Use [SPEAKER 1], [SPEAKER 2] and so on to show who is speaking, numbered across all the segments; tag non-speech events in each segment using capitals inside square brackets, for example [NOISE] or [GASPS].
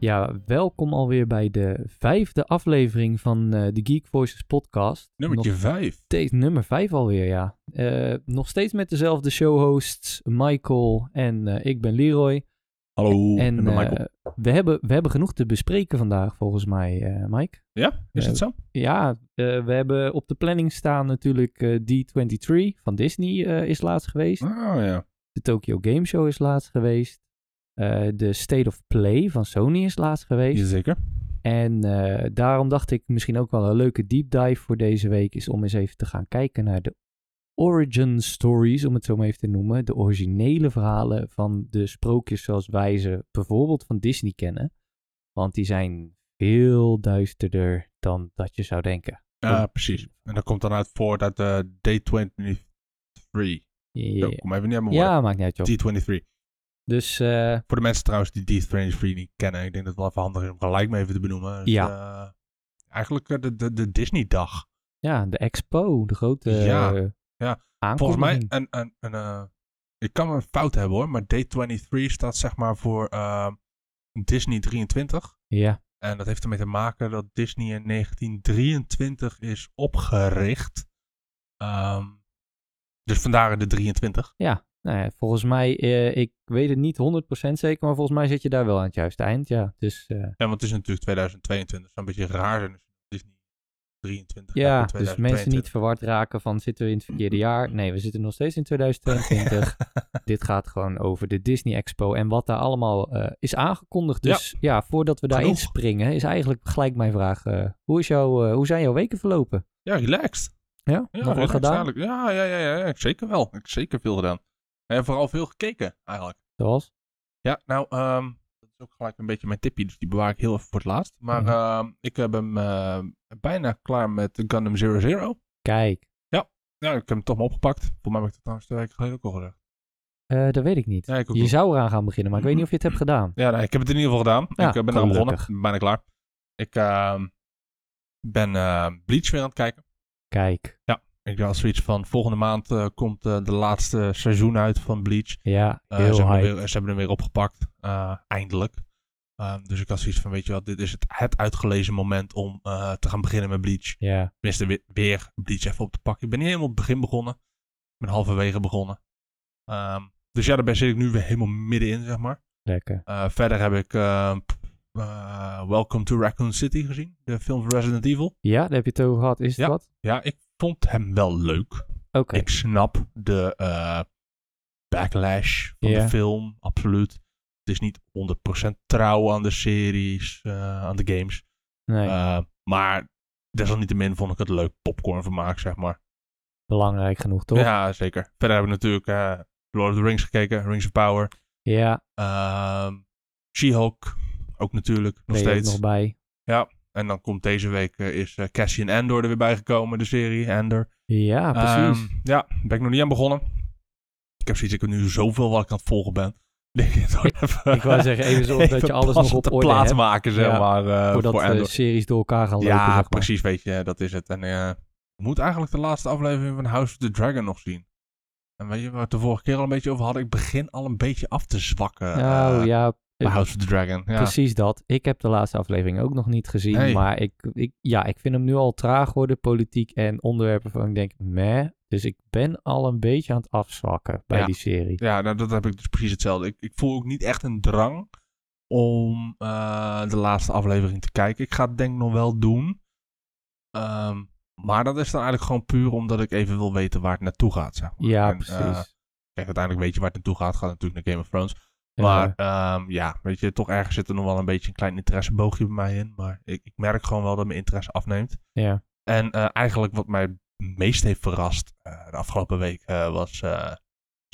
[SPEAKER 1] Ja, welkom alweer bij de vijfde aflevering van eh, de Geek Voices podcast.
[SPEAKER 2] Nummertje
[SPEAKER 1] Nog
[SPEAKER 2] 5.
[SPEAKER 1] steeds nummer vijf alweer, ja. Eh, nog steeds met dezelfde showhosts, Michael en eh, ik ben Leroy.
[SPEAKER 2] Hallo,
[SPEAKER 1] en
[SPEAKER 2] ik ben Michael.
[SPEAKER 1] eh, we, hebben, we hebben genoeg te bespreken vandaag, volgens mij, eh, Mike.
[SPEAKER 2] ja, is
[SPEAKER 1] eh,
[SPEAKER 2] het zo?
[SPEAKER 1] Ja, eh, we hebben op de planning staan natuurlijk eh, D23 van Disney eh, is laatst geweest.
[SPEAKER 2] Ah ja.
[SPEAKER 1] De Tokyo Game Show is laatst geweest. Eh, de State of Play van Sony is laatst geweest.
[SPEAKER 2] Jazeker.
[SPEAKER 1] En eh, daarom dacht ik misschien ook wel een leuke deep dive voor deze week is om eens even te gaan kijken naar de origin stories, om het zo maar even te noemen. De originele verhalen van de sprookjes zoals wij ze bijvoorbeeld van Disney kennen. Want die zijn veel duisterder dan dat je zou denken.
[SPEAKER 2] Ja, precies. En dat komt dan uit voort uit eh Day 23. Zo, kom even niet aan mijn woorden.
[SPEAKER 1] Ja, maakt niet uit joh.
[SPEAKER 2] D23.
[SPEAKER 1] Dus eh,
[SPEAKER 2] Voor de mensen trouwens die D23 niet kennen, ik denk dat het wel even handig is om gelijk maar even te benoemen. Dus, eh, eigenlijk eh, de, de, de Disney-dag.
[SPEAKER 1] ja, de expo, de grote
[SPEAKER 2] Ja,
[SPEAKER 1] eh,
[SPEAKER 2] ja. Volgens
[SPEAKER 1] aankondiging.
[SPEAKER 2] mij, een, een, een, eh, ik kan een fout hebben hoor, maar D23 staat zeg maar voor eh, Disney 23.
[SPEAKER 1] Ja,
[SPEAKER 2] En dat heeft ermee te maken dat Disney in 1923 is opgericht. Ehm, dus vandaar de 23.
[SPEAKER 1] nou ja, volgens mij, eh, ik weet het niet 100% zeker, maar volgens mij zit je daar wel aan het juiste eind. Ja, dus eh,
[SPEAKER 2] Ja, want het is natuurlijk 2022. Het zou een beetje raar zijn als Disney 23
[SPEAKER 1] Ja,
[SPEAKER 2] gaat voor
[SPEAKER 1] dus mensen niet
[SPEAKER 2] 2022.
[SPEAKER 1] verward raken van zitten we in het
[SPEAKER 2] [LAUGHS]
[SPEAKER 1] verkeerde jaar. Nee, we zitten nog steeds in 2022. Dit gaat gewoon over de Disney Expo en wat daar allemaal eh, is aangekondigd.
[SPEAKER 2] Ja.
[SPEAKER 1] Dus ja, voordat we daarin
[SPEAKER 2] Genoeg.
[SPEAKER 1] springen, is eigenlijk gelijk mijn vraag. eh, hoe, is jouw, eh, hoe zijn jouw weken verlopen?
[SPEAKER 2] Ja, relaxed.
[SPEAKER 1] Ja,
[SPEAKER 2] Ja,
[SPEAKER 1] nog wat
[SPEAKER 2] relaxed
[SPEAKER 1] gedaan?
[SPEAKER 2] eigenlijk. Ja, ja, ja, ja, ja, zeker wel. Ik heb zeker veel gedaan. En vooral veel gekeken, eigenlijk.
[SPEAKER 1] Zoals?
[SPEAKER 2] Ja, nou, ehm, dat is ook gelijk een beetje mijn tipje, dus die bewaar ik heel even voor het laatst. Maar
[SPEAKER 1] Mhm.
[SPEAKER 2] ehm, ik heb hem eh, bijna klaar met Gundam Zero Zero.
[SPEAKER 1] Kijk,
[SPEAKER 2] Ja, ik heb hem toch maar opgepakt. Volgens mij heb ik dat trouwens twee weken geleden ook al gedaan.
[SPEAKER 1] eh, dat weet ik niet.
[SPEAKER 2] Ja, ik ook
[SPEAKER 1] je
[SPEAKER 2] niet.
[SPEAKER 1] zou eraan gaan beginnen, maar ik weet niet of je het hebt gedaan.
[SPEAKER 2] Ja, nee, ik heb het in ieder geval gedaan.
[SPEAKER 1] Ja,
[SPEAKER 2] ik eh, ben eraan begonnen.
[SPEAKER 1] gelukkig.
[SPEAKER 2] Ik ben bijna klaar. Ik ehm, ben eh, Bleach weer aan het kijken.
[SPEAKER 1] Kijk,
[SPEAKER 2] Ik had zoiets van, volgende maand eh, komt eh, de laatste seizoen uit van Bleach.
[SPEAKER 1] ja,
[SPEAKER 2] Eh,
[SPEAKER 1] heel
[SPEAKER 2] ze, hebben hem
[SPEAKER 1] high.
[SPEAKER 2] weer, ze hebben hem weer opgepakt, eh, eindelijk. Ehm, dus ik had zoiets van, weet je wat, dit is het, het uitgelezen moment om eh, te gaan beginnen met Bleach.
[SPEAKER 1] Ja,
[SPEAKER 2] Tenminste, weer, weer Bleach even op te pakken. Ik ben niet helemaal op het begin begonnen. Ik ben halverwege begonnen. Ehm, dus ja, daar ben zit ik nu weer helemaal middenin, zeg maar.
[SPEAKER 1] lekker.
[SPEAKER 2] Eh, verder heb ik eh, p- eh, Welcome to Raccoon City gezien. De film van Resident Evil.
[SPEAKER 1] Ja, daar heb je het over gehad. Is het
[SPEAKER 2] Ja.
[SPEAKER 1] wat?
[SPEAKER 2] Ja, ik vond hem wel leuk.
[SPEAKER 1] Oké,
[SPEAKER 2] Ik snap de eh, backlash van
[SPEAKER 1] Ja.
[SPEAKER 2] de film, absoluut. Het is niet 100% trouw aan de series, eh, aan de games.
[SPEAKER 1] nee,
[SPEAKER 2] Eh, maar desalniettemin vond ik het leuk popcornvermaak, zeg maar.
[SPEAKER 1] belangrijk genoeg toch?
[SPEAKER 2] Ja, zeker. Verder hebben we natuurlijk eh, Lord of the Rings gekeken, Rings of Power.
[SPEAKER 1] ja
[SPEAKER 2] Ehm, She-Hulk, ook natuurlijk, nog
[SPEAKER 1] ben je ook
[SPEAKER 2] steeds.
[SPEAKER 1] nog bij.
[SPEAKER 2] En dan komt deze week eh, is eh, Cassian Andor er weer bijgekomen, de serie Andor.
[SPEAKER 1] Ja, Ah, precies.
[SPEAKER 2] Ehm, ja, ben ik nog niet aan begonnen. Ik heb zoiets, ik heb nu zoveel wat ik aan het volgen ben. [LAUGHS] Ik, denk, ik, moet even-
[SPEAKER 1] [LAUGHS] Ik wou zeggen, even
[SPEAKER 2] [LAUGHS]
[SPEAKER 1] zorgen dat je
[SPEAKER 2] even
[SPEAKER 1] alles nog
[SPEAKER 2] passend
[SPEAKER 1] op
[SPEAKER 2] te
[SPEAKER 1] orde
[SPEAKER 2] plaats
[SPEAKER 1] hebt,
[SPEAKER 2] maken, zeg
[SPEAKER 1] Ja,
[SPEAKER 2] maar, eh,
[SPEAKER 1] voordat
[SPEAKER 2] voor
[SPEAKER 1] de
[SPEAKER 2] Andor.
[SPEAKER 1] series door elkaar gaan lopen.
[SPEAKER 2] ja,
[SPEAKER 1] zeg maar.
[SPEAKER 2] precies, weet je, dat is het. En eh, ik moet eigenlijk de laatste aflevering van House of the Dragon nog zien. En weet je waar we het de vorige keer al een beetje over hadden? Ik begin al een beetje af te zwakken
[SPEAKER 1] Nou
[SPEAKER 2] eh,
[SPEAKER 1] ja,
[SPEAKER 2] bij House of the Dragon. Ja.
[SPEAKER 1] precies dat. Ik heb de laatste aflevering ook nog niet gezien.
[SPEAKER 2] Nee.
[SPEAKER 1] Maar ik, ik, ja, ik vind hem nu al traag worden, politiek en onderwerpen van ik denk, meh. Dus ik ben al een beetje aan het afzwakken bij
[SPEAKER 2] Ja.
[SPEAKER 1] die serie.
[SPEAKER 2] Ja, nou, dat heb ik dus precies hetzelfde. Ik, ik voel ook niet echt een drang om eh, de laatste aflevering te kijken. Ik ga het denk ik nog wel doen. Ehm, maar dat is dan eigenlijk gewoon puur omdat ik even wil weten waar het naartoe gaat. Zeg maar.
[SPEAKER 1] Ja,
[SPEAKER 2] En,
[SPEAKER 1] precies.
[SPEAKER 2] eh, kijk, uiteindelijk weet je waar het naartoe gaat. Gaat natuurlijk naar Game of Thrones.
[SPEAKER 1] Ja.
[SPEAKER 2] Maar ehm, ja, weet je, toch ergens zit er nog wel een beetje een klein interesseboogje bij mij in. Maar ik, ik merk gewoon wel dat mijn interesse afneemt.
[SPEAKER 1] ja.
[SPEAKER 2] En eh, eigenlijk wat mij meest heeft verrast eh, de afgelopen week eh, was eh,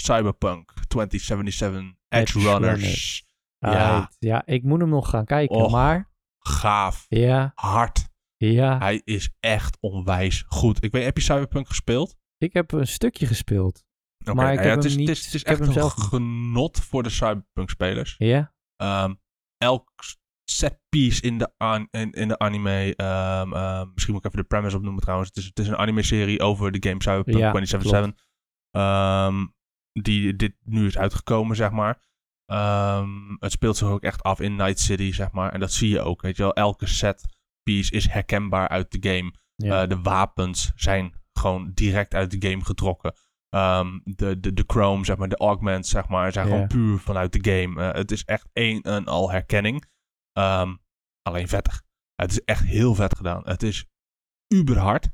[SPEAKER 2] Cyberpunk 2077 Edge
[SPEAKER 1] Edge
[SPEAKER 2] Runners.
[SPEAKER 1] Runners.
[SPEAKER 2] Ja.
[SPEAKER 1] Alright. ja, ik moet hem nog gaan kijken.
[SPEAKER 2] Och.
[SPEAKER 1] Maar
[SPEAKER 2] Gaaf,
[SPEAKER 1] ja,
[SPEAKER 2] hard.
[SPEAKER 1] ja,
[SPEAKER 2] Hij is echt onwijs goed. Ik weet, heb je Cyberpunk gespeeld?
[SPEAKER 1] ik heb een stukje gespeeld.
[SPEAKER 2] Oké,
[SPEAKER 1] Maar ik heb
[SPEAKER 2] nou ja, het is,
[SPEAKER 1] hem niet-
[SPEAKER 2] Het is, het is
[SPEAKER 1] ik heb
[SPEAKER 2] echt
[SPEAKER 1] hem
[SPEAKER 2] een
[SPEAKER 1] zelf niet.
[SPEAKER 2] genot voor de Cyberpunk-spelers.
[SPEAKER 1] Ja,
[SPEAKER 2] Ehm, elk setpiece in de, an- in, in de anime. ehm, ehm, misschien moet ik even de premise opnoemen trouwens. Het is, het is een anime-serie over de game Cyberpunk
[SPEAKER 1] Ja,
[SPEAKER 2] 2077. ehm, die dit nu is uitgekomen, zeg maar. Ehm, het speelt zich ook echt af in Night City, zeg maar. En dat zie je ook, weet je wel. Elke set piece is herkenbaar uit de game.
[SPEAKER 1] Ja.
[SPEAKER 2] Eh, de wapens zijn gewoon direct uit de game getrokken. Ehm, de, de, de chrome, zeg maar, de augments, zeg maar, zijn
[SPEAKER 1] Ja.
[SPEAKER 2] gewoon puur vanuit de game. Eh, het is echt één en al herkenning. Ehm, alleen vettig. Het is echt heel vet gedaan. Het is uberhard.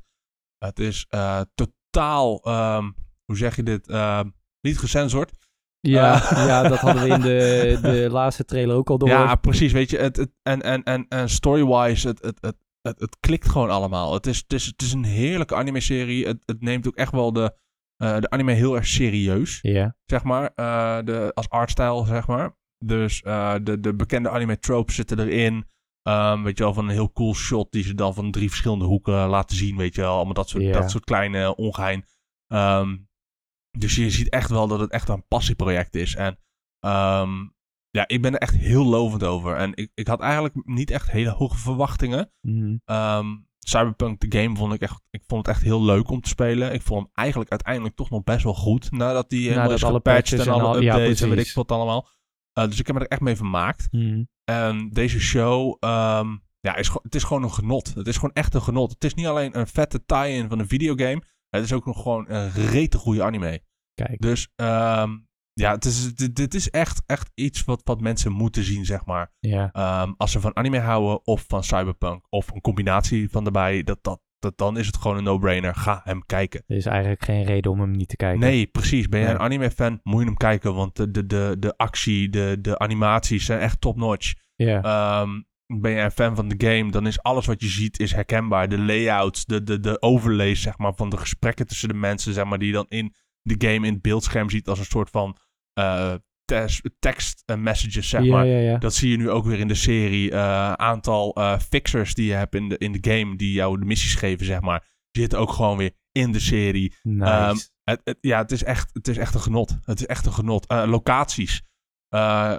[SPEAKER 2] Het is eh, totaal, ehm, hoe zeg je dit, Ehm, niet gecensord.
[SPEAKER 1] ja,
[SPEAKER 2] Eh.
[SPEAKER 1] Ah, ja, dat hadden we in de,
[SPEAKER 2] [LAUGHS]
[SPEAKER 1] de laatste trailer ook al door.
[SPEAKER 2] Ja, precies. Weet je, het, het, en, en, en, en story-wise, het, het, het, het, het klikt gewoon allemaal. Het is, het is, het is een heerlijke anime-serie. Het, het neemt ook echt wel de, eh, de anime heel erg serieus,
[SPEAKER 1] ja.
[SPEAKER 2] zeg maar. Eh, de, als artstijl, zeg maar. Dus eh, de, de bekende anime-tropes zitten erin. Ehm, weet je wel, van een heel cool shot die ze dan van drie verschillende hoeken laten zien, weet je wel. Allemaal dat soort,
[SPEAKER 1] Ja.
[SPEAKER 2] dat soort kleine ongein. Ehm, dus je ziet echt wel dat het echt een passieproject is. En ehm, ja, ik ben er echt heel lovend over. En ik, ik had eigenlijk niet echt hele hoge verwachtingen.
[SPEAKER 1] Mhm.
[SPEAKER 2] Ehm, Cyberpunk, de game, vond ik, echt, ik vond het echt heel leuk om te spelen. Ik vond hem eigenlijk uiteindelijk toch nog best wel goed. Nadat die helemaal
[SPEAKER 1] Nadat
[SPEAKER 2] is
[SPEAKER 1] alle
[SPEAKER 2] gepatcht
[SPEAKER 1] patches
[SPEAKER 2] en
[SPEAKER 1] en
[SPEAKER 2] alle
[SPEAKER 1] al- ja,
[SPEAKER 2] updates en weet ik
[SPEAKER 1] precies.
[SPEAKER 2] wat allemaal. Eh, dus ik heb me er echt mee vermaakt.
[SPEAKER 1] Mhm.
[SPEAKER 2] En deze show, ehm, ja, is, gewoon- het is gewoon een genot. Het is gewoon echt een genot. Het is niet alleen een vette tie-in van een videogame. Het is ook nog gewoon een rete goede anime.
[SPEAKER 1] Kijk,
[SPEAKER 2] Dus ehm, ja, het is, dit, dit is echt, echt iets wat, wat mensen moeten zien, zeg maar.
[SPEAKER 1] ja.
[SPEAKER 2] Ehm, als ze van anime houden of van cyberpunk of een combinatie van daarbij, dat, dat, dat, dan is het gewoon een no-brainer. Ga hem kijken.
[SPEAKER 1] Er is eigenlijk geen reden om hem niet te kijken.
[SPEAKER 2] Nee, precies. Ben je
[SPEAKER 1] Nee.
[SPEAKER 2] een anime-fan, moet je hem kijken. Want de, de, de, de actie, de, de animaties zijn echt top-notch.
[SPEAKER 1] Ja,
[SPEAKER 2] Ehm, ben jij een fan van de game, dan is alles wat je ziet is herkenbaar. De layout, de, de, de overlays zeg maar, van de gesprekken tussen de mensen zeg maar, die je dan in de game in het beeldscherm ziet als een soort van eh, tes- tekst en messages. Zeg
[SPEAKER 1] ja,
[SPEAKER 2] maar.
[SPEAKER 1] ja, ja.
[SPEAKER 2] Dat zie je nu ook weer in de serie. Eh, aantal eh, fixers die je hebt in de, in de game die jou de missies geven, zeg maar, zitten ook gewoon weer in de serie. Ehm,
[SPEAKER 1] Nice.
[SPEAKER 2] Het, het- ja, het is, echt, het is echt een genot. Het is echt een genot. Eh, locaties eh,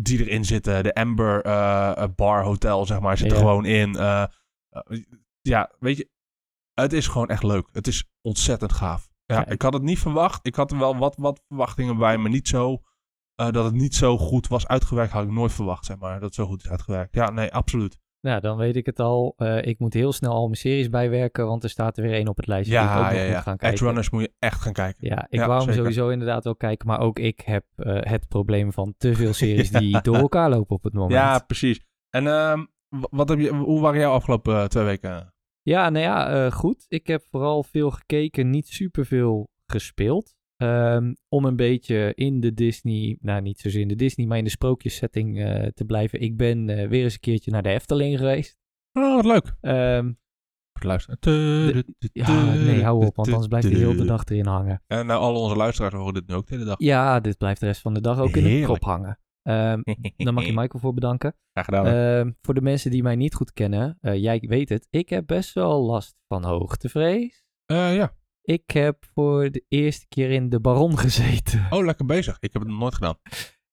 [SPEAKER 2] die erin zitten. De Amber eh, Bar Hotel, zeg maar, zit er
[SPEAKER 1] Ja.
[SPEAKER 2] gewoon in. Eh, eh, ja, weet je. Het is gewoon echt leuk. Het is ontzettend gaaf. Ja,
[SPEAKER 1] Kijk.
[SPEAKER 2] ik had het niet verwacht. Ik had er wel wat, wat verwachtingen bij, maar niet zo... eh, dat het niet zo goed was uitgewerkt, had ik nooit verwacht, zeg maar. Dat het zo goed is uitgewerkt. Ja, nee, absoluut.
[SPEAKER 1] nou, dan weet ik het al. Eh, ik moet heel snel al mijn series bijwerken, want er staat er weer één op het lijstje die ik
[SPEAKER 2] Ja,
[SPEAKER 1] ook
[SPEAKER 2] ja,
[SPEAKER 1] nog moet
[SPEAKER 2] ja.
[SPEAKER 1] gaan
[SPEAKER 2] Edge
[SPEAKER 1] kijken.
[SPEAKER 2] Runners moet je echt gaan kijken.
[SPEAKER 1] Ja, ik
[SPEAKER 2] Ja,
[SPEAKER 1] wou hem
[SPEAKER 2] zeker.
[SPEAKER 1] sowieso inderdaad wel kijken, maar ook ik heb eh, het probleem van te veel series die door elkaar lopen
[SPEAKER 2] [LAUGHS]
[SPEAKER 1] op het moment.
[SPEAKER 2] Ja, precies. En ehm, w- wat heb je, hoe waren jouw afgelopen eh, twee weken?
[SPEAKER 1] Ja, nou ja, eh, goed. Ik heb vooral veel gekeken, niet superveel gespeeld. Ehm, om een beetje in de Disney, nou niet zozeer in de Disney, maar in de sprookjessetting eh, te blijven. Ik ben eh, weer eens een keertje naar de Efteling geweest.
[SPEAKER 2] Oh, wat leuk.
[SPEAKER 1] Ehm,
[SPEAKER 2] Goed luisteren.
[SPEAKER 1] ja, nee, hou op, want anders blijft hij heel de dag erin hangen.
[SPEAKER 2] En nou, alle onze luisteraars horen dit nu ook de hele
[SPEAKER 1] [LAUGHS]
[SPEAKER 2] dag.
[SPEAKER 1] Ja, dit blijft de rest van de dag ook in de
[SPEAKER 2] Heerlijk.
[SPEAKER 1] krop hangen. Ehm, daar
[SPEAKER 2] [LAUGHS]
[SPEAKER 1] mag je Michael voor bedanken.
[SPEAKER 2] Graag gedaan. hè.
[SPEAKER 1] Ehm, voor de mensen die mij niet goed kennen, eh, jij weet het, ik heb best wel last van hoogtevrees.
[SPEAKER 2] Eh, ja.
[SPEAKER 1] Ik heb voor de eerste keer in de Baron [LAUGHS] gezeten.
[SPEAKER 2] Oh, lekker bezig. Ik heb het nog nooit gedaan.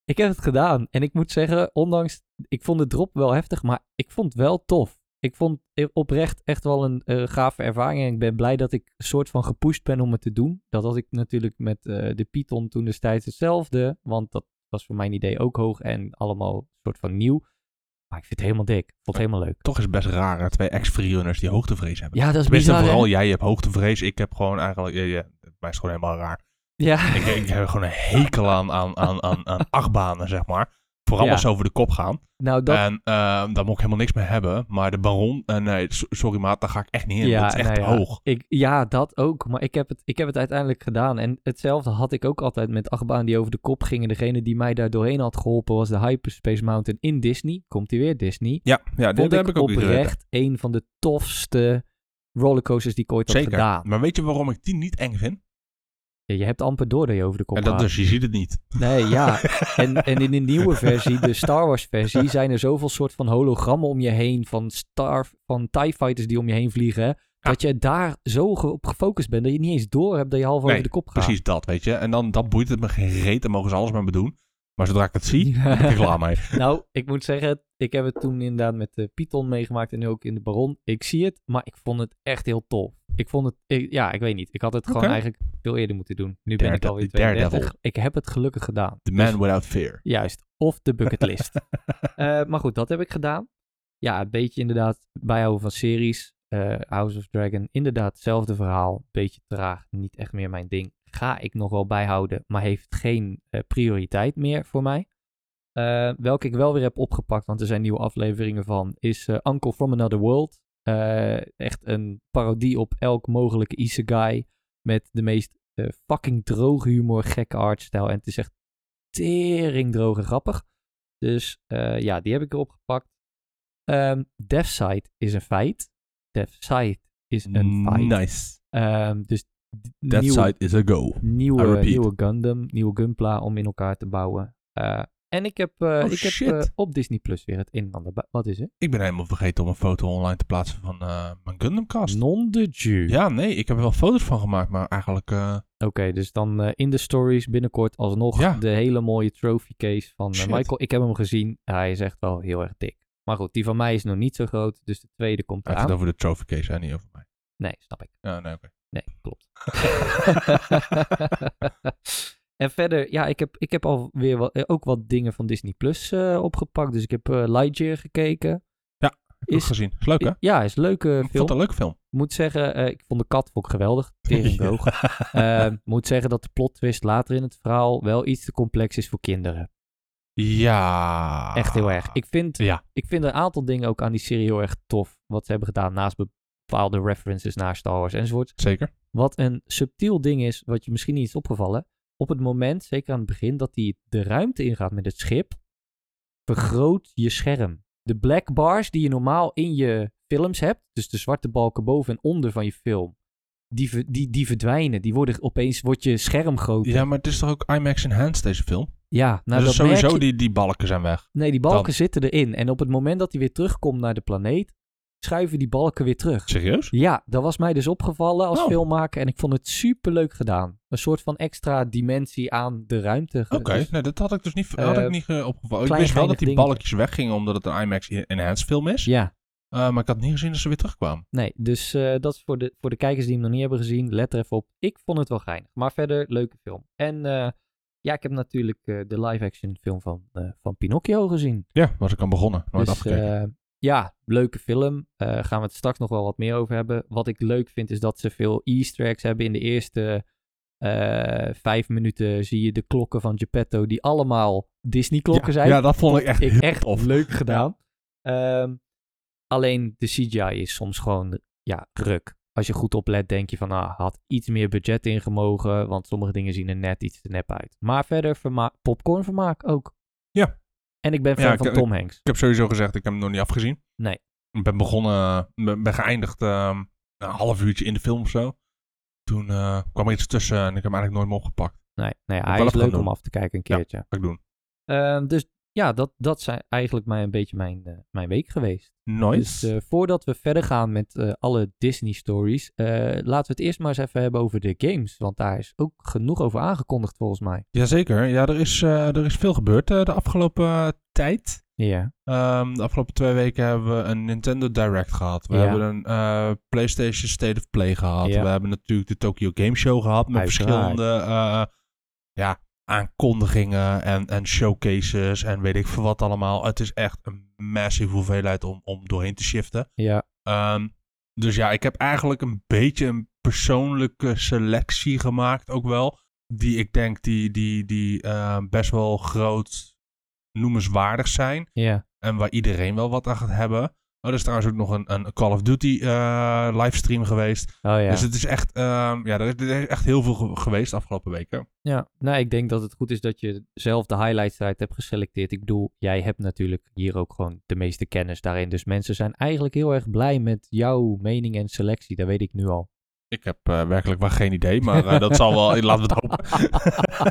[SPEAKER 1] Ik heb het gedaan en ik moet zeggen, ondanks, ik vond de drop wel heftig, maar ik vond het wel tof. Ik vond het oprecht echt wel een eh, gave ervaring en ik ben blij dat ik een soort van gepusht ben om het te doen. Dat had ik natuurlijk met eh, de Python toen destijds hetzelfde, want dat was voor mijn idee ook hoog en allemaal een soort van nieuw. Maar ik vind het helemaal dik, ik vond het helemaal leuk.
[SPEAKER 2] Toch is het best raar, hè, twee ex-freerunners die hoogtevrees hebben.
[SPEAKER 1] Ja, dat is
[SPEAKER 2] Tenminste,
[SPEAKER 1] bizar, hè?
[SPEAKER 2] vooral jij hebt hoogtevrees. Ik heb gewoon eigenlijk... Ja, ja, mij is gewoon helemaal raar.
[SPEAKER 1] Ja.
[SPEAKER 2] ik, ik heb gewoon een hekel aan, aan, aan, aan, aan achtbanen, zeg maar. Vooral
[SPEAKER 1] Ja.
[SPEAKER 2] als ze over de kop gaan.
[SPEAKER 1] Nou, dat...
[SPEAKER 2] En ehm daar moet ik helemaal niks mee hebben. Maar de baron, eh, nee, so- sorry maat, daar ga ik echt niet in.
[SPEAKER 1] Ja,
[SPEAKER 2] dat is echt
[SPEAKER 1] nou
[SPEAKER 2] te
[SPEAKER 1] ja.
[SPEAKER 2] hoog.
[SPEAKER 1] Ik, ja, dat ook. Maar ik heb, het, ik heb het uiteindelijk gedaan. En hetzelfde had ik ook altijd met achtbaan die over de kop gingen. Degene die mij daar doorheen had geholpen was de Hyperspace Mountain in Disney. Komt hij weer, Disney.
[SPEAKER 2] Ja, ja dit
[SPEAKER 1] Vond
[SPEAKER 2] heb ik ook weer gezeten.
[SPEAKER 1] oprecht een van de tofste rollercoasters die ik ooit
[SPEAKER 2] Zeker.
[SPEAKER 1] had gedaan.
[SPEAKER 2] Maar weet je waarom ik die niet eng vind?
[SPEAKER 1] Ja, je hebt amper door dat je over de kop
[SPEAKER 2] En dat
[SPEAKER 1] gaat.
[SPEAKER 2] dus, je ziet het niet.
[SPEAKER 1] Nee,
[SPEAKER 2] [LAUGHS]
[SPEAKER 1] ja. En, en in de nieuwe versie, de Star Wars versie, zijn er zoveel soort van hologrammen om je heen. Van, star, van TIE fighters die om je heen vliegen. Dat je daar zo ge- op gefocust bent dat je niet eens door hebt dat je half
[SPEAKER 2] Nee,
[SPEAKER 1] over de kop gaat.
[SPEAKER 2] Precies dat, weet je. En dan dat boeit het me geen reet. Dan mogen ze alles maar bedoelen. Maar zodra ik het
[SPEAKER 1] [LAUGHS]
[SPEAKER 2] zie,
[SPEAKER 1] Ja.
[SPEAKER 2] ben ik er klaar mee.
[SPEAKER 1] Nou, ik moet zeggen, ik heb het toen inderdaad met de Python meegemaakt en nu ook in de Baron. Ik zie het, maar ik vond het echt heel tof. Ik vond het, ik- ja, ik weet niet. Ik had het gewoon
[SPEAKER 2] Oké.
[SPEAKER 1] eigenlijk veel eerder moeten doen. Nu ben ik
[SPEAKER 2] Darede-
[SPEAKER 1] alweer
[SPEAKER 2] Daredevil.
[SPEAKER 1] 32. Ik heb het gelukkig gedaan.
[SPEAKER 2] The
[SPEAKER 1] Dus-
[SPEAKER 2] Man Without Fear.
[SPEAKER 1] Juist, of de bucketlist. Eh, maar goed, dat heb ik gedaan. Ja, een beetje inderdaad bijhouden van series. Eh, House of Dragon, inderdaad, hetzelfde verhaal. Beetje traag, niet echt meer mijn ding. Ga ik nog wel bijhouden, maar heeft geen eh, prioriteit meer voor mij. Eh, welke ik wel weer heb opgepakt, want er zijn nieuwe afleveringen van, is eh, Uncle from Another World. Eh, echt een parodie op elk mogelijke isekai. Met de meest eh, fucking droge humor, gekke artstijl. En het is echt tering droog en grappig. Dus eh, ja, die heb ik erop gepakt. Ehm Devside is een feit. Devside is een feit.
[SPEAKER 2] Nice.
[SPEAKER 1] Ehm, dus d-
[SPEAKER 2] That
[SPEAKER 1] nieuwe,
[SPEAKER 2] side is a go. I
[SPEAKER 1] nieuwe,
[SPEAKER 2] repeat.
[SPEAKER 1] nieuwe Gundam, nieuwe Gunpla om in elkaar te bouwen. Eh, en ik heb, eh,
[SPEAKER 2] Oh,
[SPEAKER 1] ik heb
[SPEAKER 2] shit.
[SPEAKER 1] eh, op Disney Plus weer het een en ander. bij- Wat is het?
[SPEAKER 2] Ik ben helemaal vergeten om een foto online te plaatsen van eh, mijn Gundamcast.
[SPEAKER 1] Non de Jew.
[SPEAKER 2] Ja, nee, ik heb er wel foto's van gemaakt, maar eigenlijk... eh,
[SPEAKER 1] Oké, dus dan eh, in de stories binnenkort alsnog
[SPEAKER 2] Ja.
[SPEAKER 1] de hele mooie trophy case van eh,
[SPEAKER 2] Shit.
[SPEAKER 1] Michael. Ik heb hem gezien. Hij is echt wel heel erg dik. Maar goed, die van mij is nog niet zo groot, dus de tweede komt
[SPEAKER 2] Hij heeft
[SPEAKER 1] eraan.
[SPEAKER 2] het over de trophy case, hè, niet over mij.
[SPEAKER 1] Nee, snap ik.
[SPEAKER 2] Ja, nee, oké.
[SPEAKER 1] Nee, klopt. [LAUGHS] en verder, ja, ik heb, ik heb alweer wat, eh, ook wat dingen van Disney Plus eh, opgepakt. Dus ik heb eh, Lightyear gekeken.
[SPEAKER 2] Heb ik
[SPEAKER 1] Is-
[SPEAKER 2] ook gezien. Is leuk, hè?
[SPEAKER 1] Ja, is een leuke
[SPEAKER 2] Ik vond
[SPEAKER 1] eh, film.
[SPEAKER 2] het een leuke
[SPEAKER 1] [LAUGHS]
[SPEAKER 2] film.
[SPEAKER 1] Moet zeggen, eh, ik vond de kat vond ik geweldig.
[SPEAKER 2] [LAUGHS]
[SPEAKER 1] Tering droog. Eh, moet zeggen dat de plot twist later in het verhaal wel iets te complex is voor kinderen.
[SPEAKER 2] Ja.
[SPEAKER 1] Echt heel erg. Ik vind,
[SPEAKER 2] Ah. Ja.
[SPEAKER 1] ik vind een aantal dingen ook aan die serie heel erg tof. Wat ze hebben gedaan naast bepaalde references naar Star Wars enzovoort.
[SPEAKER 2] Zeker.
[SPEAKER 1] Wat een subtiel ding is, wat je misschien niet is opgevallen. Op het moment, zeker aan het begin, dat hij de ruimte ingaat met het schip, vergroot je scherm. De black bars die je normaal in je films hebt, dus de zwarte balken boven en onder van je film, die, ver- die, die verdwijnen. Die worden opeens, wordt je scherm groter.
[SPEAKER 2] Ja, maar het is toch ook IMAX Enhanced, deze film?
[SPEAKER 1] Ja, nou
[SPEAKER 2] dus
[SPEAKER 1] dat merk
[SPEAKER 2] sowieso
[SPEAKER 1] je-
[SPEAKER 2] die, die balken zijn weg.
[SPEAKER 1] Nee, die balken
[SPEAKER 2] Dan-
[SPEAKER 1] zitten erin. En op het moment dat hij weer terugkomt naar de planeet, schuiven die balken weer terug.
[SPEAKER 2] Serieus?
[SPEAKER 1] Ja, dat was mij dus opgevallen als
[SPEAKER 2] Oh.
[SPEAKER 1] filmmaker en ik vond het superleuk gedaan. Een soort van extra dimensie aan de ruimte.
[SPEAKER 2] Oké,
[SPEAKER 1] Dus-
[SPEAKER 2] nee, dat had ik dus niet, had
[SPEAKER 1] Eh,
[SPEAKER 2] ik niet eh, opgevallen. Ik
[SPEAKER 1] klein
[SPEAKER 2] wist wel
[SPEAKER 1] geinig
[SPEAKER 2] dat die
[SPEAKER 1] dingetje.
[SPEAKER 2] balkjes weggingen omdat het een IMAX Enhanced film is.
[SPEAKER 1] ja,
[SPEAKER 2] Eh, maar ik had niet gezien dat ze weer terugkwamen.
[SPEAKER 1] nee, dus eh, dat is voor de, voor de kijkers die hem nog niet hebben gezien, let er even op. Ik vond het wel geinig, maar verder leuke film. En eh, ja, ik heb natuurlijk eh, de live-action film van, eh, van Pinocchio gezien.
[SPEAKER 2] Ja, was ik aan begonnen. Nooit
[SPEAKER 1] Dus,
[SPEAKER 2] afgekeken.
[SPEAKER 1] eh, ja, leuke film. Eh, gaan we het straks nog wel wat meer over hebben. Wat ik leuk vind is dat ze veel easter eggs hebben. In de eerste eh, vijf minuten zie je de klokken van Geppetto... die allemaal Disney-klokken zijn.
[SPEAKER 2] ja, dat vond ik echt,
[SPEAKER 1] ik
[SPEAKER 2] heel
[SPEAKER 1] echt
[SPEAKER 2] tof.
[SPEAKER 1] leuk gedaan. Ehm, alleen de CGI is soms gewoon ja, ruk. Als je goed oplet, denk je van, ah, had iets meer budget ingemogen, want sommige dingen zien er net iets te nep uit. Maar verder, verma- popcornvermaak ook.
[SPEAKER 2] Ja.
[SPEAKER 1] En ik ben fan
[SPEAKER 2] Ja, ik-
[SPEAKER 1] van
[SPEAKER 2] ik-
[SPEAKER 1] Tom Hanks.
[SPEAKER 2] Ik heb sowieso gezegd, ik heb hem nog niet afgezien.
[SPEAKER 1] Nee.
[SPEAKER 2] Ik ben begonnen, eh, ben, ben geëindigd ehm, een half uurtje in de film of zo. Toen eh, kwam er iets tussen en ik heb hem eigenlijk nooit meer opgepakt.
[SPEAKER 1] Nee, nee
[SPEAKER 2] wel
[SPEAKER 1] hij is
[SPEAKER 2] even
[SPEAKER 1] leuk
[SPEAKER 2] gaan
[SPEAKER 1] om
[SPEAKER 2] doen.
[SPEAKER 1] af te kijken een
[SPEAKER 2] Ja.
[SPEAKER 1] keertje.
[SPEAKER 2] Wat ik doen?
[SPEAKER 1] Ehm, dus ja, dat, dat zijn eigenlijk mijn, een beetje mijn, eh, mijn week geweest.
[SPEAKER 2] Nooit.
[SPEAKER 1] Dus eh, voordat we verder gaan met eh, alle Disney stories, eh, laten we het eerst maar eens even hebben over de games. Want daar is ook genoeg over aangekondigd volgens mij.
[SPEAKER 2] Jazeker. Ja, er is, eh, er is veel gebeurd eh, de afgelopen eh, tijd.
[SPEAKER 1] Ja,
[SPEAKER 2] Ehm, de afgelopen twee weken hebben we een Nintendo Direct gehad. We
[SPEAKER 1] Ja.
[SPEAKER 2] hebben een eh, PlayStation State of Play gehad.
[SPEAKER 1] Ja.
[SPEAKER 2] We hebben natuurlijk de Tokyo Game Show gehad. Met
[SPEAKER 1] Uiteraard.
[SPEAKER 2] verschillende eh, ja, aankondigingen en, en showcases en weet ik veel wat allemaal. Het is echt een massive hoeveelheid om, om doorheen te shiften.
[SPEAKER 1] ja,
[SPEAKER 2] Ehm, dus ja, ik heb eigenlijk een beetje een persoonlijke selectie gemaakt ook wel. Die ik denk die, die, die eh, best wel groot noemenswaardig zijn.
[SPEAKER 1] ja.
[SPEAKER 2] En waar iedereen wel wat aan gaat hebben. Oh, er is trouwens ook nog een, een Call of Duty eh, livestream geweest.
[SPEAKER 1] Oh ja.
[SPEAKER 2] Dus het is echt, ehm, ja, er is, er is echt heel veel ge- geweest de afgelopen weken.
[SPEAKER 1] ja. Nou, ik denk dat het goed is dat je zelf de highlights eruit hebt geselecteerd. Ik bedoel, jij hebt natuurlijk hier ook gewoon de meeste kennis daarin. Dus mensen zijn eigenlijk heel erg blij met jouw mening en selectie. Dat weet ik nu al.
[SPEAKER 2] Ik heb eh, werkelijk waar geen idee, maar eh, dat zal wel, laten we het
[SPEAKER 1] [LAUGHS]
[SPEAKER 2] hopen. [LAUGHS]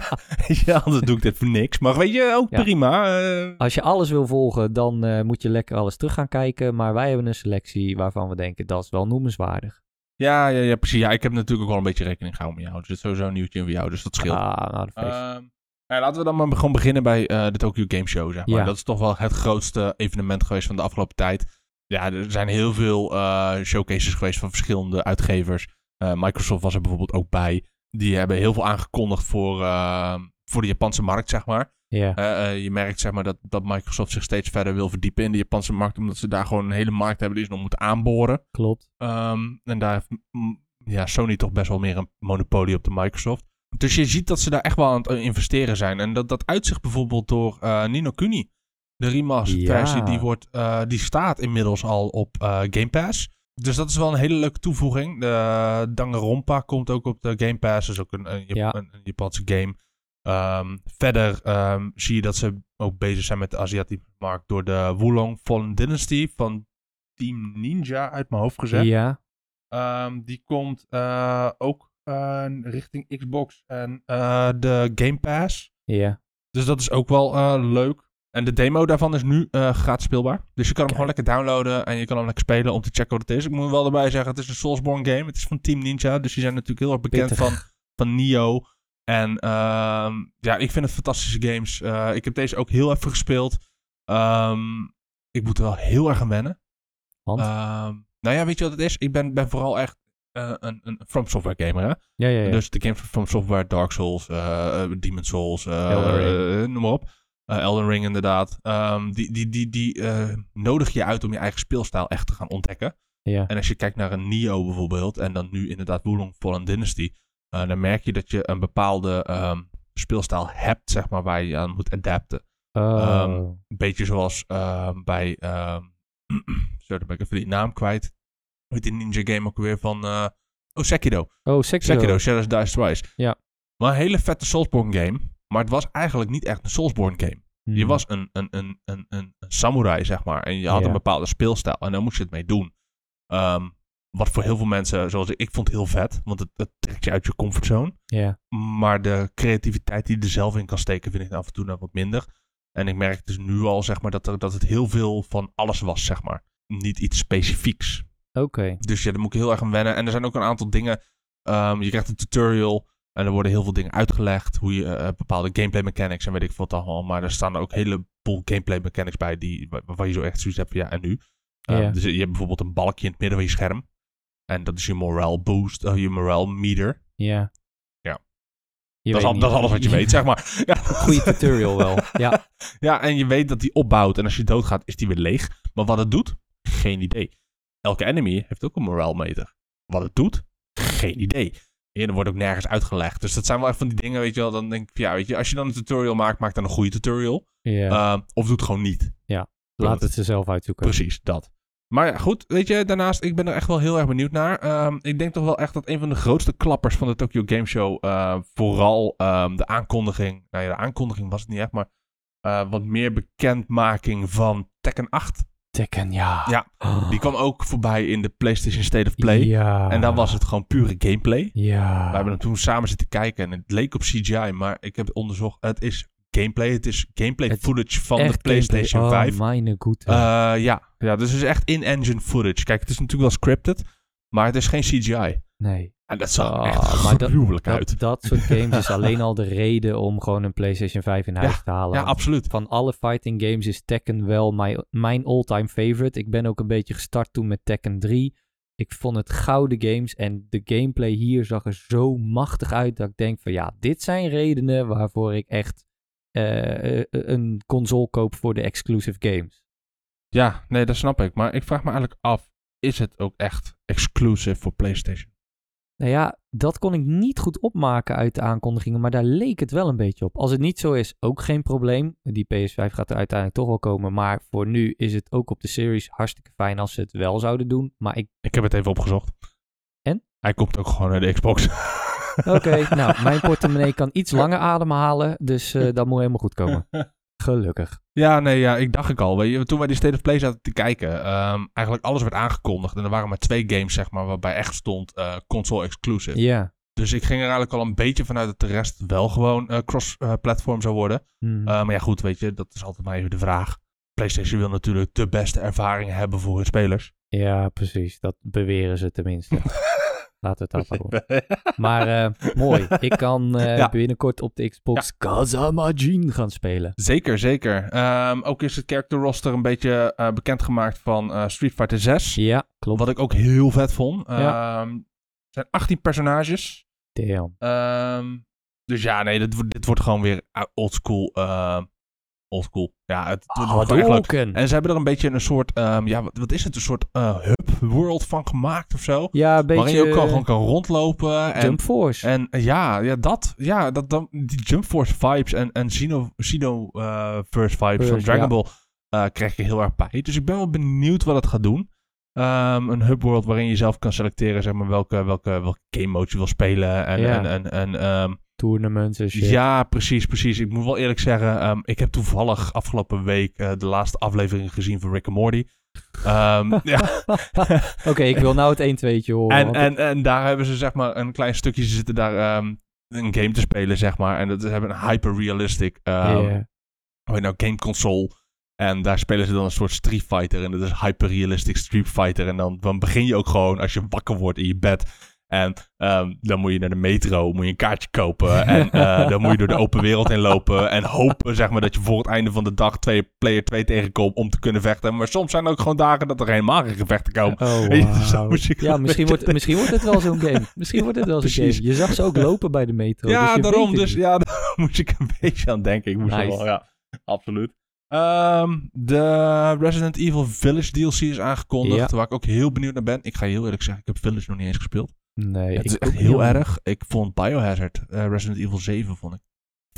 [SPEAKER 2] ja, anders doe ik dit voor niks. Maar weet je, ook
[SPEAKER 1] Ja.
[SPEAKER 2] prima. eh.
[SPEAKER 1] Als je alles wil volgen, dan eh, moet je lekker alles terug gaan kijken. Maar wij hebben een selectie waarvan we denken dat is wel noemenswaardig.
[SPEAKER 2] ja, ja, ja, precies. Ja, ik heb natuurlijk ook wel een beetje rekening gehouden met jou. Dus het is sowieso een nieuwtje voor jou, dus dat scheelt.
[SPEAKER 1] Ah, nou, dat feest.
[SPEAKER 2] Ehm, Nou, laten we dan maar gewoon beginnen bij eh, de Tokyo Game Show, zeg maar.
[SPEAKER 1] Ja.
[SPEAKER 2] Dat is toch wel het grootste evenement geweest van de afgelopen tijd. Ja, er zijn heel veel eh, showcases geweest van verschillende uitgevers. Eh, Microsoft was er bijvoorbeeld ook bij. Die hebben heel veel aangekondigd voor, eh, voor de Japanse markt, zeg maar.
[SPEAKER 1] Ja,
[SPEAKER 2] Eh, eh, je merkt zeg maar, dat, dat Microsoft zich steeds verder wil verdiepen in de Japanse markt, omdat ze daar gewoon een hele markt hebben die ze nog moeten aanboren.
[SPEAKER 1] klopt.
[SPEAKER 2] Ehm, en daar heeft mm, ja, Sony toch best wel meer een monopolie op de Microsoft. Dus je ziet dat ze daar echt wel aan het eh, investeren zijn. En dat, dat uitzicht bijvoorbeeld door eh Nino Kuni. De remastered
[SPEAKER 1] Ja.
[SPEAKER 2] versie, die, wordt, eh, die staat inmiddels al op eh, Game Pass. Dus dat is wel een hele leuke toevoeging. De Danganronpa komt ook op de Game Pass. Dat is ook een, een, Jap-
[SPEAKER 1] Ja.
[SPEAKER 2] een, een Japanse game. Ehm, verder ehm, zie je dat ze ook bezig zijn met de Aziatische markt... door de Wulong Fallen Dynasty van Team Ninja uit mijn hoofd gezegd.
[SPEAKER 1] Ja,
[SPEAKER 2] Ehm, die komt eh, ook eh, richting Xbox en eh, de Game Pass.
[SPEAKER 1] ja.
[SPEAKER 2] Dus dat is ook wel eh, leuk. En de demo daarvan is nu eh gratis speelbaar. Dus je kan hem gewoon lekker downloaden en je kan hem lekker spelen om te checken wat het is. Ik moet er wel erbij zeggen, het is een Soulsborne game. Het is van Team Ninja, dus die zijn natuurlijk heel erg bekend
[SPEAKER 1] Pittig.
[SPEAKER 2] van, van Nio. En ehm, ja, ik vind het fantastische games. Eh, ik heb deze ook heel even gespeeld. Ehm, ik moet er wel heel erg aan wennen.
[SPEAKER 1] Want?
[SPEAKER 2] Ehm, nou ja, weet je wat het is? Ik ben, ben vooral echt eh, een, een From Software gamer. Hè?
[SPEAKER 1] Ja, ja, ja.
[SPEAKER 2] Dus de games van From Software, Dark Souls, eh Demon Souls, eh,
[SPEAKER 1] Elden Ring.
[SPEAKER 2] eh, noem maar op. Eh, Elden Ring inderdaad. Ehm, die die, die, die eh, nodig je uit om je eigen speelstijl echt te gaan ontdekken.
[SPEAKER 1] ja.
[SPEAKER 2] En als je kijkt naar een Nio bijvoorbeeld, en dan nu inderdaad Wulong Fallen Dynasty, eh, dan merk je dat je een bepaalde ehm, speelstijl hebt, zeg maar, waar je je aan moet adapten.
[SPEAKER 1] Oh,
[SPEAKER 2] ehm, Een beetje zoals ehm, bij. ehm [CLEARS THROAT] zo, dan ben ik even die naam kwijt. Hoe heet die ninja game ook weer van. eh, oh, Sekiro.
[SPEAKER 1] oh, Sekiro.
[SPEAKER 2] Sekiro, Shadows Die Twice.
[SPEAKER 1] Ja.
[SPEAKER 2] Maar een hele vette Soulsborne game. Maar het was eigenlijk niet echt een Soulsborne game.
[SPEAKER 1] Hmm.
[SPEAKER 2] Je was een, een, een, een, een, een samurai, zeg maar. En je had
[SPEAKER 1] Ja.
[SPEAKER 2] een bepaalde speelstijl. En daar moest je het mee doen. Ehm, wat voor heel veel mensen, zoals ik, ik vond het heel vet. Want het, het trekt je uit je comfortzone.
[SPEAKER 1] Ja,
[SPEAKER 2] Maar de creativiteit die je er zelf in kan steken, vind ik af en toe nog wat minder. En ik merk dus nu al, zeg maar, dat, er, dat het heel veel van alles was, zeg maar. Niet iets specifieks.
[SPEAKER 1] oké.
[SPEAKER 2] Dus ja, daar moet ik heel erg aan wennen. En er zijn ook een aantal dingen. ehm, je krijgt een tutorial en er worden heel veel dingen uitgelegd. Hoe je eh, bepaalde gameplay mechanics en weet ik wat allemaal. Maar er staan ook een heleboel gameplay mechanics bij die, waar- waarvan je zo echt zoiets hebt van ja, en nu? Ehm,
[SPEAKER 1] Ja.
[SPEAKER 2] Dus je hebt bijvoorbeeld een balkje in het midden van je scherm. En dat is je morale boost, eh, je morale meter.
[SPEAKER 1] Ja.
[SPEAKER 2] Ja.
[SPEAKER 1] Je
[SPEAKER 2] Dat
[SPEAKER 1] weet
[SPEAKER 2] is, al-
[SPEAKER 1] niet.
[SPEAKER 2] dat is alles
[SPEAKER 1] [LAUGHS]
[SPEAKER 2] wat je weet, zeg maar. Ja.
[SPEAKER 1] Goede tutorial
[SPEAKER 2] [LAUGHS]
[SPEAKER 1] wel. Ja.
[SPEAKER 2] ja, en je weet dat die opbouwt. En als je doodgaat, is die weer leeg. Maar wat het doet? Geen idee. Elke enemy heeft ook een morale meter. Wat het doet? Geen idee. En er wordt ook nergens uitgelegd. Dus dat zijn wel echt van die dingen, weet je wel. Dan denk ik, van, ja, weet je, als je dan een tutorial maakt, maak dan een goede tutorial.
[SPEAKER 1] ja.
[SPEAKER 2] Ehm, of doe het gewoon niet.
[SPEAKER 1] Laat het ze zelf uitzoeken.
[SPEAKER 2] Precies, dat. Maar ja, goed, weet je, daarnaast, ik ben er echt wel heel erg benieuwd naar. Ehm, ik denk toch wel echt dat een van de grootste klappers van de Tokyo Game Show eh, vooral ehm, de aankondiging, nou ja, de aankondiging was het niet echt, maar eh, wat meer bekendmaking van Tekken 8.
[SPEAKER 1] Tekken, ja.
[SPEAKER 2] Ja, Die kwam ook voorbij in de PlayStation State of Play.
[SPEAKER 1] [GASPS] Ja.
[SPEAKER 2] En daar was het gewoon pure gameplay.
[SPEAKER 1] Ja.
[SPEAKER 2] We hebben hem toen samen zitten kijken en het leek op CGI, maar ik heb het onderzocht. Het is gameplay, het is gameplay
[SPEAKER 1] Het is
[SPEAKER 2] footage van
[SPEAKER 1] Echt
[SPEAKER 2] de PlayStation
[SPEAKER 1] gameplay.
[SPEAKER 2] 5.
[SPEAKER 1] Oh, mijn goede.
[SPEAKER 2] Eh, ja. ja, dus het is echt in-engine footage. Kijk, het is natuurlijk wel scripted, maar het is geen CGI.
[SPEAKER 1] nee.
[SPEAKER 2] En dat zag er
[SPEAKER 1] Ah,
[SPEAKER 2] echt
[SPEAKER 1] maar dat-
[SPEAKER 2] gruwelijk uit.
[SPEAKER 1] Dat, dat soort games
[SPEAKER 2] [LAUGHS]
[SPEAKER 1] is alleen al de reden om gewoon een PlayStation 5 in huis te halen.
[SPEAKER 2] ja,
[SPEAKER 1] Want
[SPEAKER 2] absoluut.
[SPEAKER 1] van alle fighting games is Tekken wel mijn, mijn all-time favorite. Ik ben ook een beetje gestart toen met Tekken 3. Ik vond het gouden games en de gameplay hier zag er zo machtig uit dat ik denk van ja, dit zijn redenen waarvoor ik echt eh, eh, een console koop voor de exclusive games.
[SPEAKER 2] Ja, nee, dat snap ik. Maar ik vraag me eigenlijk af, is het ook echt exclusive voor PlayStation?
[SPEAKER 1] Nou ja, dat kon ik niet goed opmaken uit de aankondigingen, maar daar leek het wel een beetje op. Als het niet zo is, ook geen probleem. Die PS5 gaat er uiteindelijk toch wel komen, maar voor nu is het ook op de series hartstikke fijn als ze het wel zouden doen. Maar [LAUGHS] ik
[SPEAKER 2] Ik heb het even opgezocht.
[SPEAKER 1] En?
[SPEAKER 2] Hij komt ook gewoon naar de Xbox.
[SPEAKER 1] Oké, nou, mijn portemonnee kan iets langer ademhalen, dus [LAUGHS] eh, dat moet helemaal goed komen. Gelukkig.
[SPEAKER 2] [LAUGHS] Ja, nee, ja, ik dacht ik al. Weet je, toen wij die State of Play zaten te kijken, ehm, eigenlijk alles werd aangekondigd. En er waren maar twee games, zeg maar, waarbij echt stond eh, console exclusive.
[SPEAKER 1] Ja.
[SPEAKER 2] Dus ik ging er eigenlijk al een beetje vanuit dat de rest wel gewoon eh, cross-platform zou worden.
[SPEAKER 1] Hmm.
[SPEAKER 2] Eh, maar ja, goed, weet je, dat is altijd maar even de vraag. PlayStation wil natuurlijk de beste ervaring hebben voor hun spelers.
[SPEAKER 1] [LAUGHS] ja, precies. Dat beweren ze tenminste. Laten we het daar maar [LAUGHS] Maar eh, mooi. Ik kan eh,
[SPEAKER 2] Ja.
[SPEAKER 1] binnenkort op de Xbox Kazamajin gaan spelen.
[SPEAKER 2] Zeker, zeker. Ehm, ook is het character roster een beetje eh, bekendgemaakt van eh, Street Fighter 6.
[SPEAKER 1] Ja, klopt.
[SPEAKER 2] Wat ik ook heel vet vond.
[SPEAKER 1] Ja.
[SPEAKER 2] Ehm, er zijn 18 personages.
[SPEAKER 1] Damn.
[SPEAKER 2] Ehm, dus ja, nee, dit, wordt- dit wordt gewoon weer oldschool. old oldschool. Ja, het
[SPEAKER 1] Ah,
[SPEAKER 2] wordt wordt echt leuk.
[SPEAKER 1] Hadouken.
[SPEAKER 2] En ze hebben er een beetje een soort, ehm, ja, wat, wat is het? Een soort eh, hub world van gemaakt of zo.
[SPEAKER 1] Ja, een beetje
[SPEAKER 2] Waarin je ook kan, gewoon kan rondlopen. En,
[SPEAKER 1] Jump Force.
[SPEAKER 2] en eh, ja, ja, dat, ja, dat, dan die Jump Force vibes en, en Xeno, Xeno eh, Verse vibes van
[SPEAKER 1] Verse,
[SPEAKER 2] Dragon
[SPEAKER 1] ja.
[SPEAKER 2] Ball eh, krijg je heel erg bij. Dus ik ben wel benieuwd wat het gaat doen. Ehm, een hub world waarin je zelf kan selecteren zeg maar, welke, welke, welke game mode je wil spelen. En,
[SPEAKER 1] Ja.
[SPEAKER 2] en, en, en, ehm,
[SPEAKER 1] Tournaments en shit.
[SPEAKER 2] ja, precies, precies. Ik moet wel eerlijk zeggen, ehm, ik heb toevallig afgelopen week eh, de laatste aflevering gezien van Rick and Morty. Ehm, ja,
[SPEAKER 1] Oké, ik wil nou het 1 2 horen.
[SPEAKER 2] en,
[SPEAKER 1] want
[SPEAKER 2] en, en daar hebben ze zeg maar een klein stukje, ze zitten daar ehm, een game te spelen zeg maar. En dat ze hebben een hyper-realistic ehm,
[SPEAKER 1] het- Ja.
[SPEAKER 2] hoe heet nou, game console. En daar spelen ze dan een soort Street Fighter. En dat is hyper-realistic Street Fighter. En dan, dan begin je ook gewoon als je wakker wordt in je bed. En ehm, dan moet je naar de metro, moet je een kaartje
[SPEAKER 1] [LAUGHS]
[SPEAKER 2] kopen. En eh, dan moet je door de open wereld heen lopen. En hopen zeg maar, dat je voor het einde van de dag twee player 2 tegenkomt om te kunnen vechten. Maar soms zijn er ook gewoon dagen dat er helemaal geen gevechten komen.
[SPEAKER 1] Oh,
[SPEAKER 2] [LAUGHS] Weet je, zo
[SPEAKER 1] wauw.
[SPEAKER 2] moet je-
[SPEAKER 1] Ja, misschien wordt, misschien wordt het wel zo'n game. Misschien wordt het wel zo'n
[SPEAKER 2] Precies.
[SPEAKER 1] game. Je zag ze ook lopen bij de metro.
[SPEAKER 2] Ja,
[SPEAKER 1] dus je
[SPEAKER 2] daarom.
[SPEAKER 1] weet het
[SPEAKER 2] Dus
[SPEAKER 1] niet.
[SPEAKER 2] ja, [LAUGHS] daar moest ik een beetje aan denken. Ik moest er
[SPEAKER 1] Nice.
[SPEAKER 2] wel, ja, absoluut. Ehm, de Resident Evil Village DLC is aangekondigd, waar ik ook heel benieuwd naar ben. Ik ga je heel eerlijk zeggen, ik heb Village nog niet eens gespeeld.
[SPEAKER 1] Nee, ik
[SPEAKER 2] het is
[SPEAKER 1] ook
[SPEAKER 2] echt heel
[SPEAKER 1] niet. Oh,
[SPEAKER 2] erg. Ik vond Biohazard, eh, Resident Evil 7 vond ik,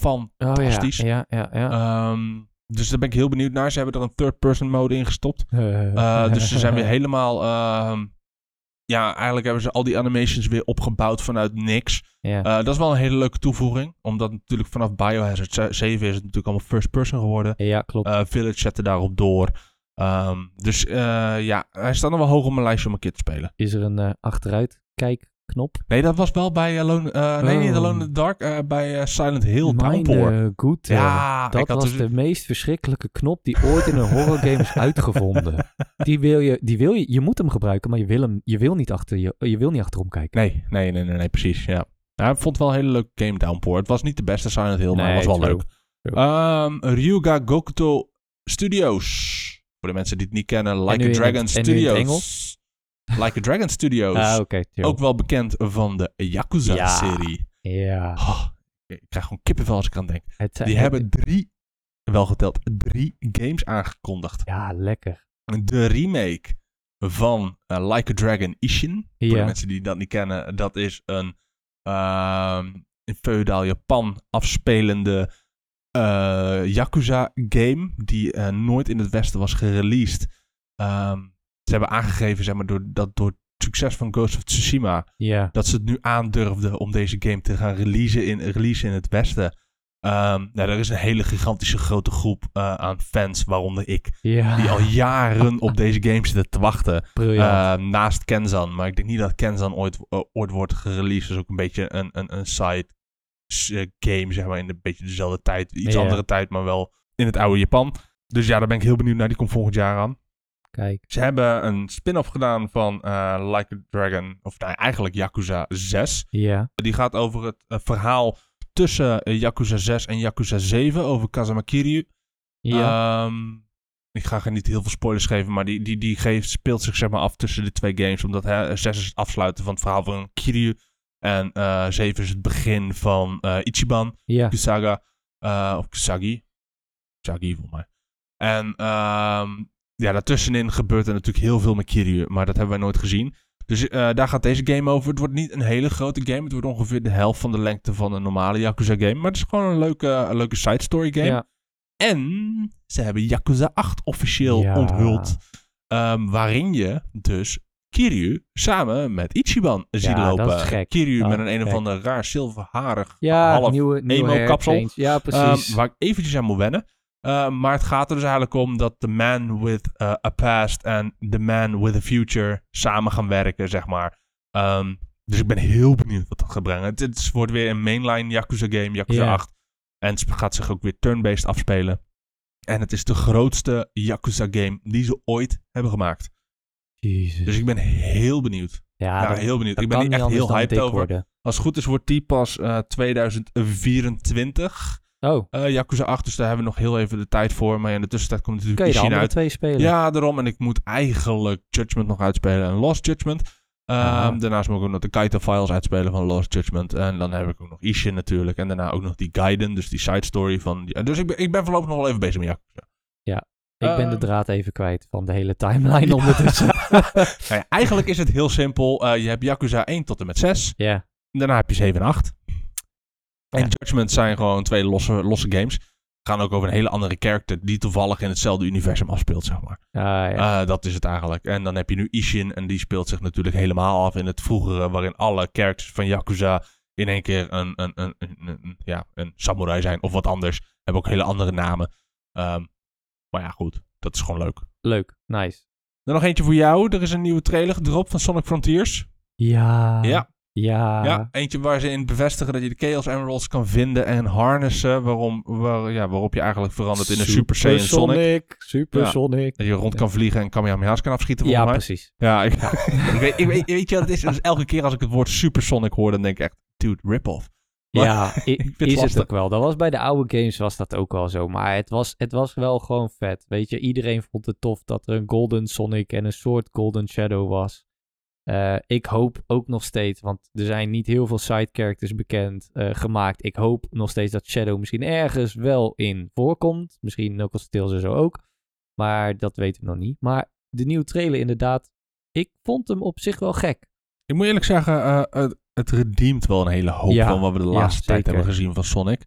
[SPEAKER 2] van.
[SPEAKER 1] Oh ja,
[SPEAKER 2] fantastisch.
[SPEAKER 1] ja, ja. ja.
[SPEAKER 2] Ehm, dus daar ben ik heel benieuwd naar. Ze hebben er een third-person mode in gestopt.
[SPEAKER 1] Eh,
[SPEAKER 2] Eh, dus
[SPEAKER 1] [LAUGHS]
[SPEAKER 2] ze zijn weer helemaal. ehm, ja, eigenlijk hebben ze al die animations weer opgebouwd vanuit niks.
[SPEAKER 1] Ja.
[SPEAKER 2] Eh, dat is wel een hele leuke toevoeging. Omdat natuurlijk vanaf Biohazard ze- 7 is het natuurlijk allemaal first person geworden.
[SPEAKER 1] ja, klopt.
[SPEAKER 2] Eh, Village zette daarop door. Ehm, dus eh, ja, hij staat nog wel hoog op mijn lijstje om een keer te spelen.
[SPEAKER 1] Is er een eh, achteruitkijkknop?
[SPEAKER 2] Nee, dat was wel bij Alone... eh, Nee,
[SPEAKER 1] Oh.
[SPEAKER 2] niet Alone in the Dark. eh, bij eh, Silent Hill
[SPEAKER 1] Mijn
[SPEAKER 2] Downpour.
[SPEAKER 1] eh, goed. eh,
[SPEAKER 2] Ja,
[SPEAKER 1] dat
[SPEAKER 2] ik had
[SPEAKER 1] was
[SPEAKER 2] dus-
[SPEAKER 1] de meest verschrikkelijke knop die ooit in een horrorgame
[SPEAKER 2] [LAUGHS]
[SPEAKER 1] is uitgevonden. Die wil je, die wil je, je moet hem gebruiken, maar je wil hem, je wil niet achter je, je wil niet achterom kijken.
[SPEAKER 2] Nee, nee, nee, nee, nee, precies. Ja. Ja, ik vond het wel een hele leuke game Downpour. Het was niet de beste Silent Hill, maar het
[SPEAKER 1] Nee,
[SPEAKER 2] was wel
[SPEAKER 1] true.
[SPEAKER 2] leuk. Ehm, Ryuga Gokuto Studios. Voor de mensen die het niet kennen,
[SPEAKER 1] nu
[SPEAKER 2] Like
[SPEAKER 1] in
[SPEAKER 2] a
[SPEAKER 1] het-
[SPEAKER 2] Dragon
[SPEAKER 1] en nu in het
[SPEAKER 2] Studios.
[SPEAKER 1] Engels?
[SPEAKER 2] Like a Dragon Studios.
[SPEAKER 1] Ah, oké. chill.
[SPEAKER 2] dus Ook wel bekend van de Yakuza-serie.
[SPEAKER 1] Ja.
[SPEAKER 2] Oh, ik krijg gewoon kippenvel als ik aan denk.
[SPEAKER 1] Het zijn-
[SPEAKER 2] Die hebben drie, wel geteld, drie games aangekondigd.
[SPEAKER 1] Ja, lekker.
[SPEAKER 2] De remake van eh, Like a Dragon Ishin. Voor de
[SPEAKER 1] Ja.
[SPEAKER 2] mensen die dat niet kennen, dat is een ehm, in feudal Japan afspelende eh, Yakuza-game die eh, nooit in het Westen was gereleased. Ehm, ze hebben aangegeven, zeg maar, door, dat door het succes van Ghost of Tsushima
[SPEAKER 1] Ja.
[SPEAKER 2] dat ze het nu aandurfden om deze game te gaan releasen in, releasen in het Westen. Ehm, nou, er is een hele gigantische grote groep eh, aan fans, waaronder ik,
[SPEAKER 1] Ja.
[SPEAKER 2] die al jaren op deze game zitten te wachten.
[SPEAKER 1] Briljant.
[SPEAKER 2] Ehm, naast Kenzan, maar ik denk niet dat Kenzan ooit, eh, ooit wordt gereleased. Dat is ook een beetje een, een, een side s- eh, game, zeg maar, in een beetje dezelfde tijd. Iets
[SPEAKER 1] Ja.
[SPEAKER 2] andere tijd, maar wel in het oude Japan. Dus ja, daar ben ik heel benieuwd naar. Die komt volgend jaar aan.
[SPEAKER 1] Kijk.
[SPEAKER 2] Ze hebben een spin-off gedaan van eh, Like a Dragon, of nou, eigenlijk Yakuza 6.
[SPEAKER 1] Ja.
[SPEAKER 2] Die gaat over het eh, verhaal tussen eh, Yakuza 6 en Yakuza 7 over Kazama Kiryu.
[SPEAKER 1] Ja.
[SPEAKER 2] Ehm, ik ga er niet heel veel spoilers geven, maar die, die, die geeft, speelt zich zeg maar af tussen de twee games. Omdat hè, 6 is het afsluiten van het verhaal van Kiryu. En eh 7 is het begin van eh, Ichiban,
[SPEAKER 1] ja.
[SPEAKER 2] Kusaga, eh, of Kusagi. Kusagi volgens mij. En ehm, ja, daartussenin gebeurt er natuurlijk heel veel met Kiryu, maar dat hebben wij nooit gezien. Dus eh, daar gaat deze game over. Het wordt niet een hele grote game. Het wordt ongeveer de helft van de lengte van een normale Yakuza game. Maar het is gewoon een leuke, een leuke side story game.
[SPEAKER 1] Ja.
[SPEAKER 2] En ze hebben Yakuza 8 officieel
[SPEAKER 1] Ja.
[SPEAKER 2] onthuld. ehm, waarin je dus Kiryu samen met Ichiban ziet
[SPEAKER 1] Ja, dat
[SPEAKER 2] lopen.
[SPEAKER 1] is gek.
[SPEAKER 2] Kiryu
[SPEAKER 1] Dat
[SPEAKER 2] met
[SPEAKER 1] is
[SPEAKER 2] een een of
[SPEAKER 1] gek.
[SPEAKER 2] ander raar zilverharig.
[SPEAKER 1] Ja,
[SPEAKER 2] Dus half
[SPEAKER 1] nieuwe, nieuwe
[SPEAKER 2] emo
[SPEAKER 1] hair
[SPEAKER 2] kapsel.
[SPEAKER 1] change. Ja, precies.
[SPEAKER 2] ehm, waar ik eventjes aan moet wennen. Ehm, maar het gaat er dus eigenlijk om dat de man with eh, a past en de man with a future samen gaan werken, zeg maar. Ehm, dus ik ben heel benieuwd wat dat gaat brengen. Het, het wordt weer een mainline Yakuza game, Yakuza
[SPEAKER 1] Ja.
[SPEAKER 2] 8. En het gaat zich ook weer turn-based afspelen. En het is de grootste Yakuza game die ze ooit hebben gemaakt.
[SPEAKER 1] Jezus.
[SPEAKER 2] Dus ik ben heel benieuwd.
[SPEAKER 1] Ja,
[SPEAKER 2] Ja,
[SPEAKER 1] dat-
[SPEAKER 2] heel benieuwd.
[SPEAKER 1] dat
[SPEAKER 2] Ik ben
[SPEAKER 1] kan
[SPEAKER 2] hier echt
[SPEAKER 1] niet
[SPEAKER 2] heel
[SPEAKER 1] anders dan
[SPEAKER 2] hyped
[SPEAKER 1] dik
[SPEAKER 2] over.
[SPEAKER 1] worden.
[SPEAKER 2] Als het goed is wordt die pas eh, 2024.
[SPEAKER 1] Oh,
[SPEAKER 2] eh Yakuza 8, dus daar hebben we nog heel even de tijd voor. Maar in de tussentijd komt
[SPEAKER 1] kun
[SPEAKER 2] natuurlijk
[SPEAKER 1] je de
[SPEAKER 2] Ishin
[SPEAKER 1] andere
[SPEAKER 2] uit.
[SPEAKER 1] twee spelen?
[SPEAKER 2] Ja, daarom. En ik moet eigenlijk Judgment nog uitspelen en Lost Judgment. Ehm,
[SPEAKER 1] Ah.
[SPEAKER 2] Daarnaast moet ik ook nog de Kaito Files uitspelen van Lost Judgment. En dan heb ik ook nog Ishin natuurlijk. En daarna ook nog die Gaiden, dus die side story van... die- dus ik ben, ik ben voorlopig nog wel even bezig met Yakuza.
[SPEAKER 1] Ik ben de
[SPEAKER 2] Ehm.
[SPEAKER 1] draad even kwijt van de hele
[SPEAKER 2] [LAUGHS]
[SPEAKER 1] timeline ondertussen.
[SPEAKER 2] Nou ja, eigenlijk is het heel simpel. Eh, je hebt Yakuza 1 tot en met 6.
[SPEAKER 1] ja,
[SPEAKER 2] En daarna heb je 7 en 8. En
[SPEAKER 1] Ja.
[SPEAKER 2] Judgment zijn gewoon twee losse, losse games. Gaan ook over een hele andere character die toevallig in hetzelfde universum afspeelt, zeg maar.
[SPEAKER 1] Ah, ja.
[SPEAKER 2] Eh, dat is het eigenlijk. En dan heb je nu Ishin. En die speelt zich natuurlijk helemaal af in het vroegere. Waarin alle characters van Yakuza in één keer een, een, een, een, een- een- ja, een samurai zijn. Of wat anders. Hebben ook hele andere namen. Ehm, maar ja, goed. Dat is gewoon leuk.
[SPEAKER 1] leuk. Nice.
[SPEAKER 2] Dan nog eentje voor jou. Er is een nieuwe trailer gedropt van Sonic Frontiers.
[SPEAKER 1] Ja.
[SPEAKER 2] Ja.
[SPEAKER 1] Ja.
[SPEAKER 2] Ja, eentje waar ze in bevestigen dat je de Chaos Emeralds kan vinden en harnessen. Waarom, waar, ja, waarop je eigenlijk verandert in een Super Saiyan Sonic.
[SPEAKER 1] Super
[SPEAKER 2] Ja.
[SPEAKER 1] Sonic.
[SPEAKER 2] Dat je rond kan vliegen en Kamehameha's kan afschieten.
[SPEAKER 1] Ja,
[SPEAKER 2] volgens mij.
[SPEAKER 1] precies.
[SPEAKER 2] Ja, ik, ik weet, ik weet, weet je wat het is? Dus elke keer als ik het woord Supersonic hoor, dan denk ik echt, dude, rip-off. Maar-
[SPEAKER 1] ja,
[SPEAKER 2] [LAUGHS]
[SPEAKER 1] i-
[SPEAKER 2] vind het
[SPEAKER 1] is het
[SPEAKER 2] lastig.
[SPEAKER 1] ook wel. Dat was bij de oude games was dat ook wel zo. Maar het was, het was wel gewoon vet. Weet je, iedereen vond het tof dat er een Golden Sonic en een soort Golden Shadow was. Eh, ik hoop ook nog steeds, want er zijn niet heel veel side characters bekend eh, gemaakt. Ik hoop nog steeds dat Shadow misschien ergens wel in voorkomt. Misschien ook als Tails en zo ook. Maar dat weten we nog niet. Maar de nieuwe trailer inderdaad, ik vond hem op zich wel gek.
[SPEAKER 2] Ik moet eerlijk zeggen, eh, het, het redeemt wel een hele hoop
[SPEAKER 1] Ja,
[SPEAKER 2] van wat we de
[SPEAKER 1] ja,
[SPEAKER 2] laatste tijd
[SPEAKER 1] zeker.
[SPEAKER 2] hebben gezien van Sonic.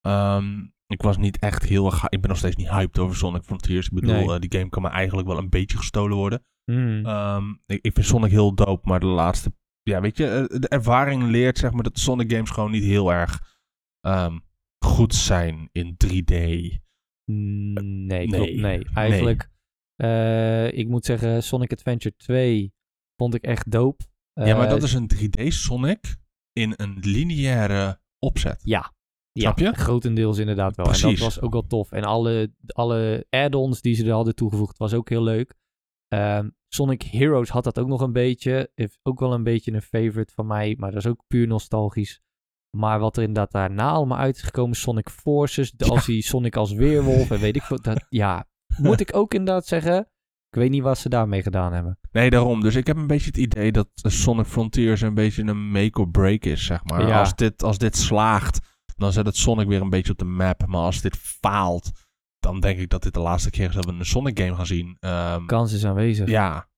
[SPEAKER 2] Ehm, ik was niet echt heel erg, hy- ik ben nog steeds niet hyped over Sonic Frontiers. Ik bedoel,
[SPEAKER 1] Nee.
[SPEAKER 2] eh, die game kan me eigenlijk wel een beetje gestolen worden.
[SPEAKER 1] Hmm.
[SPEAKER 2] Ehm, ik, ik vind Sonic heel dope, maar de laatste... Ja, weet je, eh, de ervaring leert zeg maar dat Sonic games gewoon niet heel erg ehm, goed zijn in 3D.
[SPEAKER 1] Nee,
[SPEAKER 2] nee,
[SPEAKER 1] klopt. Nee,
[SPEAKER 2] nee.
[SPEAKER 1] eigenlijk. eh, ik moet zeggen, Sonic Adventure 2 vond ik echt dope.
[SPEAKER 2] Ja, maar
[SPEAKER 1] Eh,
[SPEAKER 2] dat is een 3D Sonic in een lineaire opzet.
[SPEAKER 1] Ja.
[SPEAKER 2] Snap
[SPEAKER 1] ja,
[SPEAKER 2] je?
[SPEAKER 1] Grotendeels inderdaad wel. En dat
[SPEAKER 2] Precies.
[SPEAKER 1] was ook wel tof. En alle, alle add-ons die ze er hadden toegevoegd was ook heel leuk. Ehm, Sonic Heroes had dat ook nog een beetje. Heeft ook wel een beetje een favorite van mij. Maar dat is ook puur nostalgisch. Maar wat er inderdaad daarna allemaal uit is gekomen. Sonic Forces. de- Als die Sonic als weerwolf. En weet ik wat. Dat,
[SPEAKER 2] [LAUGHS]
[SPEAKER 1] ja, moet ik ook inderdaad zeggen. Ik weet niet wat ze daarmee gedaan hebben.
[SPEAKER 2] Nee, daarom. Dus ik heb een beetje het idee dat eh, Sonic Frontiers een beetje een make or break is, zeg maar.
[SPEAKER 1] Ja.
[SPEAKER 2] Als, dit, als dit slaagt, dan zet het Sonic weer een beetje op de map. Maar als dit faalt, dan denk ik dat dit de laatste keer is dat we een Sonic game gaan zien. Ehm,
[SPEAKER 1] Kans is aanwezig.
[SPEAKER 2] ja.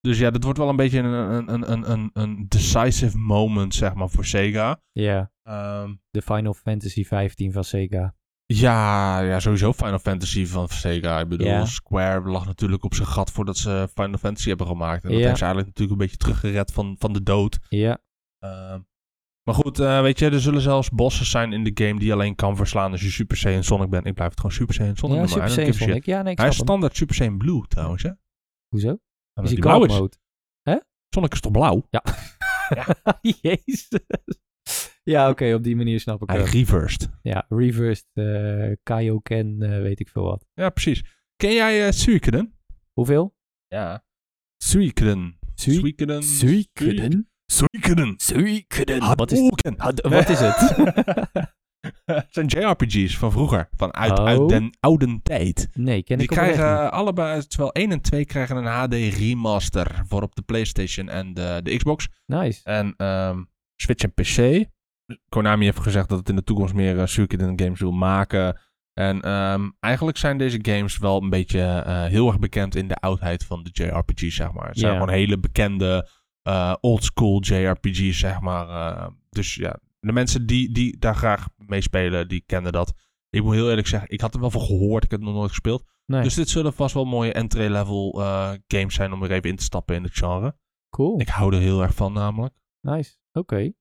[SPEAKER 2] Dus ja, dat wordt wel een beetje een, een, een, een, een decisive moment, zeg maar, voor Sega.
[SPEAKER 1] Ja,
[SPEAKER 2] Ehm,
[SPEAKER 1] De Final Fantasy 15 van Sega.
[SPEAKER 2] Ja, ja, sowieso Final Fantasy van Sega. Ik bedoel,
[SPEAKER 1] Ja.
[SPEAKER 2] Square lag natuurlijk op zijn gat voordat ze Final Fantasy hebben gemaakt. En dat
[SPEAKER 1] Ja.
[SPEAKER 2] heeft ze eigenlijk natuurlijk een beetje teruggered van, van de dood.
[SPEAKER 1] Ja.
[SPEAKER 2] Ehm, maar goed, eh, weet je, er zullen zelfs bossen zijn in de game die je alleen kan verslaan als je Super Saiyan Sonic bent. Ik blijf het gewoon Super Saiyan Sonic
[SPEAKER 1] Ja,
[SPEAKER 2] noemen.
[SPEAKER 1] Super
[SPEAKER 2] I don't
[SPEAKER 1] Saiyan
[SPEAKER 2] give a shit.
[SPEAKER 1] Sonic. Ja, nee, ik
[SPEAKER 2] Hij is
[SPEAKER 1] snap hem.
[SPEAKER 2] standaard Super Saiyan Blue trouwens, hè?
[SPEAKER 1] Hoezo? Is
[SPEAKER 2] Omdat
[SPEAKER 1] hij
[SPEAKER 2] die blauw
[SPEAKER 1] cloud
[SPEAKER 2] is.
[SPEAKER 1] [LAUGHS] mode?
[SPEAKER 2] Sonic is toch blauw?
[SPEAKER 1] Oh, Jezus. Ja, oké, op die manier snap ik
[SPEAKER 2] Hij
[SPEAKER 1] het.
[SPEAKER 2] reversed.
[SPEAKER 1] Ja, reversed eh Kaioken, eh, weet ik veel wat.
[SPEAKER 2] Ja, precies. Ken jij eh Suikoden?
[SPEAKER 1] Hoeveel?
[SPEAKER 2] Ja. Suikoden.
[SPEAKER 1] Sui-
[SPEAKER 2] Suikoden. Suikoden.
[SPEAKER 1] Suikoden. Ah, Wat is,
[SPEAKER 2] Hadouken.
[SPEAKER 1] had- wat is het?
[SPEAKER 2] [LAUGHS] Het zijn JRPG's van vroeger, van uit,
[SPEAKER 1] Oh.
[SPEAKER 2] uit den oude tijd.
[SPEAKER 1] Nee, ken
[SPEAKER 2] Die
[SPEAKER 1] ik oprecht niet.
[SPEAKER 2] krijgen allebei, terwijl 1 en 2 krijgen een HD remaster voor op de PlayStation en de, de Xbox.
[SPEAKER 1] Nice.
[SPEAKER 2] En ehm, Switch en PC. Konami heeft gezegd dat het in de toekomst meer uh, Suikoden games wil maken. En ehm, eigenlijk zijn deze games wel een beetje eh, heel erg bekend in de oudheid van de JRPG's, zeg maar. Het zijn
[SPEAKER 1] Ja.
[SPEAKER 2] gewoon hele bekende eh, oldschool JRPG's, zeg maar. Eh, dus ja, de mensen die, die daar graag mee spelen, die kennen dat. Ik moet heel eerlijk zeggen, ik had er wel van gehoord, ik heb het nog nooit gespeeld.
[SPEAKER 1] Nee.
[SPEAKER 2] Dus dit zullen vast wel mooie entry-level eh, games zijn om er even in te stappen in het genre.
[SPEAKER 1] Cool.
[SPEAKER 2] Ik hou er heel erg van namelijk.
[SPEAKER 1] Nice. Oké.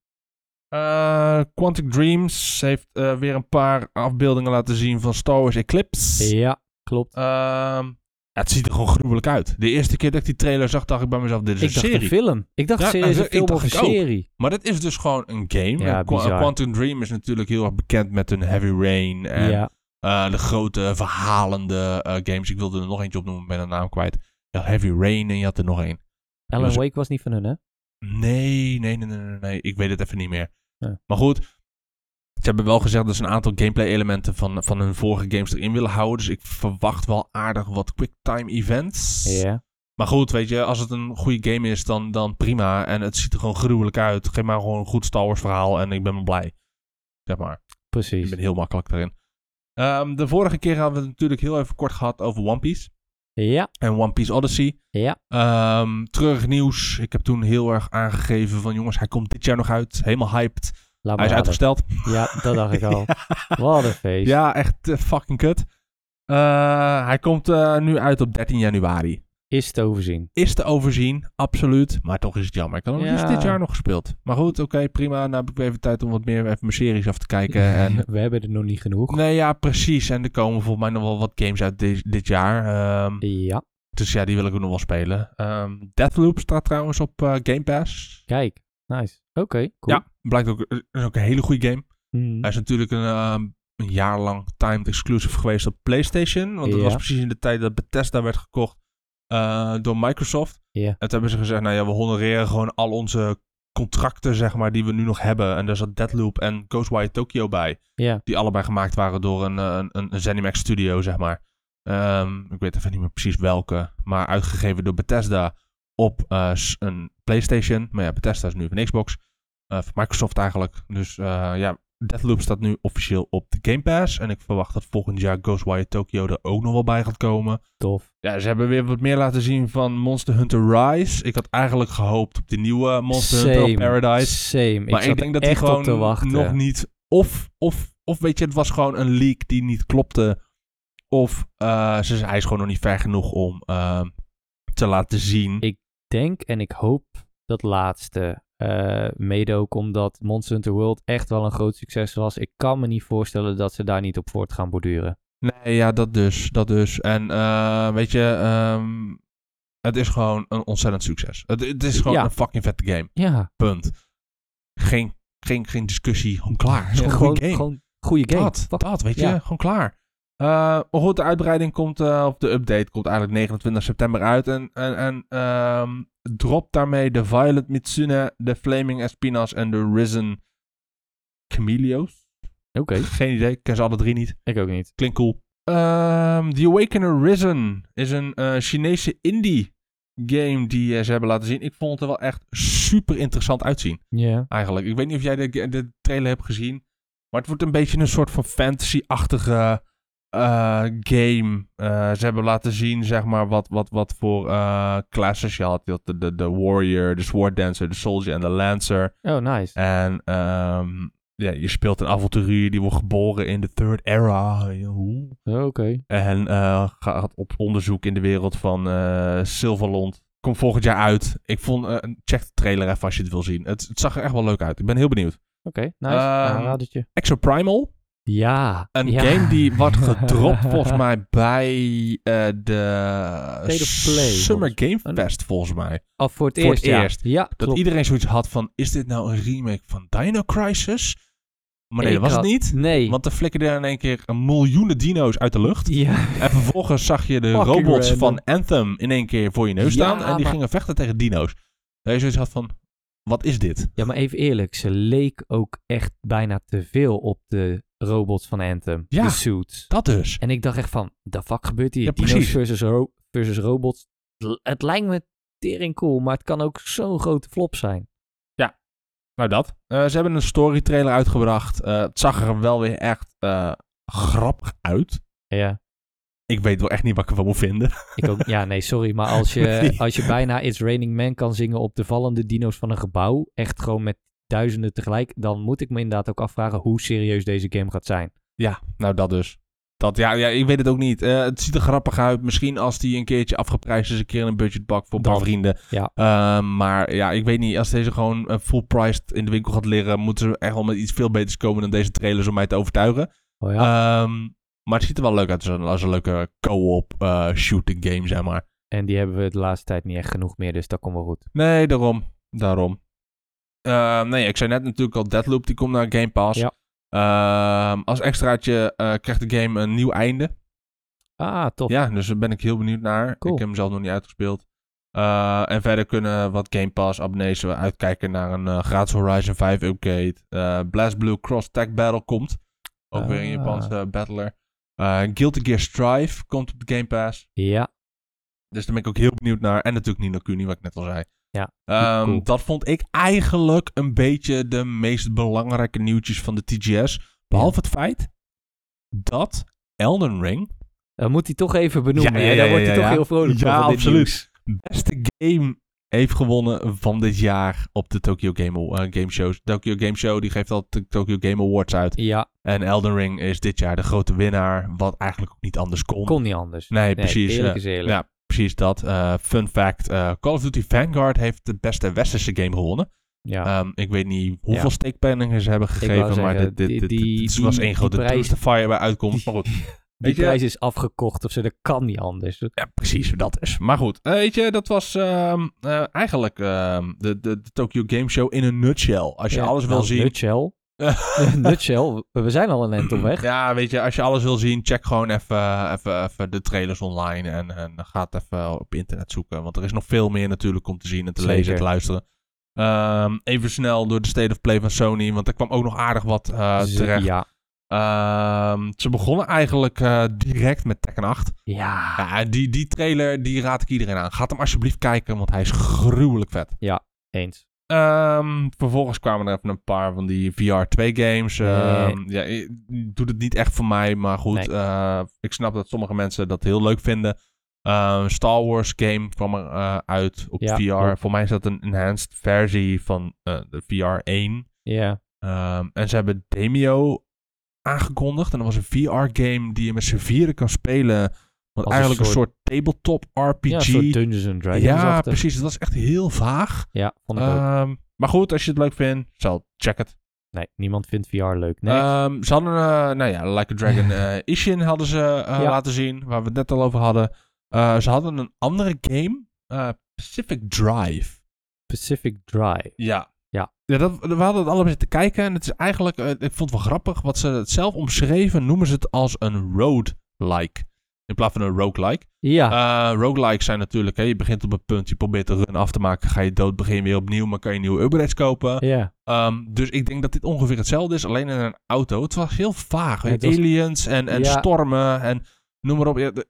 [SPEAKER 2] Eh, Quantic Dreams heeft eh, weer een paar afbeeldingen laten zien van Star Wars Eclipse.
[SPEAKER 1] Ja, klopt.
[SPEAKER 2] Ehm, ja, het ziet er gewoon gruwelijk uit. De eerste keer dat ik die trailer zag, dacht ik bij mezelf, dit is
[SPEAKER 1] Ik
[SPEAKER 2] een
[SPEAKER 1] dacht een
[SPEAKER 2] serie.
[SPEAKER 1] film. Ik dacht
[SPEAKER 2] Ja, nou,
[SPEAKER 1] serieus
[SPEAKER 2] ik
[SPEAKER 1] een film
[SPEAKER 2] dacht
[SPEAKER 1] of een
[SPEAKER 2] ik ook.
[SPEAKER 1] serie.
[SPEAKER 2] Maar dit is dus gewoon een game.
[SPEAKER 1] Ja,
[SPEAKER 2] En Qua-
[SPEAKER 1] bizar.
[SPEAKER 2] Quantum Dream is natuurlijk heel erg bekend met hun Heavy Rain en
[SPEAKER 1] Ja.
[SPEAKER 2] eh, de grote verhalende eh, games. Ik wilde er nog eentje opnoemen, ben de naam kwijt. Ja, Heavy Rain en je had er nog één.
[SPEAKER 1] Alan
[SPEAKER 2] was-
[SPEAKER 1] Wake was niet van hun, hè?
[SPEAKER 2] Nee, nee, nee, nee, nee, nee. Ik weet het even niet meer.
[SPEAKER 1] Ja.
[SPEAKER 2] Maar goed, ze hebben wel gezegd dat ze een aantal gameplay-elementen van, van hun vorige games erin willen houden. Dus ik verwacht wel aardig wat quicktime events.
[SPEAKER 1] Ja.
[SPEAKER 2] Maar goed, weet je, als het een goede game is, dan, dan prima. En het ziet er gewoon gruwelijk uit. Geef maar gewoon een goed Star Wars verhaal en ik ben blij. Zeg maar. Ik
[SPEAKER 1] Precies.
[SPEAKER 2] ben heel makkelijk daarin. Ehm, de vorige keer hadden we het natuurlijk heel even kort gehad over One Piece.
[SPEAKER 1] Ja.
[SPEAKER 2] En One Piece Odyssey.
[SPEAKER 1] Ja.
[SPEAKER 2] Ehm, treurig nieuws. Ik heb toen heel erg aangegeven van jongens, hij komt dit jaar nog uit. Helemaal hyped.
[SPEAKER 1] Laat
[SPEAKER 2] hij is
[SPEAKER 1] maar raden.
[SPEAKER 2] uitgesteld.
[SPEAKER 1] Ja, dat dacht ik
[SPEAKER 2] [LAUGHS]
[SPEAKER 1] al. Wat een feest.
[SPEAKER 2] Ja, echt eh, fucking kut. Eh, hij komt eh, nu uit op 13 januari.
[SPEAKER 1] Is te overzien.
[SPEAKER 2] Is te overzien, absoluut. Maar toch is het jammer. Ik had hem
[SPEAKER 1] Ja.
[SPEAKER 2] liefst dit jaar nog gespeeld. Maar goed, oké, prima. Nou heb ik weer even tijd om wat meer even mijn series af te
[SPEAKER 1] [LAUGHS]
[SPEAKER 2] kijken. En
[SPEAKER 1] We hebben er nog niet genoeg.
[SPEAKER 2] Nee, ja, precies. En er komen volgens mij nog wel wat games uit di- dit jaar. Ehm,
[SPEAKER 1] Ja.
[SPEAKER 2] dus ja, die wil ik ook nog wel spelen. Ehm, Deathloop staat trouwens op eh, Game Pass.
[SPEAKER 1] Kijk. Nice. Oké, cool.
[SPEAKER 2] Ja, blijkt ook, eh, is ook een hele goede game.
[SPEAKER 1] Mhm.
[SPEAKER 2] Hij is natuurlijk een, ehm, een jaar lang timed exclusive geweest op PlayStation. Want dat
[SPEAKER 1] Ja.
[SPEAKER 2] was precies in de tijd dat Bethesda werd gekocht eh, door Microsoft.
[SPEAKER 1] Ja.
[SPEAKER 2] En toen hebben ze gezegd, nou ja, we honoreren gewoon al onze contracten, zeg maar, die we nu nog hebben. En daar zat Deathloop en Ghostwire Tokyo bij.
[SPEAKER 1] Ja.
[SPEAKER 2] Die allebei gemaakt waren door een, eh, een, een, een ZeniMax studio, zeg maar. Ehm, ik weet even niet meer precies welke. Maar uitgegeven door Bethesda op eh, s- een PlayStation. Maar ja, Bethesda is nu van Xbox. eh, van Microsoft eigenlijk. Dus eh, ja, Deathloop staat nu officieel op de Game Pass. En ik verwacht dat volgend jaar Ghostwire Tokyo er ook nog wel bij gaat komen.
[SPEAKER 1] Tof.
[SPEAKER 2] Ja, ze hebben weer wat meer laten zien van Monster Hunter Rise. Ik had eigenlijk gehoopt op de nieuwe Monster Hunter
[SPEAKER 1] Same.
[SPEAKER 2] Paradise.
[SPEAKER 1] Same.
[SPEAKER 2] Maar
[SPEAKER 1] ik,
[SPEAKER 2] ik
[SPEAKER 1] zat
[SPEAKER 2] denk dat die
[SPEAKER 1] echt op te
[SPEAKER 2] gewoon
[SPEAKER 1] wachten.
[SPEAKER 2] nog niet. Of, of, of weet je, het was gewoon een leak die niet klopte. Of eh, ze, hij is gewoon nog niet ver genoeg om eh, te laten zien.
[SPEAKER 1] Ik- denk en ik hoop dat laatste. eh mede ook omdat Monster Hunter World echt wel een groot succes was. Ik kan me niet voorstellen dat ze daar niet op voort gaan borduren.
[SPEAKER 2] Nee, ja, dat dus. Dat dus. En eh, weet je, ehm, het is gewoon een ontzettend succes. Het, het is gewoon
[SPEAKER 1] Ja.
[SPEAKER 2] een fucking vette game.
[SPEAKER 1] Ja,
[SPEAKER 2] Punt. Geen, geen, geen discussie. Gewoon klaar. Het is gewoon een goede game.
[SPEAKER 1] gewoon goede game.
[SPEAKER 2] Dat,
[SPEAKER 1] Fuck.
[SPEAKER 2] dat, weet
[SPEAKER 1] Ja.
[SPEAKER 2] je, gewoon klaar. Eh, maar goed, de uitbreiding komt, eh, of de update komt eigenlijk 29 september uit. En, en, en ehm, dropt daarmee de Violet Mitsune, de Flaming Espinas en de Risen Camelio's.
[SPEAKER 1] Oké,
[SPEAKER 2] Geen idee, ik ken ze alle drie niet.
[SPEAKER 1] ik ook niet.
[SPEAKER 2] Klinkt cool. Ehm, The Awakener Risen is een eh, Chinese indie game die eh, ze hebben laten zien. Ik vond het er wel echt super interessant uitzien
[SPEAKER 1] Ja.
[SPEAKER 2] eigenlijk. Ik weet niet of jij de, de trailer hebt gezien. Maar het wordt een beetje een soort van fantasy-achtige eh, game. Eh, ze hebben laten zien, zeg maar, wat, wat, wat voor eh classes je had. Je had de, de, de warrior, de sword dancer, de soldier en de lancer.
[SPEAKER 1] Oh, nice.
[SPEAKER 2] En ehm, ja, je speelt een avonturier die wordt geboren in de third era. Oeh.
[SPEAKER 1] Oké.
[SPEAKER 2] En eh, gaat op onderzoek in de wereld van eh Silverland. Komt volgend jaar uit. Ik vond, eh, check de trailer even als je het wil zien. Het, het zag er echt wel leuk uit. Ik ben heel benieuwd.
[SPEAKER 1] Oké, nice.
[SPEAKER 2] Ehm,
[SPEAKER 1] Aanradertje.
[SPEAKER 2] Exoprimal.
[SPEAKER 1] Ja.
[SPEAKER 2] Een
[SPEAKER 1] ja.
[SPEAKER 2] game die wordt
[SPEAKER 1] [LAUGHS]
[SPEAKER 2] gedropt volgens mij bij eh, de
[SPEAKER 1] State of Play,
[SPEAKER 2] Summer
[SPEAKER 1] volgens-
[SPEAKER 2] Game Fest volgens mij.
[SPEAKER 1] Of voor het
[SPEAKER 2] voor
[SPEAKER 1] eerst,
[SPEAKER 2] het
[SPEAKER 1] ja.
[SPEAKER 2] eerst.
[SPEAKER 1] Ja,
[SPEAKER 2] Dat
[SPEAKER 1] klopt.
[SPEAKER 2] iedereen zoiets had van, is dit nou een remake van Dino Crisis? Maar nee,
[SPEAKER 1] Ik
[SPEAKER 2] dat was
[SPEAKER 1] had-
[SPEAKER 2] het niet.
[SPEAKER 1] Nee.
[SPEAKER 2] Want er flikkerden in één keer miljoenen dino's uit de lucht.
[SPEAKER 1] Ja.
[SPEAKER 2] En vervolgens zag je de
[SPEAKER 1] Fucking
[SPEAKER 2] robots
[SPEAKER 1] random.
[SPEAKER 2] van Anthem in één keer voor je neus
[SPEAKER 1] Ja,
[SPEAKER 2] staan. en die
[SPEAKER 1] maar-
[SPEAKER 2] gingen vechten tegen dino's. Dat je zoiets had van, wat is dit?
[SPEAKER 1] ja, maar even eerlijk. Ze leek ook echt bijna te veel op de robots van Anthem.
[SPEAKER 2] Ja.
[SPEAKER 1] De suits.
[SPEAKER 2] Dat dus.
[SPEAKER 1] En ik dacht echt van, de fuck gebeurt hier?
[SPEAKER 2] Ja,
[SPEAKER 1] Dino's
[SPEAKER 2] precies.
[SPEAKER 1] versus, ro- versus robots. L- Het lijkt me tering cool, maar het kan ook zo'n grote flop zijn.
[SPEAKER 2] Nou dat. Eh, ze hebben een story trailer uitgebracht. Eh, het zag er wel weer echt eh, grappig uit.
[SPEAKER 1] Ja,
[SPEAKER 2] Ik weet wel echt niet wat ik ervan moet vinden.
[SPEAKER 1] ik ook, ja nee, sorry, maar als je,
[SPEAKER 2] [LAUGHS] Nee.
[SPEAKER 1] als je bijna It's Raining Man kan zingen op de vallende dino's van een gebouw, echt gewoon met duizenden tegelijk, dan moet ik me inderdaad ook afvragen hoe serieus deze game gaat zijn.
[SPEAKER 2] Ja, nou dat dus. Dat, ja, ja, ik weet het ook niet. Eh, het ziet er grappig uit. Misschien als die een keertje afgeprijsd is, een keer in een budgetbak voor een paar
[SPEAKER 1] Dat,
[SPEAKER 2] vrienden.
[SPEAKER 1] ja.
[SPEAKER 2] Eh, maar ja, ik weet niet. Als deze gewoon eh, full priced in de winkel gaat liggen, moeten ze echt wel met iets veel beters komen dan deze trailers om mij te overtuigen.
[SPEAKER 1] Oh ja,
[SPEAKER 2] Ehm, maar het ziet er wel leuk uit als een, als een leuke co-op eh, shooting game, zeg maar.
[SPEAKER 1] en die hebben we de laatste tijd niet echt genoeg meer, dus dat komt wel goed.
[SPEAKER 2] Nee, daarom. Daarom. Ehm, nee, ik zei net natuurlijk al, Deadloop die komt naar Game Pass.
[SPEAKER 1] Ja.
[SPEAKER 2] Ehm, als extraatje eh, krijgt de game een nieuw einde.
[SPEAKER 1] Ah, tof.
[SPEAKER 2] Ja, dus daar ben ik heel benieuwd naar.
[SPEAKER 1] Cool.
[SPEAKER 2] Ik heb hem zelf nog niet uitgespeeld. Eh, en verder kunnen wat Game Pass abonnees uitkijken naar een eh, gratis Horizon 5 upgrade. Eh Blast Blue Cross Tag Battle komt. Ook weer een
[SPEAKER 1] Ah.
[SPEAKER 2] Japanse battler. Eh, Guilty Gear Strive komt op de Game Pass.
[SPEAKER 1] Ja,
[SPEAKER 2] Dus daar ben ik ook heel benieuwd naar. En natuurlijk Nino Kuni, wat ik net al zei.
[SPEAKER 1] Ja,
[SPEAKER 2] Ehm,
[SPEAKER 1] cool.
[SPEAKER 2] Dat vond ik eigenlijk een beetje de meest belangrijke nieuwtjes van de TGS. Behalve het feit dat Elden Ring
[SPEAKER 1] dan moet hij toch even benoemen.
[SPEAKER 2] Ja,
[SPEAKER 1] hè?
[SPEAKER 2] ja,
[SPEAKER 1] Daar
[SPEAKER 2] ja,
[SPEAKER 1] wordt hij
[SPEAKER 2] ja,
[SPEAKER 1] toch
[SPEAKER 2] ja.
[SPEAKER 1] heel vrolijk van,
[SPEAKER 2] Ja,
[SPEAKER 1] van dit
[SPEAKER 2] absoluut.
[SPEAKER 1] nieuws.
[SPEAKER 2] beste game heeft gewonnen van dit jaar op de Tokyo Game, eh, Game Show. Tokyo Game Show die geeft al de Tokyo Game Awards uit.
[SPEAKER 1] Ja,
[SPEAKER 2] En Elden Ring is dit jaar de grote winnaar, wat eigenlijk ook niet anders kon.
[SPEAKER 1] kon niet anders.
[SPEAKER 2] Nee, precies.
[SPEAKER 1] Eerlijk
[SPEAKER 2] eh,
[SPEAKER 1] is eerlijk.
[SPEAKER 2] ja, precies dat. Eh, fun fact, eh, Call of Duty Vanguard heeft de beste westerse game gewonnen.
[SPEAKER 1] Ja.
[SPEAKER 2] Ehm, ik weet niet hoeveel
[SPEAKER 1] Ja.
[SPEAKER 2] steekpenningen ze hebben gegeven,
[SPEAKER 1] wou
[SPEAKER 2] maar
[SPEAKER 1] zeggen,
[SPEAKER 2] dit, dit,
[SPEAKER 1] die-
[SPEAKER 2] dit,
[SPEAKER 1] die-
[SPEAKER 2] dit
[SPEAKER 1] die-
[SPEAKER 2] was één
[SPEAKER 1] die
[SPEAKER 2] grote
[SPEAKER 1] prijs-
[SPEAKER 2] dumpster fire bij uitkomst. Maar goed,
[SPEAKER 1] Die
[SPEAKER 2] weet je-
[SPEAKER 1] prijs is afgekocht of zo, dat kan niet anders.
[SPEAKER 2] ja, precies hoe dat is. Maar goed, eh, weet je, dat was ehm, eh, eigenlijk ehm, de, de, de Tokyo Game Show in een nutshell. Als je
[SPEAKER 1] Ja,
[SPEAKER 2] alles wil
[SPEAKER 1] nou,
[SPEAKER 2] zien... [LAUGHS]
[SPEAKER 1] Nutshell. [LAUGHS] nutshell, we zijn al een eind op weg.
[SPEAKER 2] Ja, weet je, als je alles wil zien, check gewoon even, even, even de trailers online en, en ga het even op internet zoeken. Want er is nog veel meer natuurlijk om te zien en te
[SPEAKER 1] Zeker.
[SPEAKER 2] lezen en te luisteren. Ehm, even snel door de State of Play van Sony, want er kwam ook nog aardig wat eh,
[SPEAKER 1] Ze-
[SPEAKER 2] terecht.
[SPEAKER 1] Ja.
[SPEAKER 2] Ehm, ze begonnen eigenlijk eh, direct met Tekken 8.
[SPEAKER 1] Ja.
[SPEAKER 2] Ja, Ah, die, die trailer, die raad ik iedereen aan. Gaat hem alsjeblieft kijken, want hij is gruwelijk vet.
[SPEAKER 1] Eens.
[SPEAKER 2] Ehm, vervolgens kwamen er even een paar van die VR2-games. Ehm, Ja, ik- doet het niet echt voor mij, maar goed.
[SPEAKER 1] Nee.
[SPEAKER 2] eh, ik snap dat sommige mensen dat heel leuk vinden. Ehm, Star Wars game kwam er eh, uit op
[SPEAKER 1] Ja,
[SPEAKER 2] VR.
[SPEAKER 1] klopt.
[SPEAKER 2] Voor mij is dat een enhanced versie van eh, de VR1.
[SPEAKER 1] Ja.
[SPEAKER 2] Ehm, en ze hebben Demio aangekondigd. En dat was een VR-game die je met z'n vieren kan spelen.
[SPEAKER 1] Als
[SPEAKER 2] Wat
[SPEAKER 1] een
[SPEAKER 2] eigenlijk een soort, tabletop RPG.
[SPEAKER 1] Ja, een soort Dungeons and Dragons.
[SPEAKER 2] Ja, precies. Dat was echt heel vaag.
[SPEAKER 1] Ja, vond ik ook.
[SPEAKER 2] Ehm, maar goed, als je het leuk vindt, zal check het.
[SPEAKER 1] Nee, niemand vindt VR leuk. Nee.
[SPEAKER 2] Ehm, ze hadden, eh, nou ja, Like a
[SPEAKER 1] [LAUGHS]
[SPEAKER 2] Dragon eh, Ishin hadden ze eh,
[SPEAKER 1] Ja.
[SPEAKER 2] laten zien, waar we het net al over hadden. Eh, ze hadden een andere game, eh, Pacific Drive.
[SPEAKER 1] Pacific Drive.
[SPEAKER 2] Ja.
[SPEAKER 1] Ja.
[SPEAKER 2] ja dat, we hadden het allemaal zitten kijken en het is eigenlijk, eh, ik vond het wel grappig, wat ze het zelf omschreven, noemen ze het als een road-like. In plaats van een roguelike.
[SPEAKER 1] Ja.
[SPEAKER 2] Eh roguelikes zijn natuurlijk, hè, je begint op een punt, je probeert de run af te maken, ga je dood, begin je weer opnieuw, maar kan je nieuwe upgrades kopen.
[SPEAKER 1] ja.
[SPEAKER 2] Ehm, dus ik denk dat dit ongeveer hetzelfde is, alleen in een auto. Het was heel vaag.
[SPEAKER 1] Het
[SPEAKER 2] weet je,
[SPEAKER 1] was-
[SPEAKER 2] Aliens en, en
[SPEAKER 1] Ja.
[SPEAKER 2] stormen en noem maar op. Ja, de-
[SPEAKER 1] ik
[SPEAKER 2] ja,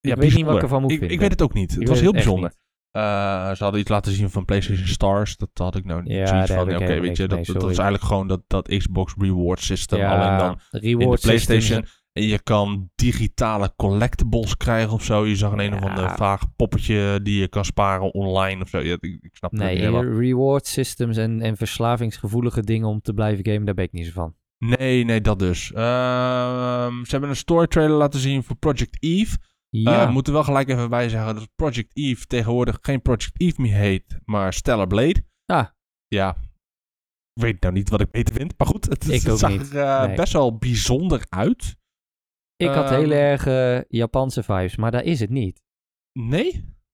[SPEAKER 1] weet niet
[SPEAKER 2] bijzonder.
[SPEAKER 1] wat ik ervan moet
[SPEAKER 2] ik,
[SPEAKER 1] vinden.
[SPEAKER 2] ik weet het ook niet.
[SPEAKER 1] Ik
[SPEAKER 2] het
[SPEAKER 1] weet
[SPEAKER 2] was heel
[SPEAKER 1] echt
[SPEAKER 2] bijzonder.
[SPEAKER 1] niet.
[SPEAKER 2] Eh, ze hadden iets laten zien van PlayStation Stars. Dat had ik nou niet
[SPEAKER 1] Ja,
[SPEAKER 2] zoiets
[SPEAKER 1] daar heb
[SPEAKER 2] van.
[SPEAKER 1] ik
[SPEAKER 2] ja, Oké,
[SPEAKER 1] helemaal niks
[SPEAKER 2] weet je, dat,
[SPEAKER 1] mee,
[SPEAKER 2] dat is
[SPEAKER 1] sorry.
[SPEAKER 2] eigenlijk gewoon dat, dat Xbox Reward System. Alleen dan in de
[SPEAKER 1] Reward
[SPEAKER 2] PlayStation.
[SPEAKER 1] systems.
[SPEAKER 2] En je kan digitale collectibles krijgen of zo. Je zag een een of
[SPEAKER 1] Ja.
[SPEAKER 2] ander vaag poppetje die je kan sparen online of zo. Ja, ik, ik snap het niet
[SPEAKER 1] Nee,
[SPEAKER 2] helemaal.
[SPEAKER 1] reward systems en, en verslavingsgevoelige dingen om te blijven gamen, daar ben ik niet zo van.
[SPEAKER 2] Nee, nee, dat dus. Ehm, ze hebben een story trailer laten zien voor Project Eve. Eh,
[SPEAKER 1] Ja,
[SPEAKER 2] we moeten wel gelijk even bij zeggen dat Project Eve tegenwoordig geen Project Eve meer heet, maar Stellar Blade.
[SPEAKER 1] Ah.
[SPEAKER 2] Ja. Ik weet nou niet wat ik beter vind, maar goed, het,
[SPEAKER 1] Ik
[SPEAKER 2] het
[SPEAKER 1] ook
[SPEAKER 2] zag
[SPEAKER 1] niet,
[SPEAKER 2] er eh,
[SPEAKER 1] nee.
[SPEAKER 2] best wel bijzonder uit.
[SPEAKER 1] ik had
[SPEAKER 2] ehm,
[SPEAKER 1] heel erg eh, Japanse vibes, maar daar is het niet.
[SPEAKER 2] Nee?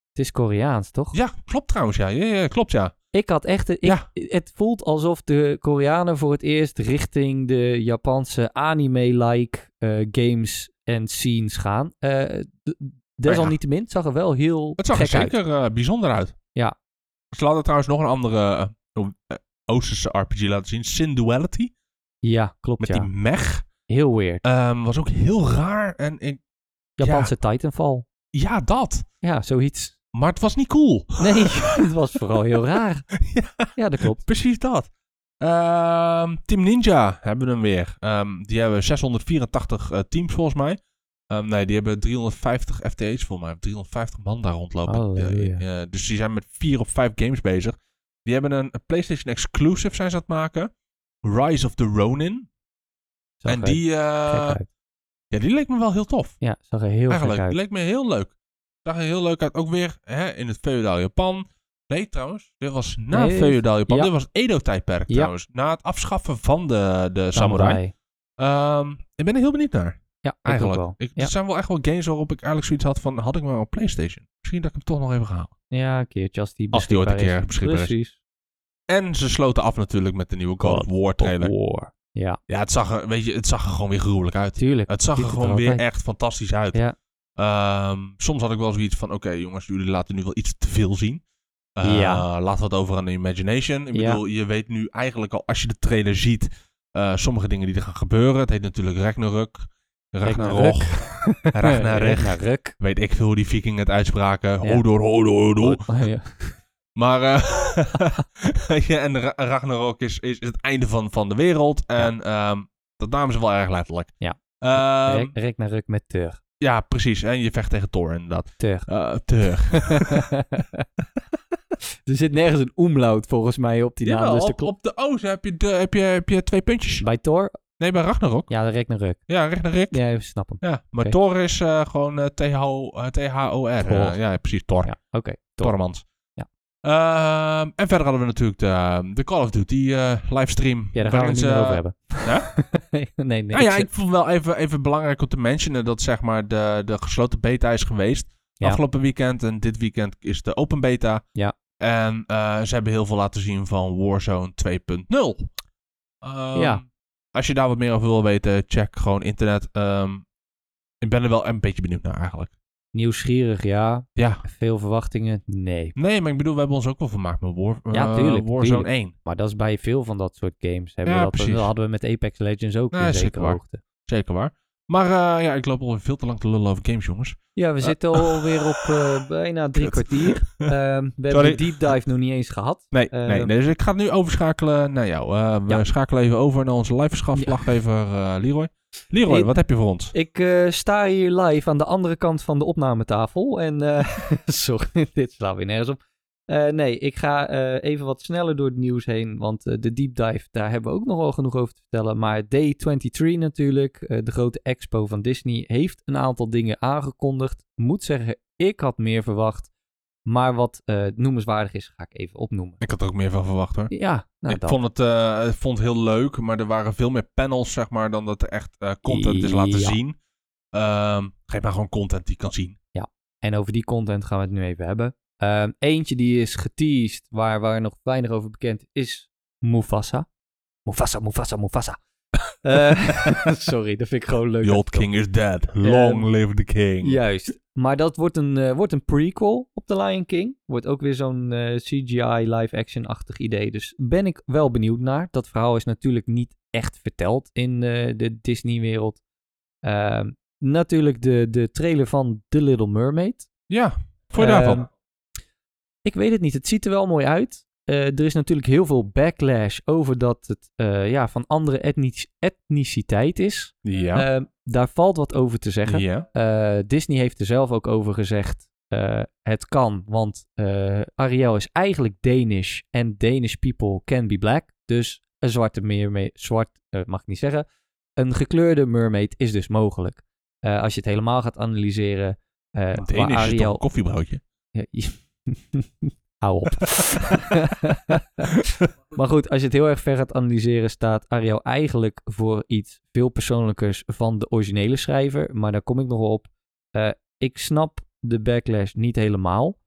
[SPEAKER 1] Het is Koreaans, toch?
[SPEAKER 2] Ja, klopt trouwens, ja. Ja, ja klopt, ja.
[SPEAKER 1] Ik had echt... Ik,
[SPEAKER 2] Ja.
[SPEAKER 1] Het voelt alsof de Koreanen voor het eerst richting de Japanse anime-like eh, games en scenes gaan. Eh, d- desalniettemin, het zag er wel heel
[SPEAKER 2] Het zag er
[SPEAKER 1] gek uit.
[SPEAKER 2] zeker eh, bijzonder uit.
[SPEAKER 1] Ja.
[SPEAKER 2] Ze laten trouwens nog een andere eh, eh, Oosterse RPG laten zien, Sin Duality,
[SPEAKER 1] Ja, klopt,
[SPEAKER 2] met
[SPEAKER 1] ja.
[SPEAKER 2] die mech.
[SPEAKER 1] Heel weird.
[SPEAKER 2] Ehm, was ook heel raar. En ik,
[SPEAKER 1] Japanse Titanfall.
[SPEAKER 2] ja, dat.
[SPEAKER 1] Ja, zoiets.
[SPEAKER 2] Maar het was niet cool.
[SPEAKER 1] Nee, [LAUGHS] het was vooral heel raar.
[SPEAKER 2] Ja.
[SPEAKER 1] Ja, dat klopt.
[SPEAKER 2] Precies dat. Ehm, Team Ninja hebben we hem weer. Ehm, die hebben 684 eh, teams volgens mij. Ehm, nee, die hebben 350 FTA's volgens mij. 350 man daar rondlopen.
[SPEAKER 1] Halleluja.
[SPEAKER 2] Eh, eh, dus die zijn met vier of vijf games bezig. Die hebben een, een PlayStation Exclusive zijn ze aan het maken. Rise of the Ronin.
[SPEAKER 1] Zag
[SPEAKER 2] en
[SPEAKER 1] er
[SPEAKER 2] die, eh,
[SPEAKER 1] gek uit.
[SPEAKER 2] ja, die leek me wel heel tof.
[SPEAKER 1] Ja, zag er heel gek
[SPEAKER 2] Eigenlijk,
[SPEAKER 1] uit.
[SPEAKER 2] leek me heel leuk. Zag er heel leuk uit. Ook weer hè, in het feodaal Japan. Nee, trouwens. Dit was na
[SPEAKER 1] Nee,
[SPEAKER 2] feodaal Japan.
[SPEAKER 1] ja.
[SPEAKER 2] Dit was het Edo-tijdperk
[SPEAKER 1] Ja.
[SPEAKER 2] trouwens. Na het afschaffen van de, de samurai. Ehm, ik ben er heel benieuwd naar.
[SPEAKER 1] Ja, ik
[SPEAKER 2] Eigenlijk.
[SPEAKER 1] ook wel.
[SPEAKER 2] Ik- dus-
[SPEAKER 1] ja.
[SPEAKER 2] Er zijn wel echt wel games waarop ik eigenlijk zoiets had van... Had ik maar op Playstation. Misschien dat ik hem toch nog even ga halen.
[SPEAKER 1] ja, een keertje als die
[SPEAKER 2] Als die ooit een
[SPEAKER 1] beschikbaar
[SPEAKER 2] keer
[SPEAKER 1] is.
[SPEAKER 2] beschikbaar is.
[SPEAKER 1] Precies.
[SPEAKER 2] En ze sloten af natuurlijk met de nieuwe God of War trailer.
[SPEAKER 1] War. Ja,
[SPEAKER 2] Ja, het zag er, weet je, het zag er gewoon weer gruwelijk uit.
[SPEAKER 1] tuurlijk.
[SPEAKER 2] Het zag
[SPEAKER 1] Ziet
[SPEAKER 2] er
[SPEAKER 1] het
[SPEAKER 2] gewoon
[SPEAKER 1] er
[SPEAKER 2] weer
[SPEAKER 1] altijd.
[SPEAKER 2] echt fantastisch uit.
[SPEAKER 1] Ja.
[SPEAKER 2] Ehm, soms had ik wel zoiets van: oké, jongens, jullie laten nu wel iets te veel zien. Eh,
[SPEAKER 1] Ja.
[SPEAKER 2] Laat wat over aan de imagination. Ik
[SPEAKER 1] Ja.
[SPEAKER 2] bedoel, je weet nu eigenlijk al als je de trailer ziet, eh, sommige dingen die er gaan gebeuren. Het heet natuurlijk Ragnarok. Ragnarok.
[SPEAKER 1] [LAUGHS]
[SPEAKER 2] Ragnarok.
[SPEAKER 1] Ragnarok.
[SPEAKER 2] Weet ik veel hoe die vikingen het uitspraken.
[SPEAKER 1] Ja.
[SPEAKER 2] Hodor, hodor, hodor.
[SPEAKER 1] Oh, ja.
[SPEAKER 2] Maar eh, [LAUGHS] ja, en Ra- Ragnarok is, is het einde van, van de wereld. En ehm, dat namen ze wel erg letterlijk.
[SPEAKER 1] Ja.
[SPEAKER 2] Ehm,
[SPEAKER 1] Rek- Ragnarok met Tur. [LAUGHS]
[SPEAKER 2] ja, precies. En je vecht tegen Thor inderdaad.
[SPEAKER 1] Tur.
[SPEAKER 2] Eh Thor.
[SPEAKER 1] er zit nergens een omlaut volgens mij op die naam. Dus
[SPEAKER 2] Jawel,
[SPEAKER 1] de
[SPEAKER 2] Nou, op, op de O's heb je, de, heb, je, heb je twee puntjes.
[SPEAKER 1] Bij Thor?
[SPEAKER 2] Nee, bij Ragnarok.
[SPEAKER 1] Ja, de Ragnarok.
[SPEAKER 2] Ja, Ragnarok.
[SPEAKER 1] Ja, even snap hem.
[SPEAKER 2] Ja, maar
[SPEAKER 1] Oké.
[SPEAKER 2] Thor is eh, gewoon eh, TH, eh, T-H-O-R. Eh,
[SPEAKER 1] Thor.
[SPEAKER 2] ja, precies, Thor.
[SPEAKER 1] Ja, oké. Thor.
[SPEAKER 2] Tormans.
[SPEAKER 1] Ja.
[SPEAKER 2] Ehm, en verder hadden we natuurlijk de, de Call of Duty eh, livestream.
[SPEAKER 1] Ja, daar gaan we het niet
[SPEAKER 2] Waarin ze-
[SPEAKER 1] meer over hebben.
[SPEAKER 2] ja?
[SPEAKER 1] [LAUGHS] nee, nee.
[SPEAKER 2] Nou eh, ja,
[SPEAKER 1] ik-
[SPEAKER 2] ik vond wel even, even belangrijk om te mentionen dat zeg maar de, de gesloten beta is geweest.
[SPEAKER 1] Ja.
[SPEAKER 2] Afgelopen weekend en dit weekend is de open beta.
[SPEAKER 1] Ja.
[SPEAKER 2] En eh, ze hebben heel veel laten zien van Warzone 2.0. Ehm,
[SPEAKER 1] Ja.
[SPEAKER 2] Als je daar wat meer over wil weten, check gewoon internet. Ehm, ik ben er wel een beetje benieuwd naar eigenlijk.
[SPEAKER 1] Nieuwsgierig, ja.
[SPEAKER 2] Ja.
[SPEAKER 1] Veel verwachtingen? Nee.
[SPEAKER 2] Nee, maar ik bedoel, we hebben ons ook wel vermaakt met War, eh,
[SPEAKER 1] Ja, tuurlijk,
[SPEAKER 2] Warzone
[SPEAKER 1] tuurlijk.
[SPEAKER 2] 1.
[SPEAKER 1] Maar dat is bij veel van dat soort games. Hebben
[SPEAKER 2] Ja,
[SPEAKER 1] we dat,
[SPEAKER 2] precies.
[SPEAKER 1] dat hadden we met Apex Legends ook
[SPEAKER 2] Ja,
[SPEAKER 1] in
[SPEAKER 2] zeker
[SPEAKER 1] zekere
[SPEAKER 2] waar.
[SPEAKER 1] hoogte.
[SPEAKER 2] Zeker waar. Maar eh, ja, ik loop al veel te lang te lullen over games, jongens.
[SPEAKER 1] Ja, we
[SPEAKER 2] Eh.
[SPEAKER 1] zitten alweer op eh, bijna drie
[SPEAKER 2] Kut. [LAUGHS]
[SPEAKER 1] kwartier. Ehm, we hebben
[SPEAKER 2] Sorry.
[SPEAKER 1] de deep dive nog niet eens gehad.
[SPEAKER 2] Nee,
[SPEAKER 1] Eh,
[SPEAKER 2] nee, nee, dus ik ga nu overschakelen naar jou. Eh, we
[SPEAKER 1] Ja.
[SPEAKER 2] schakelen even over naar onze live-verslaggever eh, Leroy. Leroy,
[SPEAKER 1] Ik-
[SPEAKER 2] wat heb je voor ons?
[SPEAKER 1] Ik eh, sta hier live aan de andere kant van de opnametafel. En eh, [LAUGHS] sorry, dit slaat weer nergens op. Eh, nee, ik ga eh, even wat sneller door het nieuws heen. Want eh, de deep dive, daar hebben we ook nog wel genoeg over te vertellen. Maar Day23 natuurlijk, eh, de grote expo van Disney, heeft een aantal dingen aangekondigd. Moet zeggen, ik had meer verwacht. Maar wat eh, noemenswaardig is, ga ik even opnoemen.
[SPEAKER 2] Ik had er ook meer van verwacht hoor.
[SPEAKER 1] Ja, nou
[SPEAKER 2] ik
[SPEAKER 1] dan.
[SPEAKER 2] vond het, eh, ik vond het heel leuk, maar er waren veel meer panels, zeg maar, dan dat er echt eh, content is laten
[SPEAKER 1] Ja.
[SPEAKER 2] zien. Ehm, geef maar gewoon content die kan zien.
[SPEAKER 1] En over die content gaan we het nu even hebben. Ehm, eentje die is geteased, waar, waar nog weinig over bekend is, Mufasa. Mufasa, Mufasa,
[SPEAKER 2] [LAUGHS]
[SPEAKER 1] Mufasa. Eh, [LAUGHS] sorry, dat vind ik gewoon leuk. Ehm,
[SPEAKER 2] The old king is dead. Long live the king.
[SPEAKER 1] Juist. Maar dat wordt een, eh, wordt een prequel op The Lion King. Wordt ook weer zo'n eh, CGI live-action-achtig idee. Dus ben ik wel benieuwd naar. Dat verhaal is natuurlijk niet echt verteld in eh, de Disney-wereld. Ehm, natuurlijk de, de trailer van The Little Mermaid.
[SPEAKER 2] Ja, voor je
[SPEAKER 1] Ehm,
[SPEAKER 2] daarvan.
[SPEAKER 1] Ik weet het niet. Het ziet er wel mooi uit. Eh, er is natuurlijk heel veel backlash over dat het eh, ja, van andere etnisch- etniciteit is.
[SPEAKER 2] Ja.
[SPEAKER 1] Ehm, daar valt wat over te zeggen.
[SPEAKER 2] ja.
[SPEAKER 1] Eh, Disney heeft er zelf ook over gezegd: eh, het kan, want eh, Ariel is eigenlijk Danish en Danish people can be black. Dus een zwarte mermaid, zwart eh, mag ik niet zeggen, een gekleurde mermaid is dus mogelijk. Eh, als je het helemaal gaat analyseren, eh,
[SPEAKER 2] Het
[SPEAKER 1] waar
[SPEAKER 2] enige is toch een
[SPEAKER 1] Ariel
[SPEAKER 2] koffiebroodje.
[SPEAKER 1] ja, je- [LAUGHS] Hou op. maar goed, als je het heel erg ver gaat analyseren, staat Ariel eigenlijk voor iets veel persoonlijkers van de originele schrijver. Maar daar kom ik nog wel op. Eh, ik snap de backlash niet helemaal.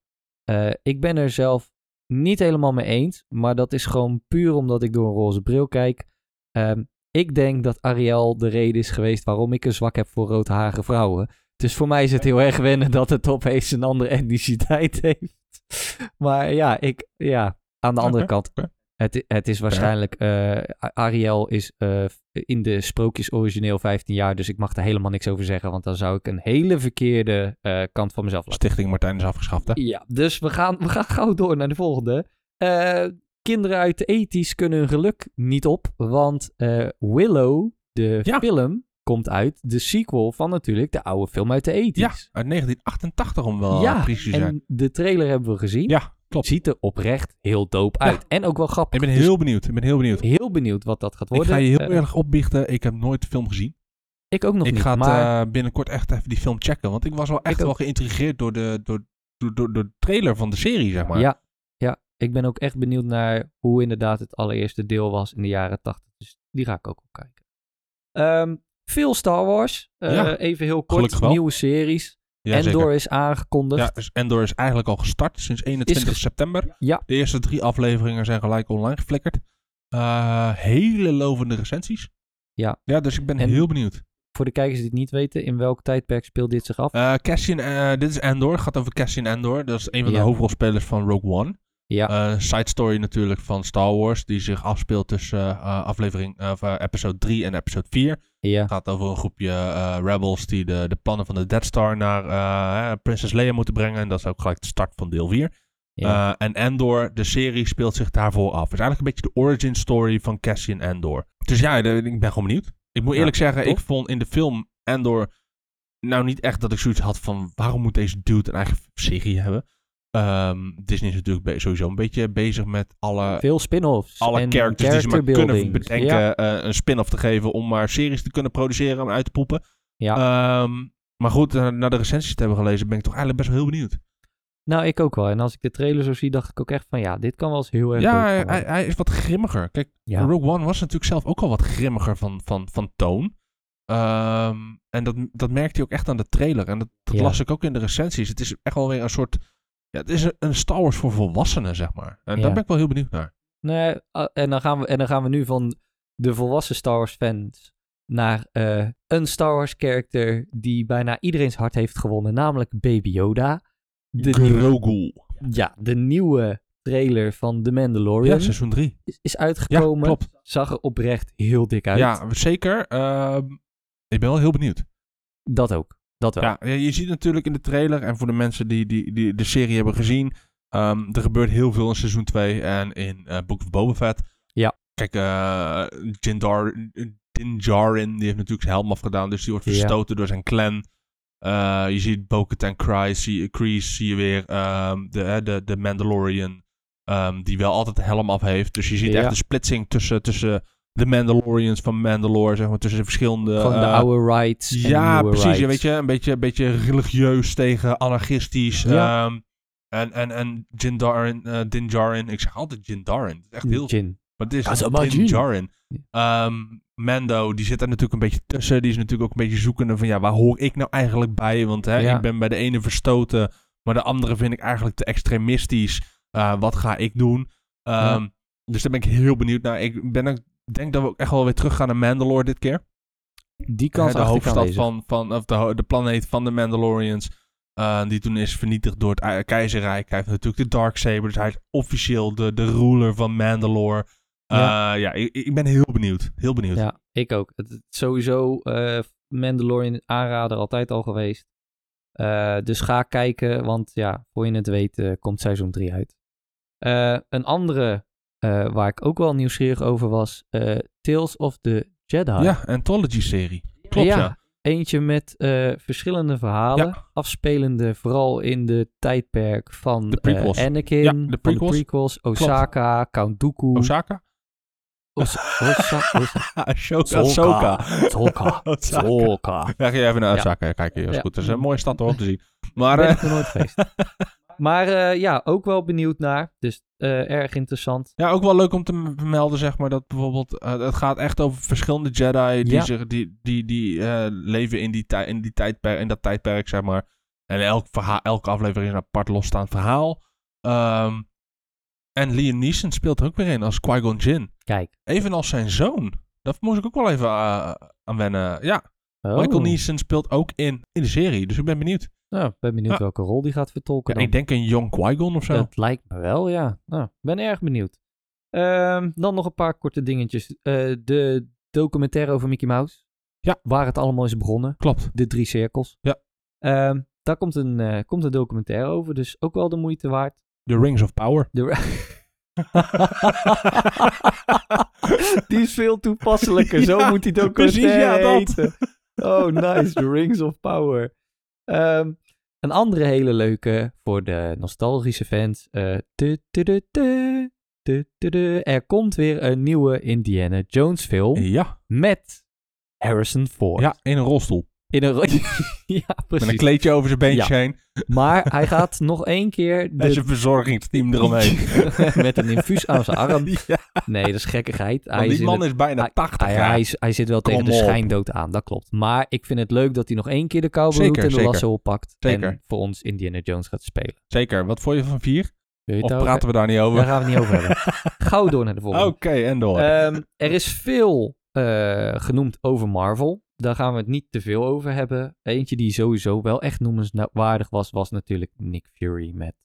[SPEAKER 1] Eh, ik ben er zelf niet helemaal mee eens. Maar dat is gewoon puur omdat ik door een roze bril kijk. Ehm, ik denk dat Ariel de reden is geweest waarom ik een zwak heb voor roodharige vrouwen. Dus voor mij is het heel erg wennen dat het opeens een andere etniciteit [LAUGHS] heeft. Maar ja, ik, ja aan de andere
[SPEAKER 2] Oké,
[SPEAKER 1] kant.
[SPEAKER 2] oké.
[SPEAKER 1] Het, het is waarschijnlijk. eh, A- Ariel is eh, in de sprookjes origineel 15 jaar. Dus ik mag daar helemaal niks over zeggen. Want dan zou ik een hele verkeerde eh, kant van mezelf laten.
[SPEAKER 2] Stichting Martijn is afgeschaft, hè?
[SPEAKER 1] Ja, dus we gaan, we gaan gauw door naar de volgende. Eh, kinderen uit de ethisch kunnen hun geluk niet op, want eh, Willow, de
[SPEAKER 2] Ja.
[SPEAKER 1] film, komt uit. De sequel van natuurlijk de oude film uit de
[SPEAKER 2] Ja,
[SPEAKER 1] ethisch.
[SPEAKER 2] uit 1988 om wel eh,
[SPEAKER 1] Ja,
[SPEAKER 2] precies te zijn.
[SPEAKER 1] en de trailer hebben we gezien.
[SPEAKER 2] Ja, klopt.
[SPEAKER 1] Ziet er oprecht heel dope
[SPEAKER 2] Ja.
[SPEAKER 1] uit. En ook wel grappig.
[SPEAKER 2] Ik ben
[SPEAKER 1] Dus
[SPEAKER 2] heel benieuwd. Ik ben heel benieuwd.
[SPEAKER 1] heel benieuwd wat dat gaat worden.
[SPEAKER 2] Ik ga je heel
[SPEAKER 1] Eh,
[SPEAKER 2] erg opbiechten. Ik heb nooit de film gezien.
[SPEAKER 1] ik ook nog
[SPEAKER 2] ik
[SPEAKER 1] niet,
[SPEAKER 2] ga het,
[SPEAKER 1] maar
[SPEAKER 2] eh, binnenkort echt even die film checken. Want ik was wel echt
[SPEAKER 1] ook.
[SPEAKER 2] wel geïntrigeerd door de, door, door, door, door de trailer van de serie, zeg maar.
[SPEAKER 1] Ja, ja, ik ben ook echt benieuwd naar hoe inderdaad het allereerste deel was in de jaren 80. Dus die ga ik ook op kijken. Ehm, veel Star Wars. Eh,
[SPEAKER 2] Ja,
[SPEAKER 1] even heel
[SPEAKER 2] gelukkig
[SPEAKER 1] kort.
[SPEAKER 2] wel.
[SPEAKER 1] Nieuwe series.
[SPEAKER 2] Ja,
[SPEAKER 1] Endor
[SPEAKER 2] zeker.
[SPEAKER 1] is aangekondigd.
[SPEAKER 2] Ja, dus Endor is eigenlijk al gestart sinds 21
[SPEAKER 1] ges-
[SPEAKER 2] september.
[SPEAKER 1] Ja.
[SPEAKER 2] De eerste drie afleveringen zijn gelijk online geflikkerd. Eh, hele lovende recensies.
[SPEAKER 1] Ja.
[SPEAKER 2] Ja, dus ik ben
[SPEAKER 1] En-
[SPEAKER 2] heel benieuwd.
[SPEAKER 1] voor de kijkers die het niet weten, in welk tijdperk speelt dit zich af?
[SPEAKER 2] Eh, Cassian, eh, dit is Endor. Gaat over Cassian Endor. Dat is een van
[SPEAKER 1] Ja.
[SPEAKER 2] de hoofdrolspelers van Rogue One.
[SPEAKER 1] Ja.
[SPEAKER 2] Eh, side story natuurlijk van Star Wars. Die zich afspeelt tussen eh, aflevering, of, eh, episode 3 en episode 4.
[SPEAKER 1] ja,
[SPEAKER 2] Het gaat over een groepje eh, rebels die de, de plannen van de Death Star naar eh, Prinses Leia moeten brengen. En dat is ook gelijk de start van deel 4.
[SPEAKER 1] ja.
[SPEAKER 2] Eh, en Endor, de serie, speelt zich daarvoor af. Het is eigenlijk een beetje de origin story van Cassian Endor. Dus ja, de- ik ben gewoon benieuwd. Ik moet
[SPEAKER 1] Ja,
[SPEAKER 2] eerlijk zeggen,
[SPEAKER 1] tof.
[SPEAKER 2] ik vond in de film Endor... Nou, niet echt dat ik zoiets had van... Waarom moet deze dude een eigen serie hebben? Ehm, Disney is natuurlijk be- sowieso een beetje bezig met alle
[SPEAKER 1] veel spin-offs.
[SPEAKER 2] eh, Dus alle
[SPEAKER 1] en
[SPEAKER 2] characters die ze maar kunnen
[SPEAKER 1] characterbuildings.
[SPEAKER 2] bedenken
[SPEAKER 1] Ja,
[SPEAKER 2] eh, een spin-off te geven om maar series te kunnen produceren en uit te poepen.
[SPEAKER 1] Ja.
[SPEAKER 2] Ehm, maar goed, eh, na de recensies te hebben gelezen ben ik toch eigenlijk best wel heel benieuwd.
[SPEAKER 1] Nou, ik ook wel. En als ik de trailer zo zie, dacht ik ook echt van ja, dit kan wel eens heel erg
[SPEAKER 2] ja,
[SPEAKER 1] leuk
[SPEAKER 2] hij,
[SPEAKER 1] gaan
[SPEAKER 2] hij-
[SPEAKER 1] worden.
[SPEAKER 2] hij is wat grimmiger. Kijk,
[SPEAKER 1] ja.
[SPEAKER 2] Rogue One was natuurlijk zelf ook al wat grimmiger van, van, van toon. Ehm, en dat, dat merkte hij ook echt aan de trailer. En dat, dat
[SPEAKER 1] Ja.
[SPEAKER 2] las ik ook in de recensies. Het is echt wel weer een soort... Ja, het is een, een Star Wars voor volwassenen, zeg maar. En
[SPEAKER 1] Ja.
[SPEAKER 2] daar ben ik wel heel benieuwd naar.
[SPEAKER 1] Nee, ah, en, dan gaan we, en dan gaan we nu van de volwassen Star Wars fans naar eh, een Star Wars character die bijna iedereen's hart heeft gewonnen, namelijk Baby Yoda. De, nieuwe,
[SPEAKER 2] Grogu.
[SPEAKER 1] ja, de nieuwe trailer van The
[SPEAKER 2] Ja,
[SPEAKER 1] Mandalorian
[SPEAKER 2] seizoen 3.
[SPEAKER 1] is, is
[SPEAKER 2] Ja,
[SPEAKER 1] uitgekomen.
[SPEAKER 2] klopt.
[SPEAKER 1] Zag er oprecht heel dik uit.
[SPEAKER 2] Ja, zeker. Ehm, ik ben wel heel benieuwd.
[SPEAKER 1] Dat ook. Dat wel.
[SPEAKER 2] Ja, ja, je ziet natuurlijk in de trailer en voor de mensen die, die, die de serie hebben gezien, ehm, er gebeurt heel veel in seizoen 2 en in eh Book of Boba Fett.
[SPEAKER 1] Ja.
[SPEAKER 2] Kijk, eh Din, Dar- Din Djarin, die heeft natuurlijk zijn helm afgedaan, dus die wordt
[SPEAKER 1] Ja.
[SPEAKER 2] verstoten door zijn clan. Eh, je ziet Bo-Katan Kryze, zie- Kryze zie je weer, ehm, de, hè, de, de Mandalorian, ehm, die wel altijd de helm af heeft. Dus je ziet
[SPEAKER 1] Ja.
[SPEAKER 2] echt de splitsing tussen, tussen de Mandalorians van Mandalore, zeg maar, tussen de verschillende...
[SPEAKER 1] Van de
[SPEAKER 2] eh,
[SPEAKER 1] oude rights. en de
[SPEAKER 2] ja,
[SPEAKER 1] nieuwe
[SPEAKER 2] precies.
[SPEAKER 1] rights.
[SPEAKER 2] Ja, weet je, een beetje, een beetje religieus tegen anarchistisch.
[SPEAKER 1] Ja.
[SPEAKER 2] ehm, en en, en Jin Darin, eh, Din Djarin. Ik zeg altijd Jin Djarin. Het is echt heel...
[SPEAKER 1] Jin.
[SPEAKER 2] Maar het is
[SPEAKER 1] Ja, zo maar
[SPEAKER 2] Din
[SPEAKER 1] Jin.
[SPEAKER 2] Djarin. Ehm, Mando, die zit daar natuurlijk een beetje tussen. Die is natuurlijk ook een beetje zoekende van... Ja, waar hoor ik nou eigenlijk bij? Want hè,
[SPEAKER 1] Ja.
[SPEAKER 2] ik ben bij de ene verstoten. Maar de andere vind ik eigenlijk te extremistisch. Eh, wat ga ik doen? Ehm, Dus daar ben ik heel benieuwd naar. Ik ben ook, denk dat we ook echt wel weer teruggaan naar Mandalore dit keer.
[SPEAKER 1] Die kan
[SPEAKER 2] Hè, de hoofdstad van, van of de, ho- de planeet van de Mandalorians. eh, die toen is vernietigd door het ei- keizerrijk. Hij heeft natuurlijk de Darksaber. Dus hij is officieel de, de ruler van Mandalore. Eh, ja, ik, ik ben heel benieuwd. Heel benieuwd.
[SPEAKER 1] Ja, ik ook. Het, het- sowieso eh Mandalorian aanrader altijd al geweest. Eh, dus ga kijken, want ja, voor je het weet eh, komt seizoen 3 uit. Eh, een andere eh, waar ik ook wel nieuwsgierig over was, eh, Tales of the Jedi.
[SPEAKER 2] Ja, Anthology-serie. Klopt, ja.
[SPEAKER 1] Eentje met eh, verschillende verhalen,
[SPEAKER 2] Ja.
[SPEAKER 1] afspelende vooral in de tijdperk van
[SPEAKER 2] De prequels.
[SPEAKER 1] eh, Anakin,
[SPEAKER 2] Ja, de
[SPEAKER 1] van
[SPEAKER 2] prequels.
[SPEAKER 1] prequels, Osaka, Count Dooku,
[SPEAKER 2] Osaka? [LAUGHS]
[SPEAKER 1] Os- Osa- Osa-
[SPEAKER 2] Ahsoka.
[SPEAKER 1] Ahsoka. Ahsoka.
[SPEAKER 2] [LAUGHS] Ahsoka.
[SPEAKER 1] Ahsoka.
[SPEAKER 2] Ja, ga je even naar
[SPEAKER 1] Ja.
[SPEAKER 2] Osaka kijken. Dat is
[SPEAKER 1] Ja.
[SPEAKER 2] goed. Dat is een mooie stad hoor, om te zien. Maar
[SPEAKER 1] ben
[SPEAKER 2] eh,
[SPEAKER 1] ik nog nooit geweest. [LAUGHS] Maar eh, ja, ook wel benieuwd naar. Dus eh, erg interessant.
[SPEAKER 2] Ja, ook wel leuk om te m- vermelden, zeg maar, dat bijvoorbeeld... eh, het gaat echt over verschillende Jedi die,
[SPEAKER 1] Ja.
[SPEAKER 2] zich, die, die, die eh, leven in, die tij- in, die tijdperk, in dat tijdperk, zeg maar. En elk verhaal, elke aflevering is een apart losstaand verhaal. Ehm, en Liam Neeson speelt er ook weer in als Qui-Gon Jinn.
[SPEAKER 1] Kijk.
[SPEAKER 2] Evenals zijn zoon. Daar moest ik ook wel even eh, aan wennen. Ja,
[SPEAKER 1] Oh.
[SPEAKER 2] Michael Neeson speelt ook in, in de serie, dus ik ben benieuwd.
[SPEAKER 1] Nou, ik ben benieuwd
[SPEAKER 2] Ja.
[SPEAKER 1] welke rol die gaat vertolken.
[SPEAKER 2] Ja,
[SPEAKER 1] dan.
[SPEAKER 2] ik denk een jong Qui-Gon of zo.
[SPEAKER 1] Dat lijkt me wel, ja. Nou, ik ben erg benieuwd. Ehm, dan nog een paar korte dingetjes. Eh, de documentaire over Mickey Mouse.
[SPEAKER 2] Ja.
[SPEAKER 1] Waar het allemaal is begonnen.
[SPEAKER 2] Klopt.
[SPEAKER 1] De drie cirkels.
[SPEAKER 2] Ja.
[SPEAKER 1] Ehm, daar komt een, eh, komt een documentaire over, dus ook wel de moeite waard.
[SPEAKER 2] The Rings of Power.
[SPEAKER 1] De... [LAUGHS] die is veel toepasselijker.
[SPEAKER 2] [LAUGHS]
[SPEAKER 1] Zo
[SPEAKER 2] Ja,
[SPEAKER 1] moet die documentaire
[SPEAKER 2] precies, ja, dat.
[SPEAKER 1] heten. Oh, nice. The Rings of Power. Ehm, een andere hele leuke voor de nostalgische fans. eh, tu, tu, tu, tu, tu, tu, tu. Er komt weer een nieuwe Indiana Jones film
[SPEAKER 2] Ja,
[SPEAKER 1] met Harrison Ford.
[SPEAKER 2] ja, in een rolstoel.
[SPEAKER 1] In een... ro- [LAUGHS] ja,
[SPEAKER 2] Met een
[SPEAKER 1] oh. precies.
[SPEAKER 2] kleedje over zijn beentjes heen.
[SPEAKER 1] Maar hij gaat nog één keer
[SPEAKER 2] En
[SPEAKER 1] de
[SPEAKER 2] zijn verzorgingsteam [LAUGHS] eromheen.
[SPEAKER 1] [LAUGHS] met een infuus aan zijn arm.
[SPEAKER 2] Ja,
[SPEAKER 1] Nee, dat is gekkigheid. Hij
[SPEAKER 2] want
[SPEAKER 1] is
[SPEAKER 2] die
[SPEAKER 1] in
[SPEAKER 2] man
[SPEAKER 1] het-
[SPEAKER 2] is bijna 80
[SPEAKER 1] hij,
[SPEAKER 2] jaar.
[SPEAKER 1] hij, is- hij zit wel tegen
[SPEAKER 2] Kom
[SPEAKER 1] de
[SPEAKER 2] op.
[SPEAKER 1] schijndood aan, dat klopt. Maar ik vind het leuk dat hij nog één keer de cowboyhoed
[SPEAKER 2] Zeker,
[SPEAKER 1] en de
[SPEAKER 2] zeker.
[SPEAKER 1] lasso oppakt. En
[SPEAKER 2] Zeker.
[SPEAKER 1] voor ons Indiana Jones gaat spelen.
[SPEAKER 2] Zeker. Wat vond je van vier?
[SPEAKER 1] Wil je
[SPEAKER 2] Of
[SPEAKER 1] het
[SPEAKER 2] praten
[SPEAKER 1] daarover-
[SPEAKER 2] we daar niet
[SPEAKER 1] Daar
[SPEAKER 2] over? Oh,
[SPEAKER 1] gaan we het niet over
[SPEAKER 2] [LAUGHS]
[SPEAKER 1] hebben. Gauw door naar de volgende.
[SPEAKER 2] Oké, en door.
[SPEAKER 1] Ehm, er is veel eh, genoemd eh, over Marvel. Daar gaan we het niet te veel over hebben. Eentje die sowieso wel echt noemenswaardig was, was natuurlijk Nick Fury met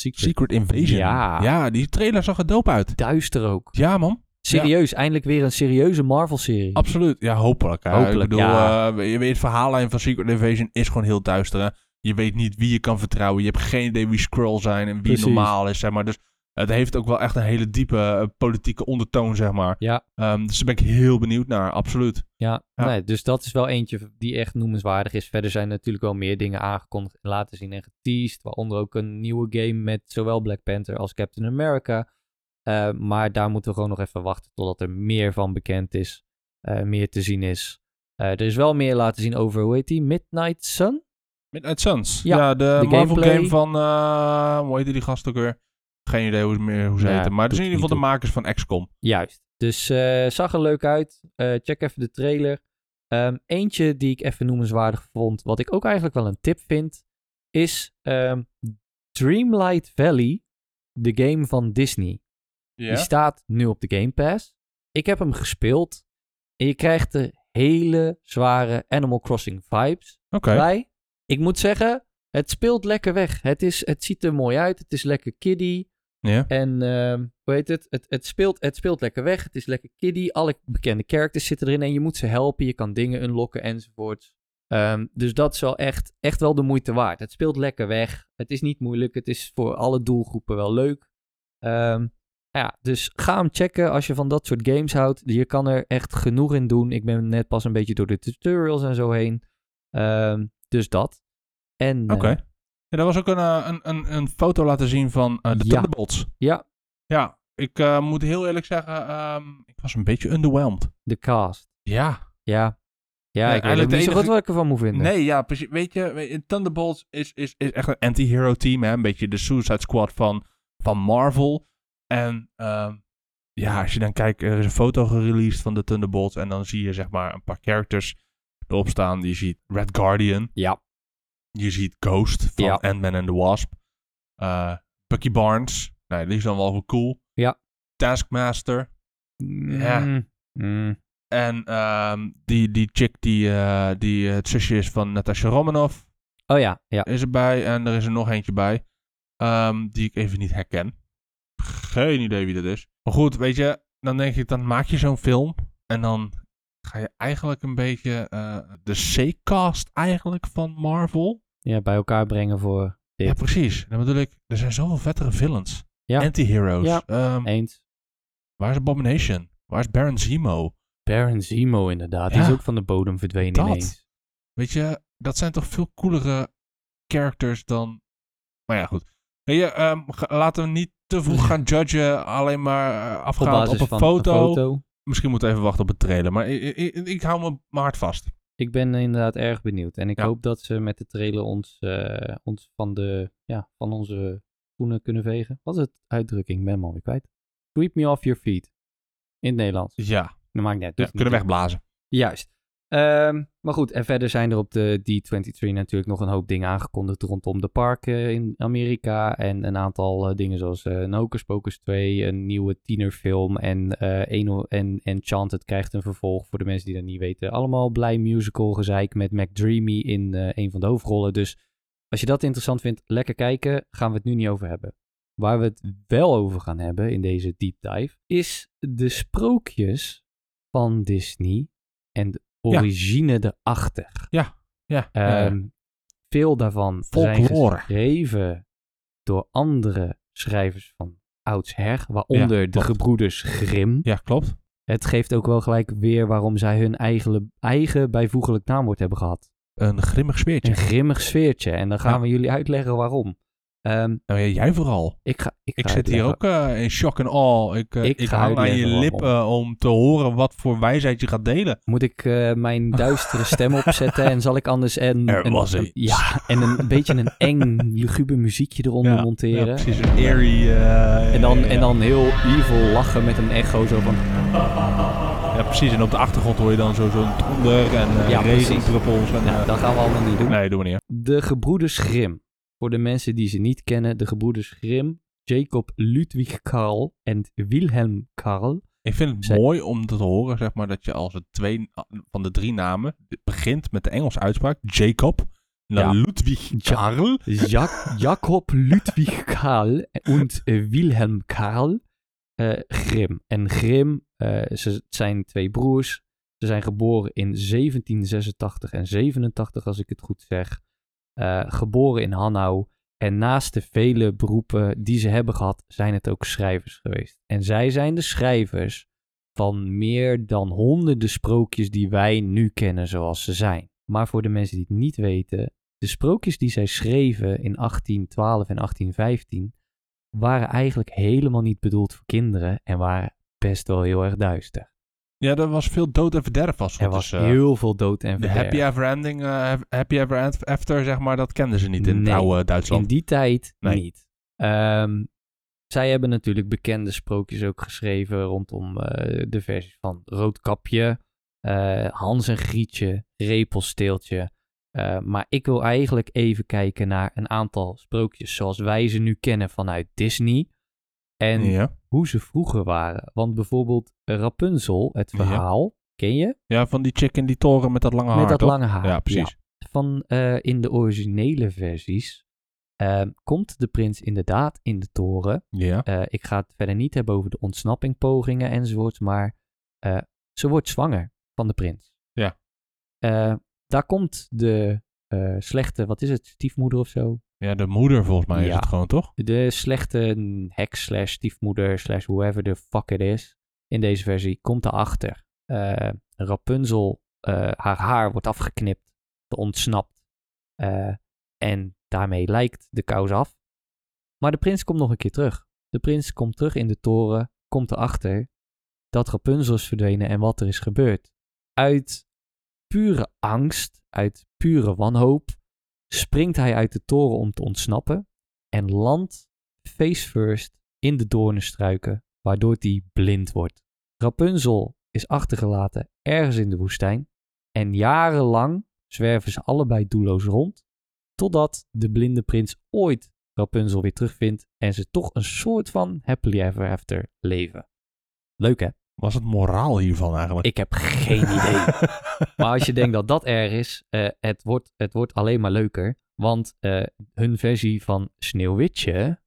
[SPEAKER 1] Secret.
[SPEAKER 2] Secret Invasion.
[SPEAKER 1] Ja.
[SPEAKER 2] ja, die trailer zag er dope uit.
[SPEAKER 1] Duister ook.
[SPEAKER 2] Ja, man.
[SPEAKER 1] Serieus, eindelijk weer een serieuze Marvel-serie.
[SPEAKER 2] Absoluut. Ja, hopelijk. Hè.
[SPEAKER 1] Hopelijk,
[SPEAKER 2] ik bedoel,
[SPEAKER 1] ja.
[SPEAKER 2] eh, je weet, het verhaallijn van Secret Invasion is gewoon heel duister. Hè. Je weet niet wie je kan vertrouwen. Je hebt geen idee wie Skrull zijn en wie
[SPEAKER 1] Precies.
[SPEAKER 2] normaal is, zeg maar. Dus het heeft ook wel echt een hele diepe eh, politieke ondertoon, zeg maar.
[SPEAKER 1] Ja.
[SPEAKER 2] Ehm, dus daar ben ik heel benieuwd naar, absoluut.
[SPEAKER 1] Ja,
[SPEAKER 2] Ja.
[SPEAKER 1] Nee, dus dat is wel eentje die echt noemenswaardig is. Verder zijn natuurlijk wel meer dingen aangekondigd en laten zien en geteased. Waaronder ook een nieuwe game met zowel Black Panther als Captain America. Eh, maar daar moeten we gewoon nog even wachten totdat er meer van bekend is. eh, meer te zien is. Eh, er is wel meer laten zien over, hoe heet die? Midnight Sun?
[SPEAKER 2] Midnight Suns.
[SPEAKER 1] Ja,
[SPEAKER 2] Ja, de,
[SPEAKER 1] de
[SPEAKER 2] Marvel
[SPEAKER 1] gameplay.
[SPEAKER 2] game van, eh hoe heette die gast ook weer? Geen idee hoe, meer, hoe ze
[SPEAKER 1] Ja,
[SPEAKER 2] heten. Maar het
[SPEAKER 1] doet
[SPEAKER 2] is in ieder
[SPEAKER 1] niet
[SPEAKER 2] geval de makers van XCOM.
[SPEAKER 1] Juist. Dus eh, zag er leuk uit. Eh, check even de trailer. Ehm, eentje die ik even noemenswaardig vond, wat ik ook eigenlijk wel een tip vind, is ehm, Dreamlight Valley, de game van Disney.
[SPEAKER 2] Ja.
[SPEAKER 1] Die staat nu op de Game Pass. Ik heb hem gespeeld en je krijgt de hele zware Animal Crossing vibes
[SPEAKER 2] Oké.
[SPEAKER 1] bij. Ik moet zeggen, het speelt lekker weg. Het, is, het ziet er mooi uit, het is lekker kiddie.
[SPEAKER 2] Ja.
[SPEAKER 1] En ehm, hoe heet het? Het, het, speelt, het speelt lekker weg. Het is lekker kiddie. Alle bekende characters zitten erin. En je moet ze helpen. Je kan dingen unlocken enzovoorts. Ehm, dus dat is wel echt, echt wel de moeite waard. Het speelt lekker weg. Het is niet moeilijk. Het is voor alle doelgroepen wel leuk. Ehm, ja, dus ga hem checken als je van dat soort games houdt. Je kan er echt genoeg in doen. Ik ben net pas een beetje door de tutorials en zo heen. Ehm, dus dat. En
[SPEAKER 2] Oké.
[SPEAKER 1] eh,
[SPEAKER 2] Ja, er was ook een, eh, een, een, een foto laten zien van eh, de
[SPEAKER 1] Ja.
[SPEAKER 2] Thunderbolts.
[SPEAKER 1] Ja.
[SPEAKER 2] Ja, ik eh, moet heel eerlijk zeggen, ehm, ik was een beetje underwhelmed.
[SPEAKER 1] de cast.
[SPEAKER 2] Ja.
[SPEAKER 1] Ja. Ja, ik weet ook
[SPEAKER 2] eigenlijk
[SPEAKER 1] niet
[SPEAKER 2] de
[SPEAKER 1] zo goed
[SPEAKER 2] enige-
[SPEAKER 1] wat ik ervan moet vinden.
[SPEAKER 2] Nee, ja, precies. Weet je, weet je, Thunderbolts is, is, is echt een anti-hero team, hè. Een beetje de Suicide Squad van, van Marvel. En ehm, ja, als je dan kijkt, er is een foto gereleased van de Thunderbolts. En dan zie je zeg maar een paar characters erop staan. Je ziet Red Guardian.
[SPEAKER 1] Ja.
[SPEAKER 2] Je ziet Ghost van
[SPEAKER 1] Ja.
[SPEAKER 2] Ant-Man and the Wasp. Eh, Bucky Barnes. Nee, die is dan wel wel cool.
[SPEAKER 1] Ja.
[SPEAKER 2] Taskmaster. Ja.
[SPEAKER 1] Mm, mm,
[SPEAKER 2] En ehm, die, die chick die, eh, die eh, het zusje is van Natasha Romanoff
[SPEAKER 1] Oh ja, ja.
[SPEAKER 2] is erbij. En er is er nog eentje bij. ehm, die ik even niet herken. Geen idee wie dat is. Maar goed, weet je. Dan denk ik, dan maak je zo'n film. En dan ga je eigenlijk een beetje eh, de C-cast eigenlijk van Marvel.
[SPEAKER 1] ja, bij elkaar brengen voor dit.
[SPEAKER 2] Ja, precies. Dan bedoel ik, er zijn zoveel vettere villains.
[SPEAKER 1] Ja.
[SPEAKER 2] Anti-heroes.
[SPEAKER 1] Ja.
[SPEAKER 2] Ehm,
[SPEAKER 1] Eens.
[SPEAKER 2] waar is Abomination? Waar is Baron Zemo?
[SPEAKER 1] Baron Zemo inderdaad. Die
[SPEAKER 2] Ja.
[SPEAKER 1] is ook van de bodem verdwenen
[SPEAKER 2] Dat.
[SPEAKER 1] ineens.
[SPEAKER 2] Weet je, dat zijn toch veel coolere characters dan... Maar ja, goed. Weet je, ehm, ga- laten we niet
[SPEAKER 1] [LAUGHS]
[SPEAKER 2] te vroeg gaan judgen. Alleen maar eh,
[SPEAKER 1] Op
[SPEAKER 2] afgaan
[SPEAKER 1] basis
[SPEAKER 2] op een
[SPEAKER 1] van
[SPEAKER 2] foto.
[SPEAKER 1] een foto.
[SPEAKER 2] Misschien moeten we even wachten op een trailer. Maar ik, ik, ik- ik hou me- mijn hart vast.
[SPEAKER 1] Ik ben inderdaad erg benieuwd. En ik
[SPEAKER 2] Ja.
[SPEAKER 1] hoop dat ze met de trailer ons, eh, ons van, de, ja, van onze schoenen kunnen vegen. Wat is het uitdrukking? Ik ben hem alweer kwijt. Sweep me off your feet. In het Nederlands.
[SPEAKER 2] Ja,
[SPEAKER 1] Dat maakt niet uit.
[SPEAKER 2] ja
[SPEAKER 1] Doet niet
[SPEAKER 2] Dus
[SPEAKER 1] toe.
[SPEAKER 2] kunnen wegblazen.
[SPEAKER 1] Juist. Ehm, maar goed, en verder zijn er op de D23 natuurlijk nog een hoop dingen aangekondigd rondom de parken in Amerika. En een aantal eh, dingen zoals eh een Hocus Pocus 2, een nieuwe tienerfilm en, eh Eno- en Enchanted krijgt een vervolg voor de mensen die dat niet weten. Allemaal blij musical gezeik met McDreamy in eh, een van de hoofdrollen. Dus als je dat interessant vindt, lekker kijken. Gaan we het nu niet over hebben. Waar we het wel over gaan hebben in deze deep dive is de sprookjes van Disney en de
[SPEAKER 2] Ja.
[SPEAKER 1] origine erachter.
[SPEAKER 2] Ja,
[SPEAKER 1] Ehm,
[SPEAKER 2] ja.
[SPEAKER 1] veel daarvan
[SPEAKER 2] Folklore.
[SPEAKER 1] zijn geschreven door andere schrijvers van oudsher, waaronder de
[SPEAKER 2] klopt.
[SPEAKER 1] gebroeders Grimm.
[SPEAKER 2] ja, klopt.
[SPEAKER 1] Het geeft ook wel gelijk weer waarom zij hun eigen, eigen bijvoeglijk naamwoord hebben gehad.
[SPEAKER 2] Een grimmig
[SPEAKER 1] Een
[SPEAKER 2] sfeertje.
[SPEAKER 1] grimmig sfeertje. En dan gaan
[SPEAKER 2] Ja.
[SPEAKER 1] we jullie uitleggen waarom. Ehm,
[SPEAKER 2] Nou ja, jij vooral.
[SPEAKER 1] ik ga, ik
[SPEAKER 2] Ik
[SPEAKER 1] ga
[SPEAKER 2] zit hier
[SPEAKER 1] uitleggen.
[SPEAKER 2] ook eh, in shock en awe. Ik, eh,
[SPEAKER 1] Ik
[SPEAKER 2] ik,
[SPEAKER 1] ga
[SPEAKER 2] hang aan je
[SPEAKER 1] uitleggen waarom.
[SPEAKER 2] lippen om te horen wat voor wijsheid je gaat delen.
[SPEAKER 1] Moet ik eh,
[SPEAKER 2] [LAUGHS]
[SPEAKER 1] mijn duistere stem opzetten en zal ik anders en,
[SPEAKER 2] Er
[SPEAKER 1] een-
[SPEAKER 2] was
[SPEAKER 1] een-
[SPEAKER 2] iets.
[SPEAKER 1] ja, en een beetje een eng, luguber muziekje eronder monteren.
[SPEAKER 2] Ja, precies, een eerie... eh,
[SPEAKER 1] en, dan,
[SPEAKER 2] ja,
[SPEAKER 1] en dan heel evil lachen met een echo zo van... "Nou,
[SPEAKER 2] Ja, precies. En op de achtergrond hoor je dan zo- zo'n donder en eh
[SPEAKER 1] Ja, precies.
[SPEAKER 2] regendruppels. En,
[SPEAKER 1] Nou,
[SPEAKER 2] eh,
[SPEAKER 1] dat gaan we allemaal niet doen.
[SPEAKER 2] Nee, doen we niet. hè.
[SPEAKER 1] De Gebroeders Grimm. Voor de mensen die ze niet kennen, de Gebroeders Grimm, Jacob Ludwig Karl en Wilhelm Karl
[SPEAKER 2] Ik vind het
[SPEAKER 1] Zeker.
[SPEAKER 2] mooi om te horen, zeg maar, dat je als het twee van de drie namen het begint met de Engelse uitspraak Jacob, en dan
[SPEAKER 1] Ja.
[SPEAKER 2] Ludwig
[SPEAKER 1] Ja.
[SPEAKER 2] Karl.
[SPEAKER 1] Ja Jakob Ludwig Karl und äh, Wilhelm Karl eh, Grimm. En Grimm, eh, ze het zijn twee broers. Ze zijn geboren in 1786 en 87, als ik het goed zeg. Eh, geboren in Hanau. En naast de vele beroepen die ze hebben gehad, zijn het ook schrijvers geweest. En zij zijn de schrijvers van meer dan honderden sprookjes die wij nu kennen zoals ze zijn. Maar voor de mensen die het niet weten, de sprookjes die zij schreven in 1812 en 1815 waren eigenlijk helemaal niet bedoeld voor kinderen en waren best wel heel erg duister.
[SPEAKER 2] Ja, er was veel dood en verderf was.
[SPEAKER 1] Er
[SPEAKER 2] het,
[SPEAKER 1] was
[SPEAKER 2] dus, eh,
[SPEAKER 1] heel veel dood en
[SPEAKER 2] de
[SPEAKER 1] verderf.
[SPEAKER 2] happy ever ending, eh, happy ever End- after, zeg maar, dat kenden ze niet in
[SPEAKER 1] Nee.
[SPEAKER 2] het oude Duitsland.
[SPEAKER 1] In die tijd
[SPEAKER 2] Nee.
[SPEAKER 1] niet. Ehm, zij hebben natuurlijk bekende sprookjes ook geschreven rondom eh, de versies van Roodkapje, eh, Hans en Grietje, Repelsteeltje. Eh, maar ik wil eigenlijk even kijken naar een aantal sprookjes zoals wij ze nu kennen vanuit Disney. En
[SPEAKER 2] ja.
[SPEAKER 1] hoe ze vroeger waren. Want bijvoorbeeld Rapunzel, het
[SPEAKER 2] Ja.
[SPEAKER 1] verhaal, ken je?
[SPEAKER 2] ja, van die chick in die toren met dat lange haar,
[SPEAKER 1] Met dat
[SPEAKER 2] toch?
[SPEAKER 1] lange haar.
[SPEAKER 2] Ja, precies.
[SPEAKER 1] Van eh, in de originele versies eh, komt de prins inderdaad in de toren.
[SPEAKER 2] Ja.
[SPEAKER 1] Eh, ik ga het verder niet hebben over de ontsnappingpogingen enzovoort, maar eh, ze wordt zwanger van de prins.
[SPEAKER 2] Ja.
[SPEAKER 1] Eh, daar komt de eh, slechte, wat is het, stiefmoeder of zo?
[SPEAKER 2] Ja, de moeder volgens mij is
[SPEAKER 1] Ja.
[SPEAKER 2] het gewoon, toch?
[SPEAKER 1] De slechte heks slash stiefmoeder slash whoever the fuck it is in deze versie komt erachter. Eh Rapunzel, eh, haar haar wordt afgeknipt, ze ontsnapt eh, en daarmee lijkt de kous af. Maar de prins komt nog een keer terug. De prins komt terug in de toren, komt erachter dat Rapunzel is verdwenen en wat er is gebeurd. Uit pure angst, uit pure wanhoop, springt hij uit de toren om te ontsnappen en landt face first in de doornenstruiken, waardoor die blind wordt. Rapunzel is achtergelaten ergens in de woestijn en jarenlang zwerven ze allebei doelloos rond, totdat de blinde prins ooit Rapunzel weer terugvindt en ze toch een soort van happily ever after leven. Leuk hè?
[SPEAKER 2] Was het moraal hiervan eigenlijk?
[SPEAKER 1] Ik heb
[SPEAKER 2] [LAUGHS]
[SPEAKER 1] geen idee. Maar als je denkt dat dat erg is, eh, het, wordt, het wordt alleen maar leuker. Want eh, hun versie van Sneeuwwitje,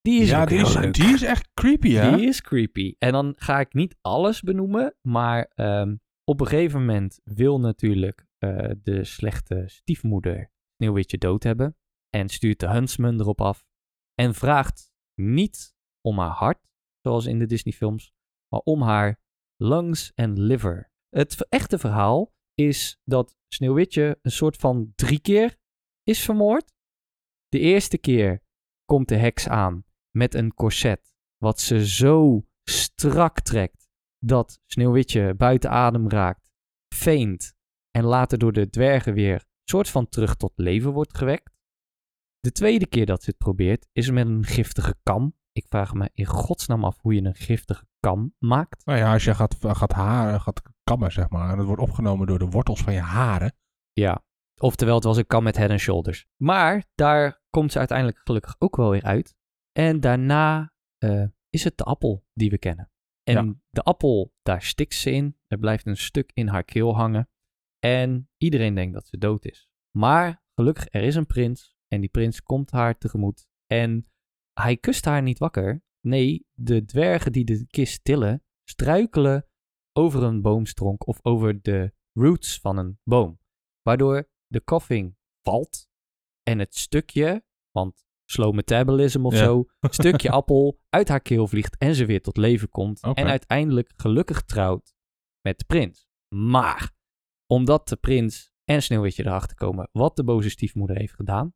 [SPEAKER 1] die is
[SPEAKER 2] ja,
[SPEAKER 1] ook
[SPEAKER 2] die
[SPEAKER 1] heel
[SPEAKER 2] is,
[SPEAKER 1] leuk.
[SPEAKER 2] die is echt creepy, hè?
[SPEAKER 1] Die is creepy. En dan ga ik niet alles benoemen, maar ehm, op een gegeven moment wil natuurlijk eh, de slechte stiefmoeder Sneeuwwitje dood hebben. En stuurt de huntsman erop af. En vraagt niet om haar hart, zoals in de Disney-films, maar om haar lungs en liver. Het v- echte verhaal is dat Sneeuwwitje een soort van drie keer is vermoord. De eerste keer komt de heks aan met een corset wat ze zo strak trekt dat Sneeuwwitje buiten adem raakt, feint en later door de dwergen weer soort van terug tot leven wordt gewekt. De tweede keer dat ze het probeert is met een giftige kam. Ik vraag me in godsnaam af hoe je een giftige kam maakt.
[SPEAKER 2] Nou ja, als je gaat, gaat haren, gaat kammen, zeg maar, en het wordt opgenomen door de wortels van je haren.
[SPEAKER 1] Ja. Oftewel, het was een kam met head and shoulders. Maar daar komt ze uiteindelijk gelukkig ook wel weer uit. En daarna eh, is het de appel die we kennen. En de appel, daar stikt ze in. Er blijft een stuk in haar keel hangen. En iedereen denkt dat ze dood is. Maar gelukkig, er is een prins. En die prins komt haar tegemoet. En hij kust haar niet wakker. Nee, de dwergen die de kist tillen, struikelen over een boomstronk of over de roots van een boom waardoor de koffing valt en het stukje, want slow metabolism of
[SPEAKER 2] Ja.
[SPEAKER 1] zo,
[SPEAKER 2] [LAUGHS]
[SPEAKER 1] stukje appel uit haar keel vliegt en ze weer tot leven komt
[SPEAKER 2] Oké.
[SPEAKER 1] en uiteindelijk gelukkig trouwt met de prins. Maar omdat de prins en Sneeuwwitje erachter komen wat de boze stiefmoeder heeft gedaan,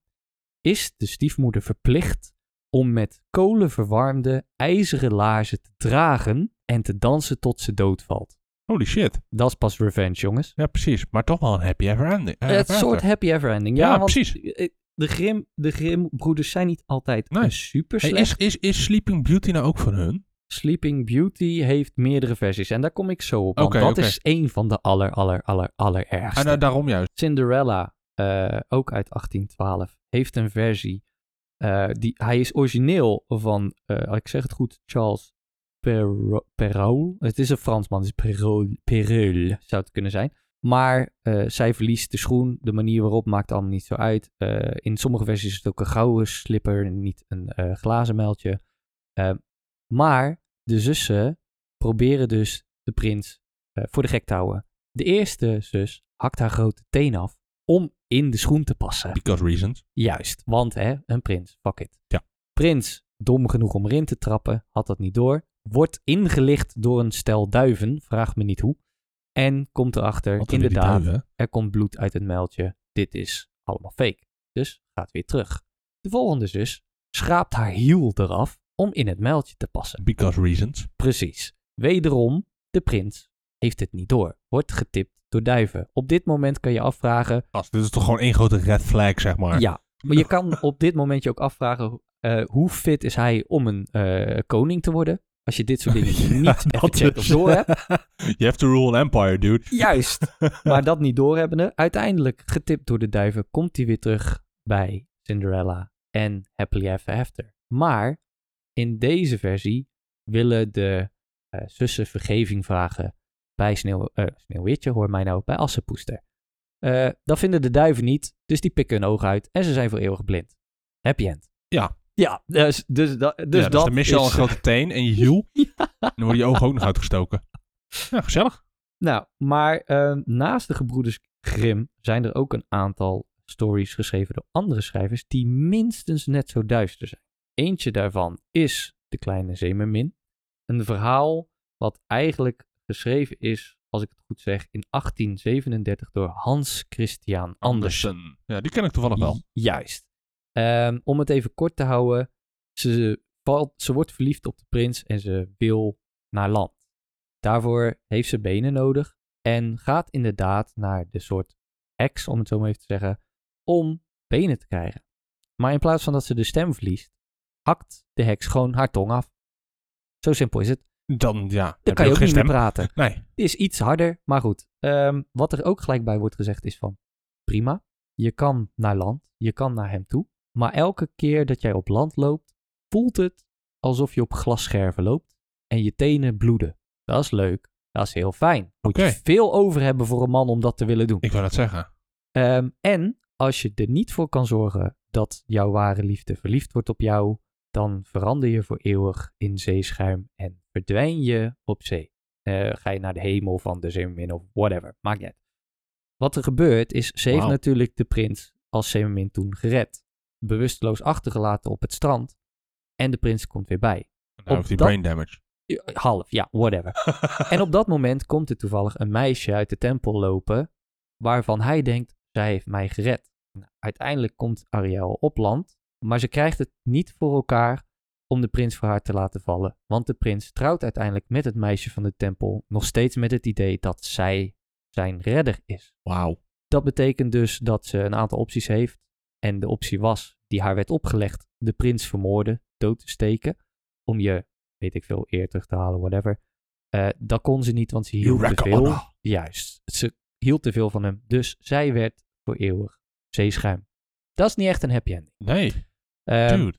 [SPEAKER 1] is de stiefmoeder verplicht om met kolen verwarmde ijzeren laarzen te dragen en te dansen tot ze doodvalt.
[SPEAKER 2] Holy shit.
[SPEAKER 1] Dat is pas revenge, jongens.
[SPEAKER 2] Ja, precies. Maar toch wel een happy ever ending. eh,
[SPEAKER 1] het
[SPEAKER 2] ever
[SPEAKER 1] soort
[SPEAKER 2] after.
[SPEAKER 1] happy ever ending. Ja,
[SPEAKER 2] Ja,
[SPEAKER 1] want
[SPEAKER 2] precies.
[SPEAKER 1] eh, De Grim, de Grim broeders zijn niet altijd
[SPEAKER 2] Nee.
[SPEAKER 1] een super
[SPEAKER 2] Hey,
[SPEAKER 1] slecht.
[SPEAKER 2] is, is, is Sleeping Beauty nou ook van hun?
[SPEAKER 1] Sleeping Beauty heeft meerdere versies en daar kom ik zo op. Want
[SPEAKER 2] Oké,
[SPEAKER 1] dat
[SPEAKER 2] oké.
[SPEAKER 1] is één van de aller, aller, aller, aller
[SPEAKER 2] Ah, nou, daarom juist.
[SPEAKER 1] Cinderella, eh, ook uit 1812, heeft een versie. eh, die, hij is origineel van, eh, ik zeg het goed, Charles Perro- Perrault. Het is een Fransman, het is Perrault, Perrault zou het kunnen zijn. Maar eh, zij verliest de schoen. De manier waarop maakt allemaal niet zo uit. Eh, in sommige versies is het ook een gouden slipper, niet een eh, glazen muiltje. Eh, maar de zussen proberen dus de prins eh, voor de gek te houden. De eerste zus hakt haar grote teen af om in de schoen te passen.
[SPEAKER 2] Because reasons.
[SPEAKER 1] Juist, want hè, een prins, fuck it.
[SPEAKER 2] Ja.
[SPEAKER 1] Prins, dom genoeg om erin te trappen, had dat niet door. Wordt ingelicht door een stel duiven, vraag me niet hoe. En komt erachter,
[SPEAKER 2] Want dan weer die
[SPEAKER 1] inderdaad,
[SPEAKER 2] duiven.
[SPEAKER 1] er komt bloed uit het muiltje. Dit is allemaal fake. Dus gaat weer terug. De volgende zus schraapt haar hiel eraf om in het muiltje te passen.
[SPEAKER 2] Because reasons.
[SPEAKER 1] Precies. Wederom, de prins heeft het niet door. Wordt getipt door duiven. Op dit moment kan je afvragen,
[SPEAKER 2] Gast, dit is toch gewoon één grote red flag, zeg maar.
[SPEAKER 1] ja, maar je kan op dit moment je ook afvragen eh, hoe fit is hij om een eh, koning te worden? Als je dit soort dingen
[SPEAKER 2] [LAUGHS] Ja,
[SPEAKER 1] niet even
[SPEAKER 2] dat
[SPEAKER 1] checkt of
[SPEAKER 2] dus.
[SPEAKER 1] door hebt.
[SPEAKER 2] You have to rule an empire,
[SPEAKER 1] Dus
[SPEAKER 2] dude. [LAUGHS]
[SPEAKER 1] Juist. Maar dat niet doorhebbende, uiteindelijk getipt door de duiven, komt hij weer terug bij Cinderella en Happily Ever After. Maar in deze versie willen de eh, zussen vergeving vragen bij Sneeuw, eh, Sneeuwwitje, hoor mij nou, bij Assepoester. Eh, dat vinden de duiven niet, dus die pikken hun ogen uit en ze zijn voor eeuwig blind. Happy end.
[SPEAKER 2] Ja.
[SPEAKER 1] Ja, dus, dus, da- dus
[SPEAKER 2] ja, dus
[SPEAKER 1] dat
[SPEAKER 2] dan mis je al een
[SPEAKER 1] is-
[SPEAKER 2] grote teen en je
[SPEAKER 1] [LAUGHS]
[SPEAKER 2] hiel. En dan worden je ogen ook nog uitgestoken. Ja, gezellig.
[SPEAKER 1] Nou, maar ehm, naast de gebroeders Grimm zijn er ook een aantal stories geschreven door andere schrijvers die minstens net zo duister zijn. Eentje daarvan is De Kleine Zeemermin. Een verhaal wat eigenlijk geschreven is, als ik het goed zeg, in 1837 door Hans Christian Andersen.
[SPEAKER 2] Ja, die ken ik toevallig wel.
[SPEAKER 1] Ju- Juist. Ehm, om het even kort te houden, ze, valt, ze wordt verliefd op de prins en ze wil naar land. Daarvoor heeft ze benen nodig en gaat inderdaad naar de soort heks, om het zo maar even te zeggen, om benen te krijgen. Maar in plaats van dat ze de stem verliest, hakt de heks gewoon haar tong af. Zo simpel is het.
[SPEAKER 2] Dan, ja.
[SPEAKER 1] Dan
[SPEAKER 2] heb
[SPEAKER 1] kan je ook
[SPEAKER 2] geen
[SPEAKER 1] niet meer
[SPEAKER 2] stem.
[SPEAKER 1] praten.
[SPEAKER 2] Nee.
[SPEAKER 1] Het is iets harder, maar goed. Ehm, wat er ook gelijk bij wordt gezegd is van, prima, je kan naar land, je kan naar hem toe. Maar elke keer dat jij op land loopt, voelt het alsof je op glasscherven loopt en je tenen bloeden. Dat is leuk, dat is heel fijn. Moet
[SPEAKER 2] Oké.
[SPEAKER 1] je veel over hebben voor een man om dat te willen doen.
[SPEAKER 2] Ik wil het zeggen.
[SPEAKER 1] Ehm, en als je er niet voor kan zorgen dat jouw ware liefde verliefd wordt op jou, dan verander je voor eeuwig in zeeschuim en verdwijn je op zee. Eh, ga je naar de hemel van de zeemermin of whatever, maakt niet uit. Wat er gebeurt is, ze heeft
[SPEAKER 2] Wauw.
[SPEAKER 1] natuurlijk de prins als zeemermin toen gered. Bewusteloos achtergelaten op het strand en de prins komt weer bij.
[SPEAKER 2] En Dan
[SPEAKER 1] Op
[SPEAKER 2] heeft die
[SPEAKER 1] dat-
[SPEAKER 2] brain damage.
[SPEAKER 1] Ja, Eh, Half, ja, whatever. en op dat moment komt er toevallig een meisje uit de tempel lopen, waarvan hij denkt, zij heeft mij gered. Nou, uiteindelijk komt Ariel op land, maar ze krijgt het niet voor elkaar om de prins voor haar te laten vallen, want de prins trouwt uiteindelijk met het meisje van de tempel, nog steeds met het idee dat zij zijn redder is.
[SPEAKER 2] Wauw.
[SPEAKER 1] Dat betekent dus dat ze een aantal opties heeft. En de optie was, die haar werd opgelegd, de prins vermoorden, dood te steken. Om je, weet ik veel, eer terug te halen, whatever. Eh, dat kon ze niet, want ze hield te
[SPEAKER 2] Eureka,
[SPEAKER 1] veel.
[SPEAKER 2] Anna.
[SPEAKER 1] Juist, ze hield te veel van hem. Dus zij werd voor eeuwig zeeschuim. Dat is niet echt een happy ending.
[SPEAKER 2] Nee,
[SPEAKER 1] Ehm,
[SPEAKER 2] dude.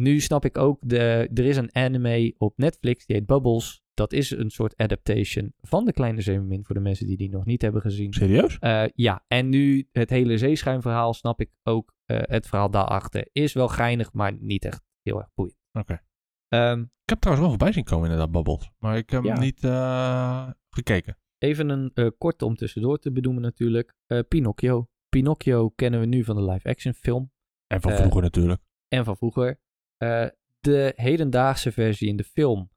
[SPEAKER 1] nu snap ik ook, de, er is een anime op Netflix, die heet Bubbles. Dat is een soort adaptation van De Kleine Zeemermin, voor de mensen die die nog niet hebben gezien.
[SPEAKER 2] Serieus?
[SPEAKER 1] Eh, ja, en nu het hele zeeschuimverhaal snap ik ook. eh, het verhaal daarachter is wel geinig, maar niet echt heel erg boeiend.
[SPEAKER 2] Oké.
[SPEAKER 1] Ehm,
[SPEAKER 2] Ik heb trouwens wel voorbij zien komen inderdaad, Bubbles. Maar ik heb hem
[SPEAKER 1] Ja.
[SPEAKER 2] niet eh, gekeken.
[SPEAKER 1] even een eh korte om tussendoor te benoemen natuurlijk. Eh, Pinocchio. Pinocchio kennen we nu van de live-action film
[SPEAKER 2] En van
[SPEAKER 1] Eh,
[SPEAKER 2] vroeger natuurlijk.
[SPEAKER 1] en van vroeger. Eh, de hedendaagse versie in de film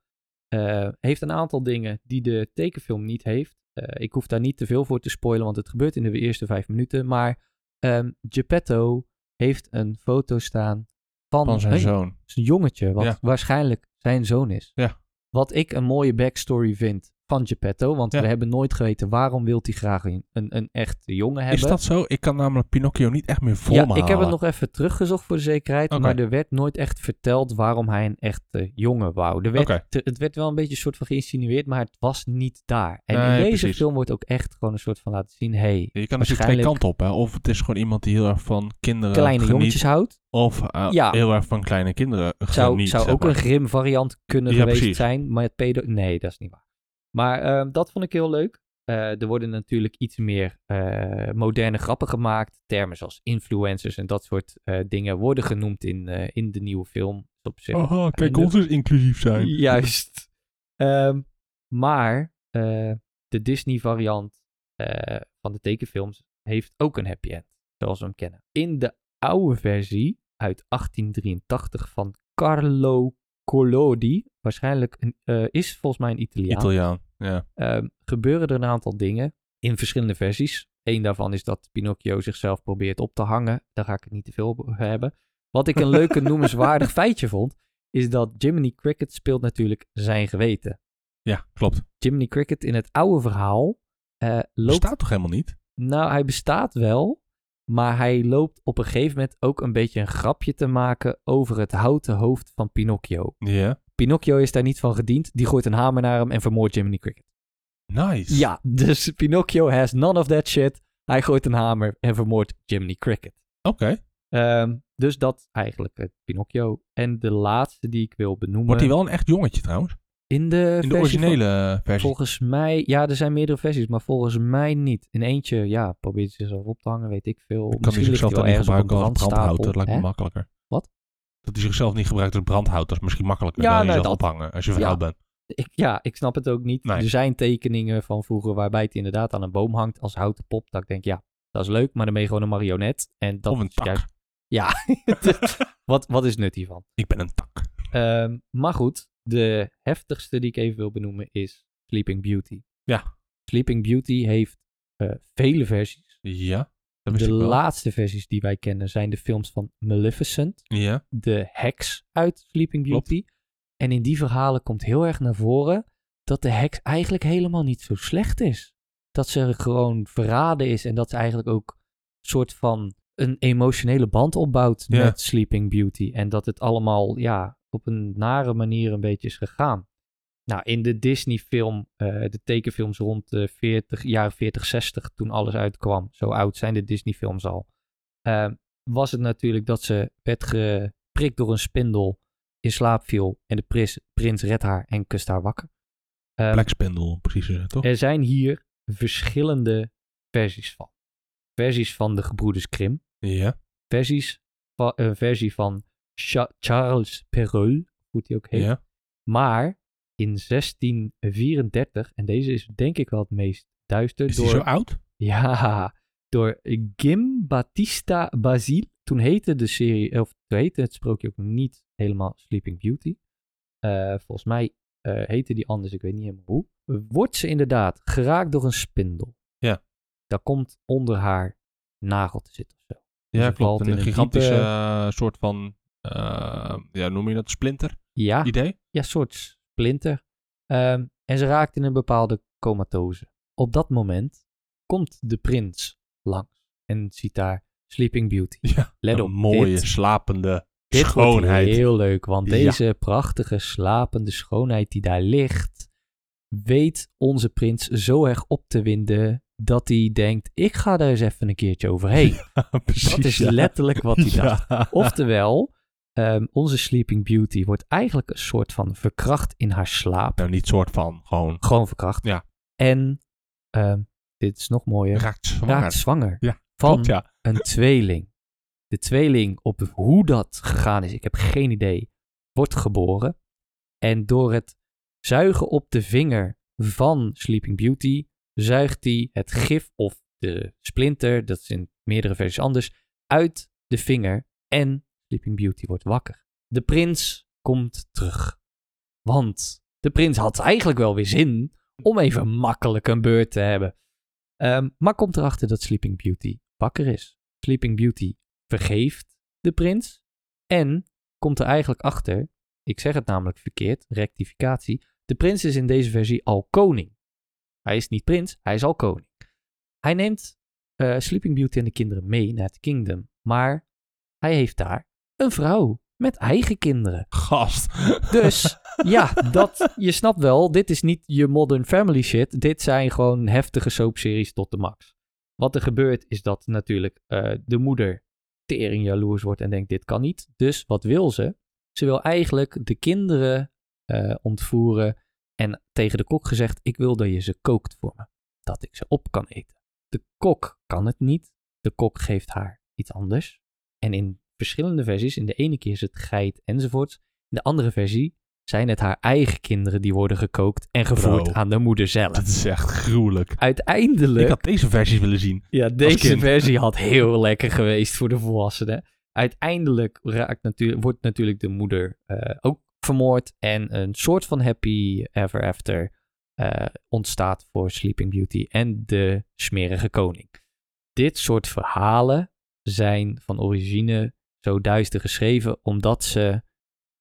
[SPEAKER 1] eh, heeft een aantal dingen die de tekenfilm niet heeft. Eh, ik hoef daar niet te veel voor te spoilen, want het gebeurt in de eerste vijf minuten. Maar ehm Geppetto heeft een foto staan van,
[SPEAKER 2] Van zijn
[SPEAKER 1] een
[SPEAKER 2] zoon.
[SPEAKER 1] Het is een jongetje, wat
[SPEAKER 2] Ja.
[SPEAKER 1] waarschijnlijk zijn zoon is.
[SPEAKER 2] Ja.
[SPEAKER 1] Wat ik een mooie backstory vind van Geppetto. Want
[SPEAKER 2] Ja.
[SPEAKER 1] we hebben nooit geweten waarom wil hij graag een, een, een echt jongen hebben.
[SPEAKER 2] Is dat zo? Ik kan namelijk Pinocchio niet echt meer voor
[SPEAKER 1] ja,
[SPEAKER 2] me
[SPEAKER 1] ik heb het
[SPEAKER 2] halen.
[SPEAKER 1] nog even teruggezocht voor de zekerheid.
[SPEAKER 2] Oké.
[SPEAKER 1] Maar er werd nooit echt verteld waarom hij een echte jongen wou. Er werd,
[SPEAKER 2] Oké.
[SPEAKER 1] te- het werd wel een beetje een soort van geïnsinueerd, maar het was niet daar. En
[SPEAKER 2] Nee,
[SPEAKER 1] in deze
[SPEAKER 2] precies.
[SPEAKER 1] film wordt ook echt gewoon een soort van laten zien... hey,
[SPEAKER 2] Je kan natuurlijk twee
[SPEAKER 1] waarschijnlijk-
[SPEAKER 2] kanten op, hè. Of het is gewoon iemand die heel erg van kinderen
[SPEAKER 1] kleine
[SPEAKER 2] geniet.
[SPEAKER 1] jongetjes houdt.
[SPEAKER 2] Of eh,
[SPEAKER 1] Ja.
[SPEAKER 2] heel erg van kleine kinderen
[SPEAKER 1] Zou,
[SPEAKER 2] geniet.
[SPEAKER 1] zou
[SPEAKER 2] zeg
[SPEAKER 1] ook
[SPEAKER 2] maar.
[SPEAKER 1] een grim variant kunnen
[SPEAKER 2] Ja,
[SPEAKER 1] geweest
[SPEAKER 2] precies.
[SPEAKER 1] zijn. Maar het pedo... Nee, dat is niet waar. Maar ehm, dat vond ik heel leuk. Eh, er worden natuurlijk iets meer eh, moderne grappen gemaakt. Termen zoals influencers en dat soort eh, dingen worden genoemd in, eh, in de nieuwe film. Dus Op zich
[SPEAKER 2] Aha, kijk,
[SPEAKER 1] En-
[SPEAKER 2] ons is inclusief zijn.
[SPEAKER 1] Juist. Ehm, maar eh, de Disney-variant eh, van de tekenfilms heeft ook een happy end, zoals we hem kennen. In de oude versie uit 1883 van Carlo Collodi, waarschijnlijk een, eh, is volgens mij een Italiaan,
[SPEAKER 2] Italiaan, ja.
[SPEAKER 1] ehm, gebeuren er een aantal dingen in verschillende versies. Eén daarvan is dat Pinocchio zichzelf probeert op te hangen. Daar ga ik het niet te veel over hebben. Wat ik een leuke noemenswaardig feitje vond, is dat Jiminy Cricket speelt natuurlijk zijn geweten.
[SPEAKER 2] Ja, klopt.
[SPEAKER 1] Jiminy Cricket in het oude verhaal eh, loopt...
[SPEAKER 2] Bestaat toch helemaal niet?
[SPEAKER 1] Nou, hij bestaat wel, maar hij loopt op een gegeven moment ook een beetje een grapje te maken over het houten hoofd van Pinocchio.
[SPEAKER 2] Ja.
[SPEAKER 1] Pinocchio is daar niet van gediend. Die gooit een hamer naar hem en vermoordt Jiminy Cricket.
[SPEAKER 2] Nice.
[SPEAKER 1] Ja, dus Pinocchio has none of that shit. Hij gooit een hamer en vermoordt Jiminy Cricket.
[SPEAKER 2] Oké.
[SPEAKER 1] Ehm, dus dat eigenlijk het Pinocchio. En de laatste die ik wil benoemen.
[SPEAKER 2] Wordt hij wel een echt jongetje trouwens?
[SPEAKER 1] in de,
[SPEAKER 2] In de
[SPEAKER 1] Eh, versie van-
[SPEAKER 2] originele eh, versie.
[SPEAKER 1] volgens mij, ja, er zijn meerdere versies, maar volgens mij niet. In eentje, ja, probeert hij zichzelf op te hangen, weet ik veel.
[SPEAKER 2] kan hij
[SPEAKER 1] ligt
[SPEAKER 2] zichzelf dan
[SPEAKER 1] wel
[SPEAKER 2] niet
[SPEAKER 1] ergens op een
[SPEAKER 2] gebruiken als brandhout.
[SPEAKER 1] brandstapel,
[SPEAKER 2] Dat lijkt me
[SPEAKER 1] hè?
[SPEAKER 2] makkelijker.
[SPEAKER 1] Wat?
[SPEAKER 2] Dat hij zichzelf niet gebruikt als brandhout. Dat is misschien makkelijker
[SPEAKER 1] Ja,
[SPEAKER 2] dan
[SPEAKER 1] nee,
[SPEAKER 2] jezelf
[SPEAKER 1] dat-
[SPEAKER 2] ophangen als je
[SPEAKER 1] ja.
[SPEAKER 2] verhaal bent.
[SPEAKER 1] Ik, ja, ik snap het ook niet.
[SPEAKER 2] Nee.
[SPEAKER 1] Er zijn tekeningen van vroeger waarbij het inderdaad aan een boom hangt als houten pop. Dat ik denk, ja, dat is leuk, maar dan ben je gewoon een marionet. En dat
[SPEAKER 2] Of een
[SPEAKER 1] is juist-
[SPEAKER 2] tak. [LAUGHS]
[SPEAKER 1] Wat, wat is nut hiervan?
[SPEAKER 2] Ik ben een tak.
[SPEAKER 1] Ehm, maar goed, de heftigste die ik even wil benoemen is Sleeping Beauty.
[SPEAKER 2] Ja.
[SPEAKER 1] Sleeping Beauty heeft eh, vele versies.
[SPEAKER 2] Ja, dat wist
[SPEAKER 1] De
[SPEAKER 2] ik wel.
[SPEAKER 1] laatste versies die wij kennen zijn de films van Maleficent,
[SPEAKER 2] Ja,
[SPEAKER 1] de heks uit Sleeping
[SPEAKER 2] Klopt.
[SPEAKER 1] Beauty. En in die verhalen komt heel erg naar voren dat de heks eigenlijk helemaal niet zo slecht is. Dat ze gewoon verraden is en dat ze eigenlijk ook een soort van een emotionele band opbouwt
[SPEAKER 2] Ja.
[SPEAKER 1] met Sleeping Beauty. En dat het allemaal ja, op een nare manier een beetje is gegaan. Nou, in de Disney-film, eh, de tekenfilms rond de 40, jaren 40, 60, toen alles uitkwam, zo oud zijn de Disney-films al, eh, was het natuurlijk dat ze werd geprikt door een spindel, in slaap viel en de prins, prins redt haar en kust haar wakker. Ehm,
[SPEAKER 2] Black Spindle, om precies te zeggen, toch?
[SPEAKER 1] er zijn hier verschillende versies van. Versies van de gebroeders Krim.
[SPEAKER 2] Ja.
[SPEAKER 1] Versies van, een versie van Cha- Charles Perrault, hoe die ook heet.
[SPEAKER 2] ja.
[SPEAKER 1] Maar in 1634, en deze is denk ik wel het meest duister,
[SPEAKER 2] Is hij
[SPEAKER 1] door,
[SPEAKER 2] zo oud?
[SPEAKER 1] ja, door Gim Battista Basile. Toen heette de serie, of toen heette het sprookje ook niet helemaal Sleeping Beauty. Eh, volgens mij eh, heette die anders, ik weet niet helemaal hoe. Wordt ze inderdaad geraakt door een spindel.
[SPEAKER 2] Ja.
[SPEAKER 1] Daar komt onder haar nagel te zitten of zo.
[SPEAKER 2] Ja,
[SPEAKER 1] hij valt
[SPEAKER 2] klopt. Een,
[SPEAKER 1] in een
[SPEAKER 2] gigantische
[SPEAKER 1] diepe-
[SPEAKER 2] eh, soort van, eh, ja, noem je dat, splinter
[SPEAKER 1] Ja,
[SPEAKER 2] idee?
[SPEAKER 1] ja soort splinter. Ehm, en ze raakt in een bepaalde comatose. Op dat moment komt de prins langs en ziet daar Sleeping Beauty.
[SPEAKER 2] Ja.
[SPEAKER 1] Let
[SPEAKER 2] Een
[SPEAKER 1] op,
[SPEAKER 2] mooie,
[SPEAKER 1] dit-
[SPEAKER 2] slapende
[SPEAKER 1] Dit
[SPEAKER 2] schoonheid.
[SPEAKER 1] wordt heel leuk, want
[SPEAKER 2] Ja.
[SPEAKER 1] deze prachtige slapende schoonheid die daar ligt, weet onze prins zo erg op te winden dat hij denkt, ik ga daar eens even een keertje
[SPEAKER 2] [LAUGHS]
[SPEAKER 1] overheen.
[SPEAKER 2] precies,
[SPEAKER 1] Dat is
[SPEAKER 2] [LAUGHS] ja.
[SPEAKER 1] letterlijk wat
[SPEAKER 2] [LAUGHS]
[SPEAKER 1] hij dacht.
[SPEAKER 2] Ja.
[SPEAKER 1] Oftewel, ehm, onze Sleeping Beauty wordt eigenlijk een soort van verkracht in haar slaap.
[SPEAKER 2] Nou, niet soort van, gewoon
[SPEAKER 1] Gewoon verkracht.
[SPEAKER 2] Ja.
[SPEAKER 1] En, ehm, dit is nog mooier,
[SPEAKER 2] raakt zwanger.
[SPEAKER 1] raakt zwanger
[SPEAKER 2] Ja,
[SPEAKER 1] van
[SPEAKER 2] Klopt, ja.
[SPEAKER 1] een tweeling. De tweeling, op hoe dat gegaan is, ik heb geen idee, wordt geboren. En door het zuigen op de vinger van Sleeping Beauty, zuigt hij het gif of de splinter, dat is in meerdere versies anders, uit de vinger. En Sleeping Beauty wordt wakker. De prins komt terug. Want de prins had eigenlijk wel weer zin om even makkelijk een beurt te hebben. Ehm, maar komt erachter dat Sleeping Beauty wakker is. Sleeping Beauty vergeeft de prins. En komt er eigenlijk achter, ik zeg het namelijk verkeerd, rectificatie. De prins is in deze versie al koning. Hij is niet prins, hij is al koning. Hij neemt eh, Sleeping Beauty en de kinderen mee naar het kingdom. Maar hij heeft daar een vrouw met eigen kinderen.
[SPEAKER 2] Gast.
[SPEAKER 1] Dus ja, dat, je snapt wel, dit is niet je modern family shit. Dit zijn gewoon heftige soapseries tot de max. Wat er gebeurt is dat natuurlijk eh, de moeder tering jaloers wordt en denkt dit kan niet. Dus wat wil ze? Ze wil eigenlijk de kinderen eh, ontvoeren en tegen de kok gezegd ik wil dat je ze kookt voor me. Dat ik ze op kan eten. De kok kan het niet. De kok geeft haar iets anders. En in verschillende versies, in de ene keer is het geit enzovoorts. In de andere versie zijn het haar eigen kinderen die worden gekookt en gevoerd
[SPEAKER 2] Bro.
[SPEAKER 1] aan de moeder
[SPEAKER 2] Dat
[SPEAKER 1] zelf.
[SPEAKER 2] is echt gruwelijk.
[SPEAKER 1] Uiteindelijk
[SPEAKER 2] Ik had deze versies willen zien.
[SPEAKER 1] ja, deze
[SPEAKER 2] kind.
[SPEAKER 1] versie had heel lekker geweest voor de volwassenen. Uiteindelijk raakt natuurlijk, wordt natuurlijk de moeder eh, ook vermoord. En een soort van happy ever after eh, ontstaat voor Sleeping Beauty en de smerige koning. Dit soort verhalen zijn van origine zo duister geschreven omdat ze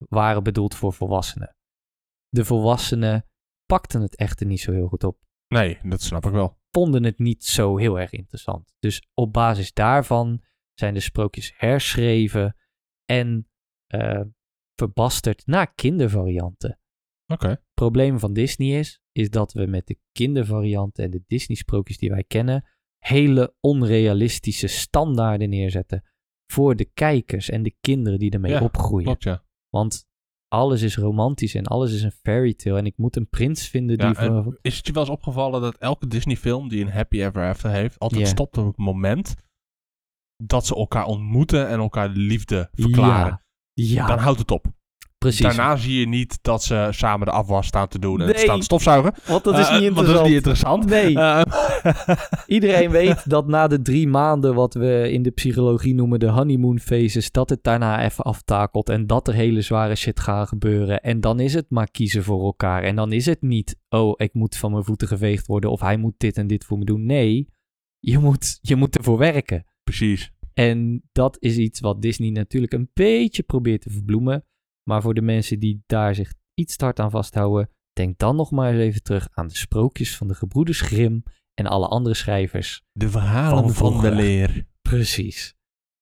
[SPEAKER 1] waren bedoeld voor volwassenen. De volwassenen pakten het echter niet zo heel goed op
[SPEAKER 2] Nee, dat snap ik wel.
[SPEAKER 1] vonden het niet zo heel erg interessant. Dus op basis daarvan zijn de sprookjes herschreven en eh, verbasterd naar kindervarianten.
[SPEAKER 2] Oké.
[SPEAKER 1] probleem van Disney is, is dat we met de kindervarianten en de Disney sprookjes die wij kennen, hele onrealistische standaarden neerzetten voor de kijkers en de kinderen die ermee
[SPEAKER 2] Ja,
[SPEAKER 1] opgroeien.
[SPEAKER 2] Klopt, ja.
[SPEAKER 1] Want alles is romantisch en alles is een fairy tale en ik moet een prins vinden die
[SPEAKER 2] Ja,
[SPEAKER 1] van-
[SPEAKER 2] en is het je wel eens opgevallen dat elke Disney-film die een Happy Ever After heeft, altijd
[SPEAKER 1] Ja.
[SPEAKER 2] stopt op het moment dat ze elkaar ontmoeten en elkaar de liefde verklaren?
[SPEAKER 1] Ja,
[SPEAKER 2] Dan
[SPEAKER 1] ja
[SPEAKER 2] houdt het op.
[SPEAKER 1] precies.
[SPEAKER 2] Daarna zie je niet dat ze samen de afwas staan te doen en
[SPEAKER 1] Nee.
[SPEAKER 2] staan te stofzuigen.
[SPEAKER 1] Want dat is
[SPEAKER 2] Eh,
[SPEAKER 1] niet
[SPEAKER 2] eh, want dat
[SPEAKER 1] interessant.
[SPEAKER 2] is niet interessant.
[SPEAKER 1] Nee,
[SPEAKER 2] Eh, [LAUGHS]
[SPEAKER 1] iedereen weet dat na de drie maanden, wat we in de psychologie noemen de honeymoon phases, dat het daarna even aftakelt en dat er hele zware shit gaan gebeuren. En dan is het maar kiezen voor elkaar. En dan is het niet, oh, ik moet van mijn voeten geveegd worden of hij moet dit en dit voor me doen. Nee, je moet, je moet ervoor werken.
[SPEAKER 2] Precies.
[SPEAKER 1] En dat is iets wat Disney natuurlijk een beetje probeert te verbloemen. Maar voor de mensen die daar zich iets te hard aan vasthouden, denk dan nog maar eens even terug aan de sprookjes van de gebroeders Grimm en alle andere schrijvers.
[SPEAKER 2] De verhalen
[SPEAKER 1] Van
[SPEAKER 2] van, de
[SPEAKER 1] vroeger.
[SPEAKER 2] leer.
[SPEAKER 1] Precies.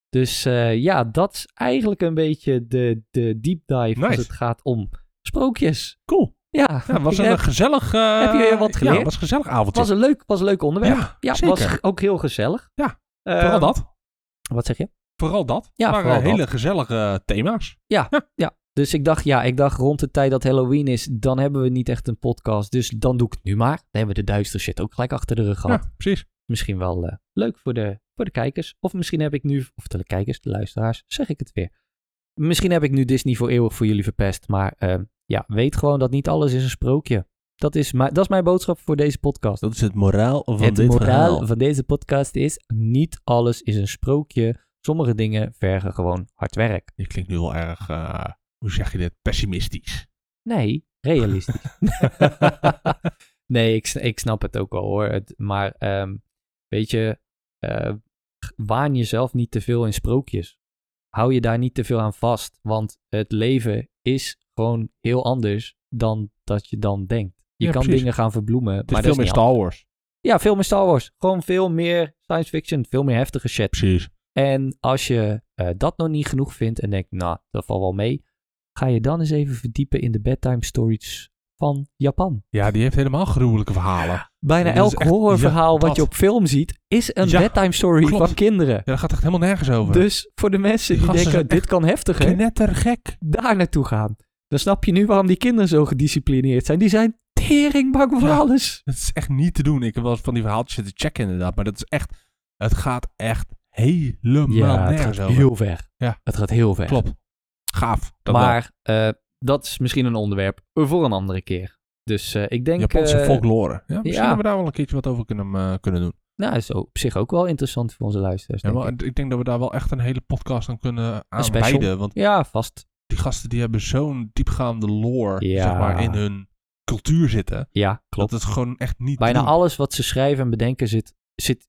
[SPEAKER 1] Dus eh, ja, dat is eigenlijk een beetje de, de deep dive als
[SPEAKER 2] Nice.
[SPEAKER 1] het gaat om sprookjes.
[SPEAKER 2] Cool.
[SPEAKER 1] Ja,
[SPEAKER 2] Ja, was
[SPEAKER 1] ik
[SPEAKER 2] een
[SPEAKER 1] heb-
[SPEAKER 2] gezellig... eh,
[SPEAKER 1] heb je weer wat geleerd?
[SPEAKER 2] Ja, was een gezellig avondje.
[SPEAKER 1] was een leuk, was een leuk onderwerp.
[SPEAKER 2] ja,
[SPEAKER 1] Ja,
[SPEAKER 2] zeker.
[SPEAKER 1] was ook heel gezellig.
[SPEAKER 2] Ja,
[SPEAKER 1] Eh,
[SPEAKER 2] vooral dat.
[SPEAKER 1] Wat zeg je?
[SPEAKER 2] Vooral dat.
[SPEAKER 1] ja,
[SPEAKER 2] maar
[SPEAKER 1] vooral
[SPEAKER 2] eh, hele gezellige thema's.
[SPEAKER 1] Dus ik dacht, ja, ik dacht rond de tijd dat Halloween is, dan hebben we niet echt een podcast. Dus dan doe ik het nu maar. Dan hebben we de duister shit ook gelijk achter de rug gehad.
[SPEAKER 2] Ja, precies.
[SPEAKER 1] Misschien wel eh, leuk voor de, voor de kijkers. Of misschien heb ik nu, of de kijkers, de luisteraars, zeg ik het weer. Misschien heb ik nu Disney voor eeuwig voor jullie verpest. Maar eh, ja, weet gewoon dat niet alles is een sprookje. Dat is, mijn- dat is mijn boodschap voor deze podcast.
[SPEAKER 2] is het moraal van
[SPEAKER 1] het moraal van deze podcast is, niet alles is een sprookje. Sommige dingen vergen gewoon hard werk.
[SPEAKER 2] Je klinkt nu wel erg, eh, hoe zeg je dit, pessimistisch.
[SPEAKER 1] Nee, realistisch. [LAUGHS] nee, ik, sn- ik snap het ook wel hoor. Het- maar ehm, weet je, eh, waan jezelf niet te veel in sprookjes. Hou je daar niet te veel aan vast, want het leven is gewoon heel anders dan dat je dan denkt. Je
[SPEAKER 2] Ja,
[SPEAKER 1] kan
[SPEAKER 2] precies.
[SPEAKER 1] dingen gaan verbloemen.
[SPEAKER 2] Het is
[SPEAKER 1] maar dat
[SPEAKER 2] veel
[SPEAKER 1] is
[SPEAKER 2] meer
[SPEAKER 1] niet
[SPEAKER 2] Star Wars.
[SPEAKER 1] Ja, veel meer Star Wars. Gewoon veel meer science fiction, veel meer heftige shit.
[SPEAKER 2] Precies.
[SPEAKER 1] En als je eh, dat nog niet genoeg vindt en denkt, nou, dat valt wel mee, ga je dan eens even verdiepen in de bedtime stories van Japan.
[SPEAKER 2] Ja, die heeft helemaal gruwelijke verhalen.
[SPEAKER 1] Bijna
[SPEAKER 2] Dat is
[SPEAKER 1] elk
[SPEAKER 2] echt-
[SPEAKER 1] horrorverhaal
[SPEAKER 2] ja,
[SPEAKER 1] wat
[SPEAKER 2] dat.
[SPEAKER 1] je op film ziet, is een
[SPEAKER 2] Ja,
[SPEAKER 1] bedtime story
[SPEAKER 2] klopt.
[SPEAKER 1] van kinderen.
[SPEAKER 2] Ja, dat gaat echt helemaal nergens over.
[SPEAKER 1] Dus voor de mensen die
[SPEAKER 2] Die gasten
[SPEAKER 1] denken,
[SPEAKER 2] zijn
[SPEAKER 1] dit kan heftiger,
[SPEAKER 2] Knettergek.
[SPEAKER 1] daar naartoe gaan. Dan snap je nu waarom die kinderen zo gedisciplineerd zijn. Die zijn teringbak voor
[SPEAKER 2] Ja.
[SPEAKER 1] alles.
[SPEAKER 2] Dat is echt niet te doen. Ik heb wel eens van die verhaaltjes zitten checken inderdaad. Maar dat is echt... Het gaat echt helemaal
[SPEAKER 1] het
[SPEAKER 2] nergens
[SPEAKER 1] gaat
[SPEAKER 2] over.
[SPEAKER 1] heel ver.
[SPEAKER 2] Ja.
[SPEAKER 1] Het gaat heel ver.
[SPEAKER 2] Klopt. Gaaf. Dat wel.
[SPEAKER 1] maar eh, dat is misschien een onderwerp voor een andere keer. Dus eh, ik denk...
[SPEAKER 2] Japanse
[SPEAKER 1] eh,
[SPEAKER 2] folklore. Ja, misschien
[SPEAKER 1] ja.
[SPEAKER 2] hebben we daar wel een keertje wat over kunnen, eh, kunnen doen.
[SPEAKER 1] Nou, is op zich ook wel interessant voor onze luisteraars.
[SPEAKER 2] Ja,
[SPEAKER 1] denk
[SPEAKER 2] maar
[SPEAKER 1] ik.
[SPEAKER 2] ik. denk dat we daar wel echt een hele podcast aan kunnen
[SPEAKER 1] special.
[SPEAKER 2] aanwijden. Want
[SPEAKER 1] ja vast.
[SPEAKER 2] die gasten die hebben zo'n diepgaande lore
[SPEAKER 1] Ja.
[SPEAKER 2] zeg maar, in hun cultuur zitten.
[SPEAKER 1] Ja, klopt.
[SPEAKER 2] Dat het gewoon echt niet te
[SPEAKER 1] Bijna
[SPEAKER 2] doen.
[SPEAKER 1] alles wat ze schrijven en bedenken zit, zit,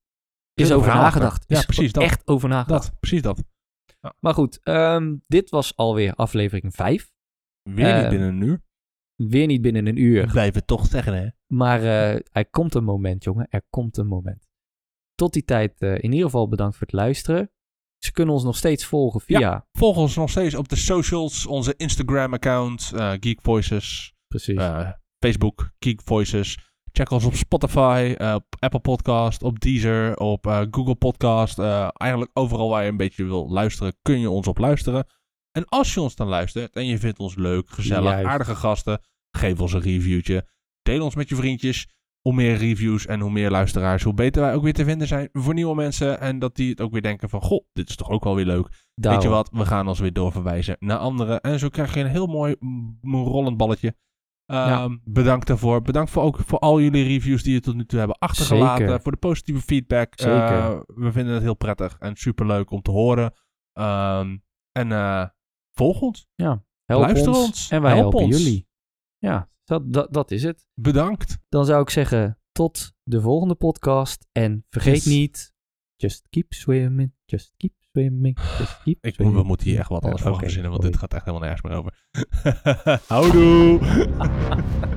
[SPEAKER 1] is
[SPEAKER 2] Heel
[SPEAKER 1] over
[SPEAKER 2] verhaal achter.
[SPEAKER 1] nagedacht.
[SPEAKER 2] Ja,
[SPEAKER 1] Is
[SPEAKER 2] precies dat.
[SPEAKER 1] Echt over nagedacht.
[SPEAKER 2] Dat, precies dat.
[SPEAKER 1] Maar goed, ehm, dit was alweer aflevering 5.
[SPEAKER 2] Weer
[SPEAKER 1] Eh,
[SPEAKER 2] niet binnen een uur.
[SPEAKER 1] Weer niet binnen een uur.
[SPEAKER 2] Blijven toch zeggen hè.
[SPEAKER 1] Maar eh, er komt een moment, jongen. Er komt een moment. Tot die tijd eh, in ieder geval bedankt voor het luisteren. Ze kunnen ons nog steeds volgen via...
[SPEAKER 2] Volg ons nog steeds op de socials. Onze Instagram-account, eh, Geek Voices.
[SPEAKER 1] Precies.
[SPEAKER 2] eh, Facebook, Geek Voices. Check ons op Spotify, eh, op Apple Podcast, op Deezer, op eh, Google Podcast. Eh, eigenlijk overal waar je een beetje wil luisteren, kun je ons op luisteren. En als je ons dan luistert en je vindt ons leuk, gezellig,
[SPEAKER 1] Juist.
[SPEAKER 2] aardige gasten, geef ons een reviewtje. Deel ons met je vriendjes. Hoe meer reviews en hoe meer luisteraars, hoe beter wij ook weer te vinden zijn voor nieuwe mensen. En dat die het ook weer denken van, goh, dit is toch ook wel weer leuk.
[SPEAKER 1] Daarom.
[SPEAKER 2] Weet je wat, we gaan ons weer doorverwijzen naar anderen. En zo krijg je een heel mooi mm, rollend balletje. Ehm,
[SPEAKER 1] Ja.
[SPEAKER 2] Bedankt daarvoor. Bedankt voor ook voor al jullie reviews die je tot nu toe hebben achtergelaten.
[SPEAKER 1] Zeker.
[SPEAKER 2] Voor de positieve feedback.
[SPEAKER 1] Zeker.
[SPEAKER 2] Eh, we vinden het heel prettig en superleuk om te horen. Ehm, en eh, volg ons.
[SPEAKER 1] Help
[SPEAKER 2] luister
[SPEAKER 1] ons,
[SPEAKER 2] ons.
[SPEAKER 1] En wij
[SPEAKER 2] Help
[SPEAKER 1] helpen
[SPEAKER 2] ons.
[SPEAKER 1] jullie. Ja, dat, dat, dat is het.
[SPEAKER 2] Bedankt.
[SPEAKER 1] Dan zou ik zeggen, tot de volgende podcast. En vergeet
[SPEAKER 2] Yes.
[SPEAKER 1] niet, just keep swimming, just keep swimming, just keep
[SPEAKER 2] Ik,
[SPEAKER 1] swimming.
[SPEAKER 2] we moeten hier echt wat anders
[SPEAKER 1] Eh,
[SPEAKER 2] voor
[SPEAKER 1] oké,
[SPEAKER 2] gaan verzinnen, want
[SPEAKER 1] sorry.
[SPEAKER 2] dit gaat echt helemaal nergens meer over. [LAUGHS] Houdoe!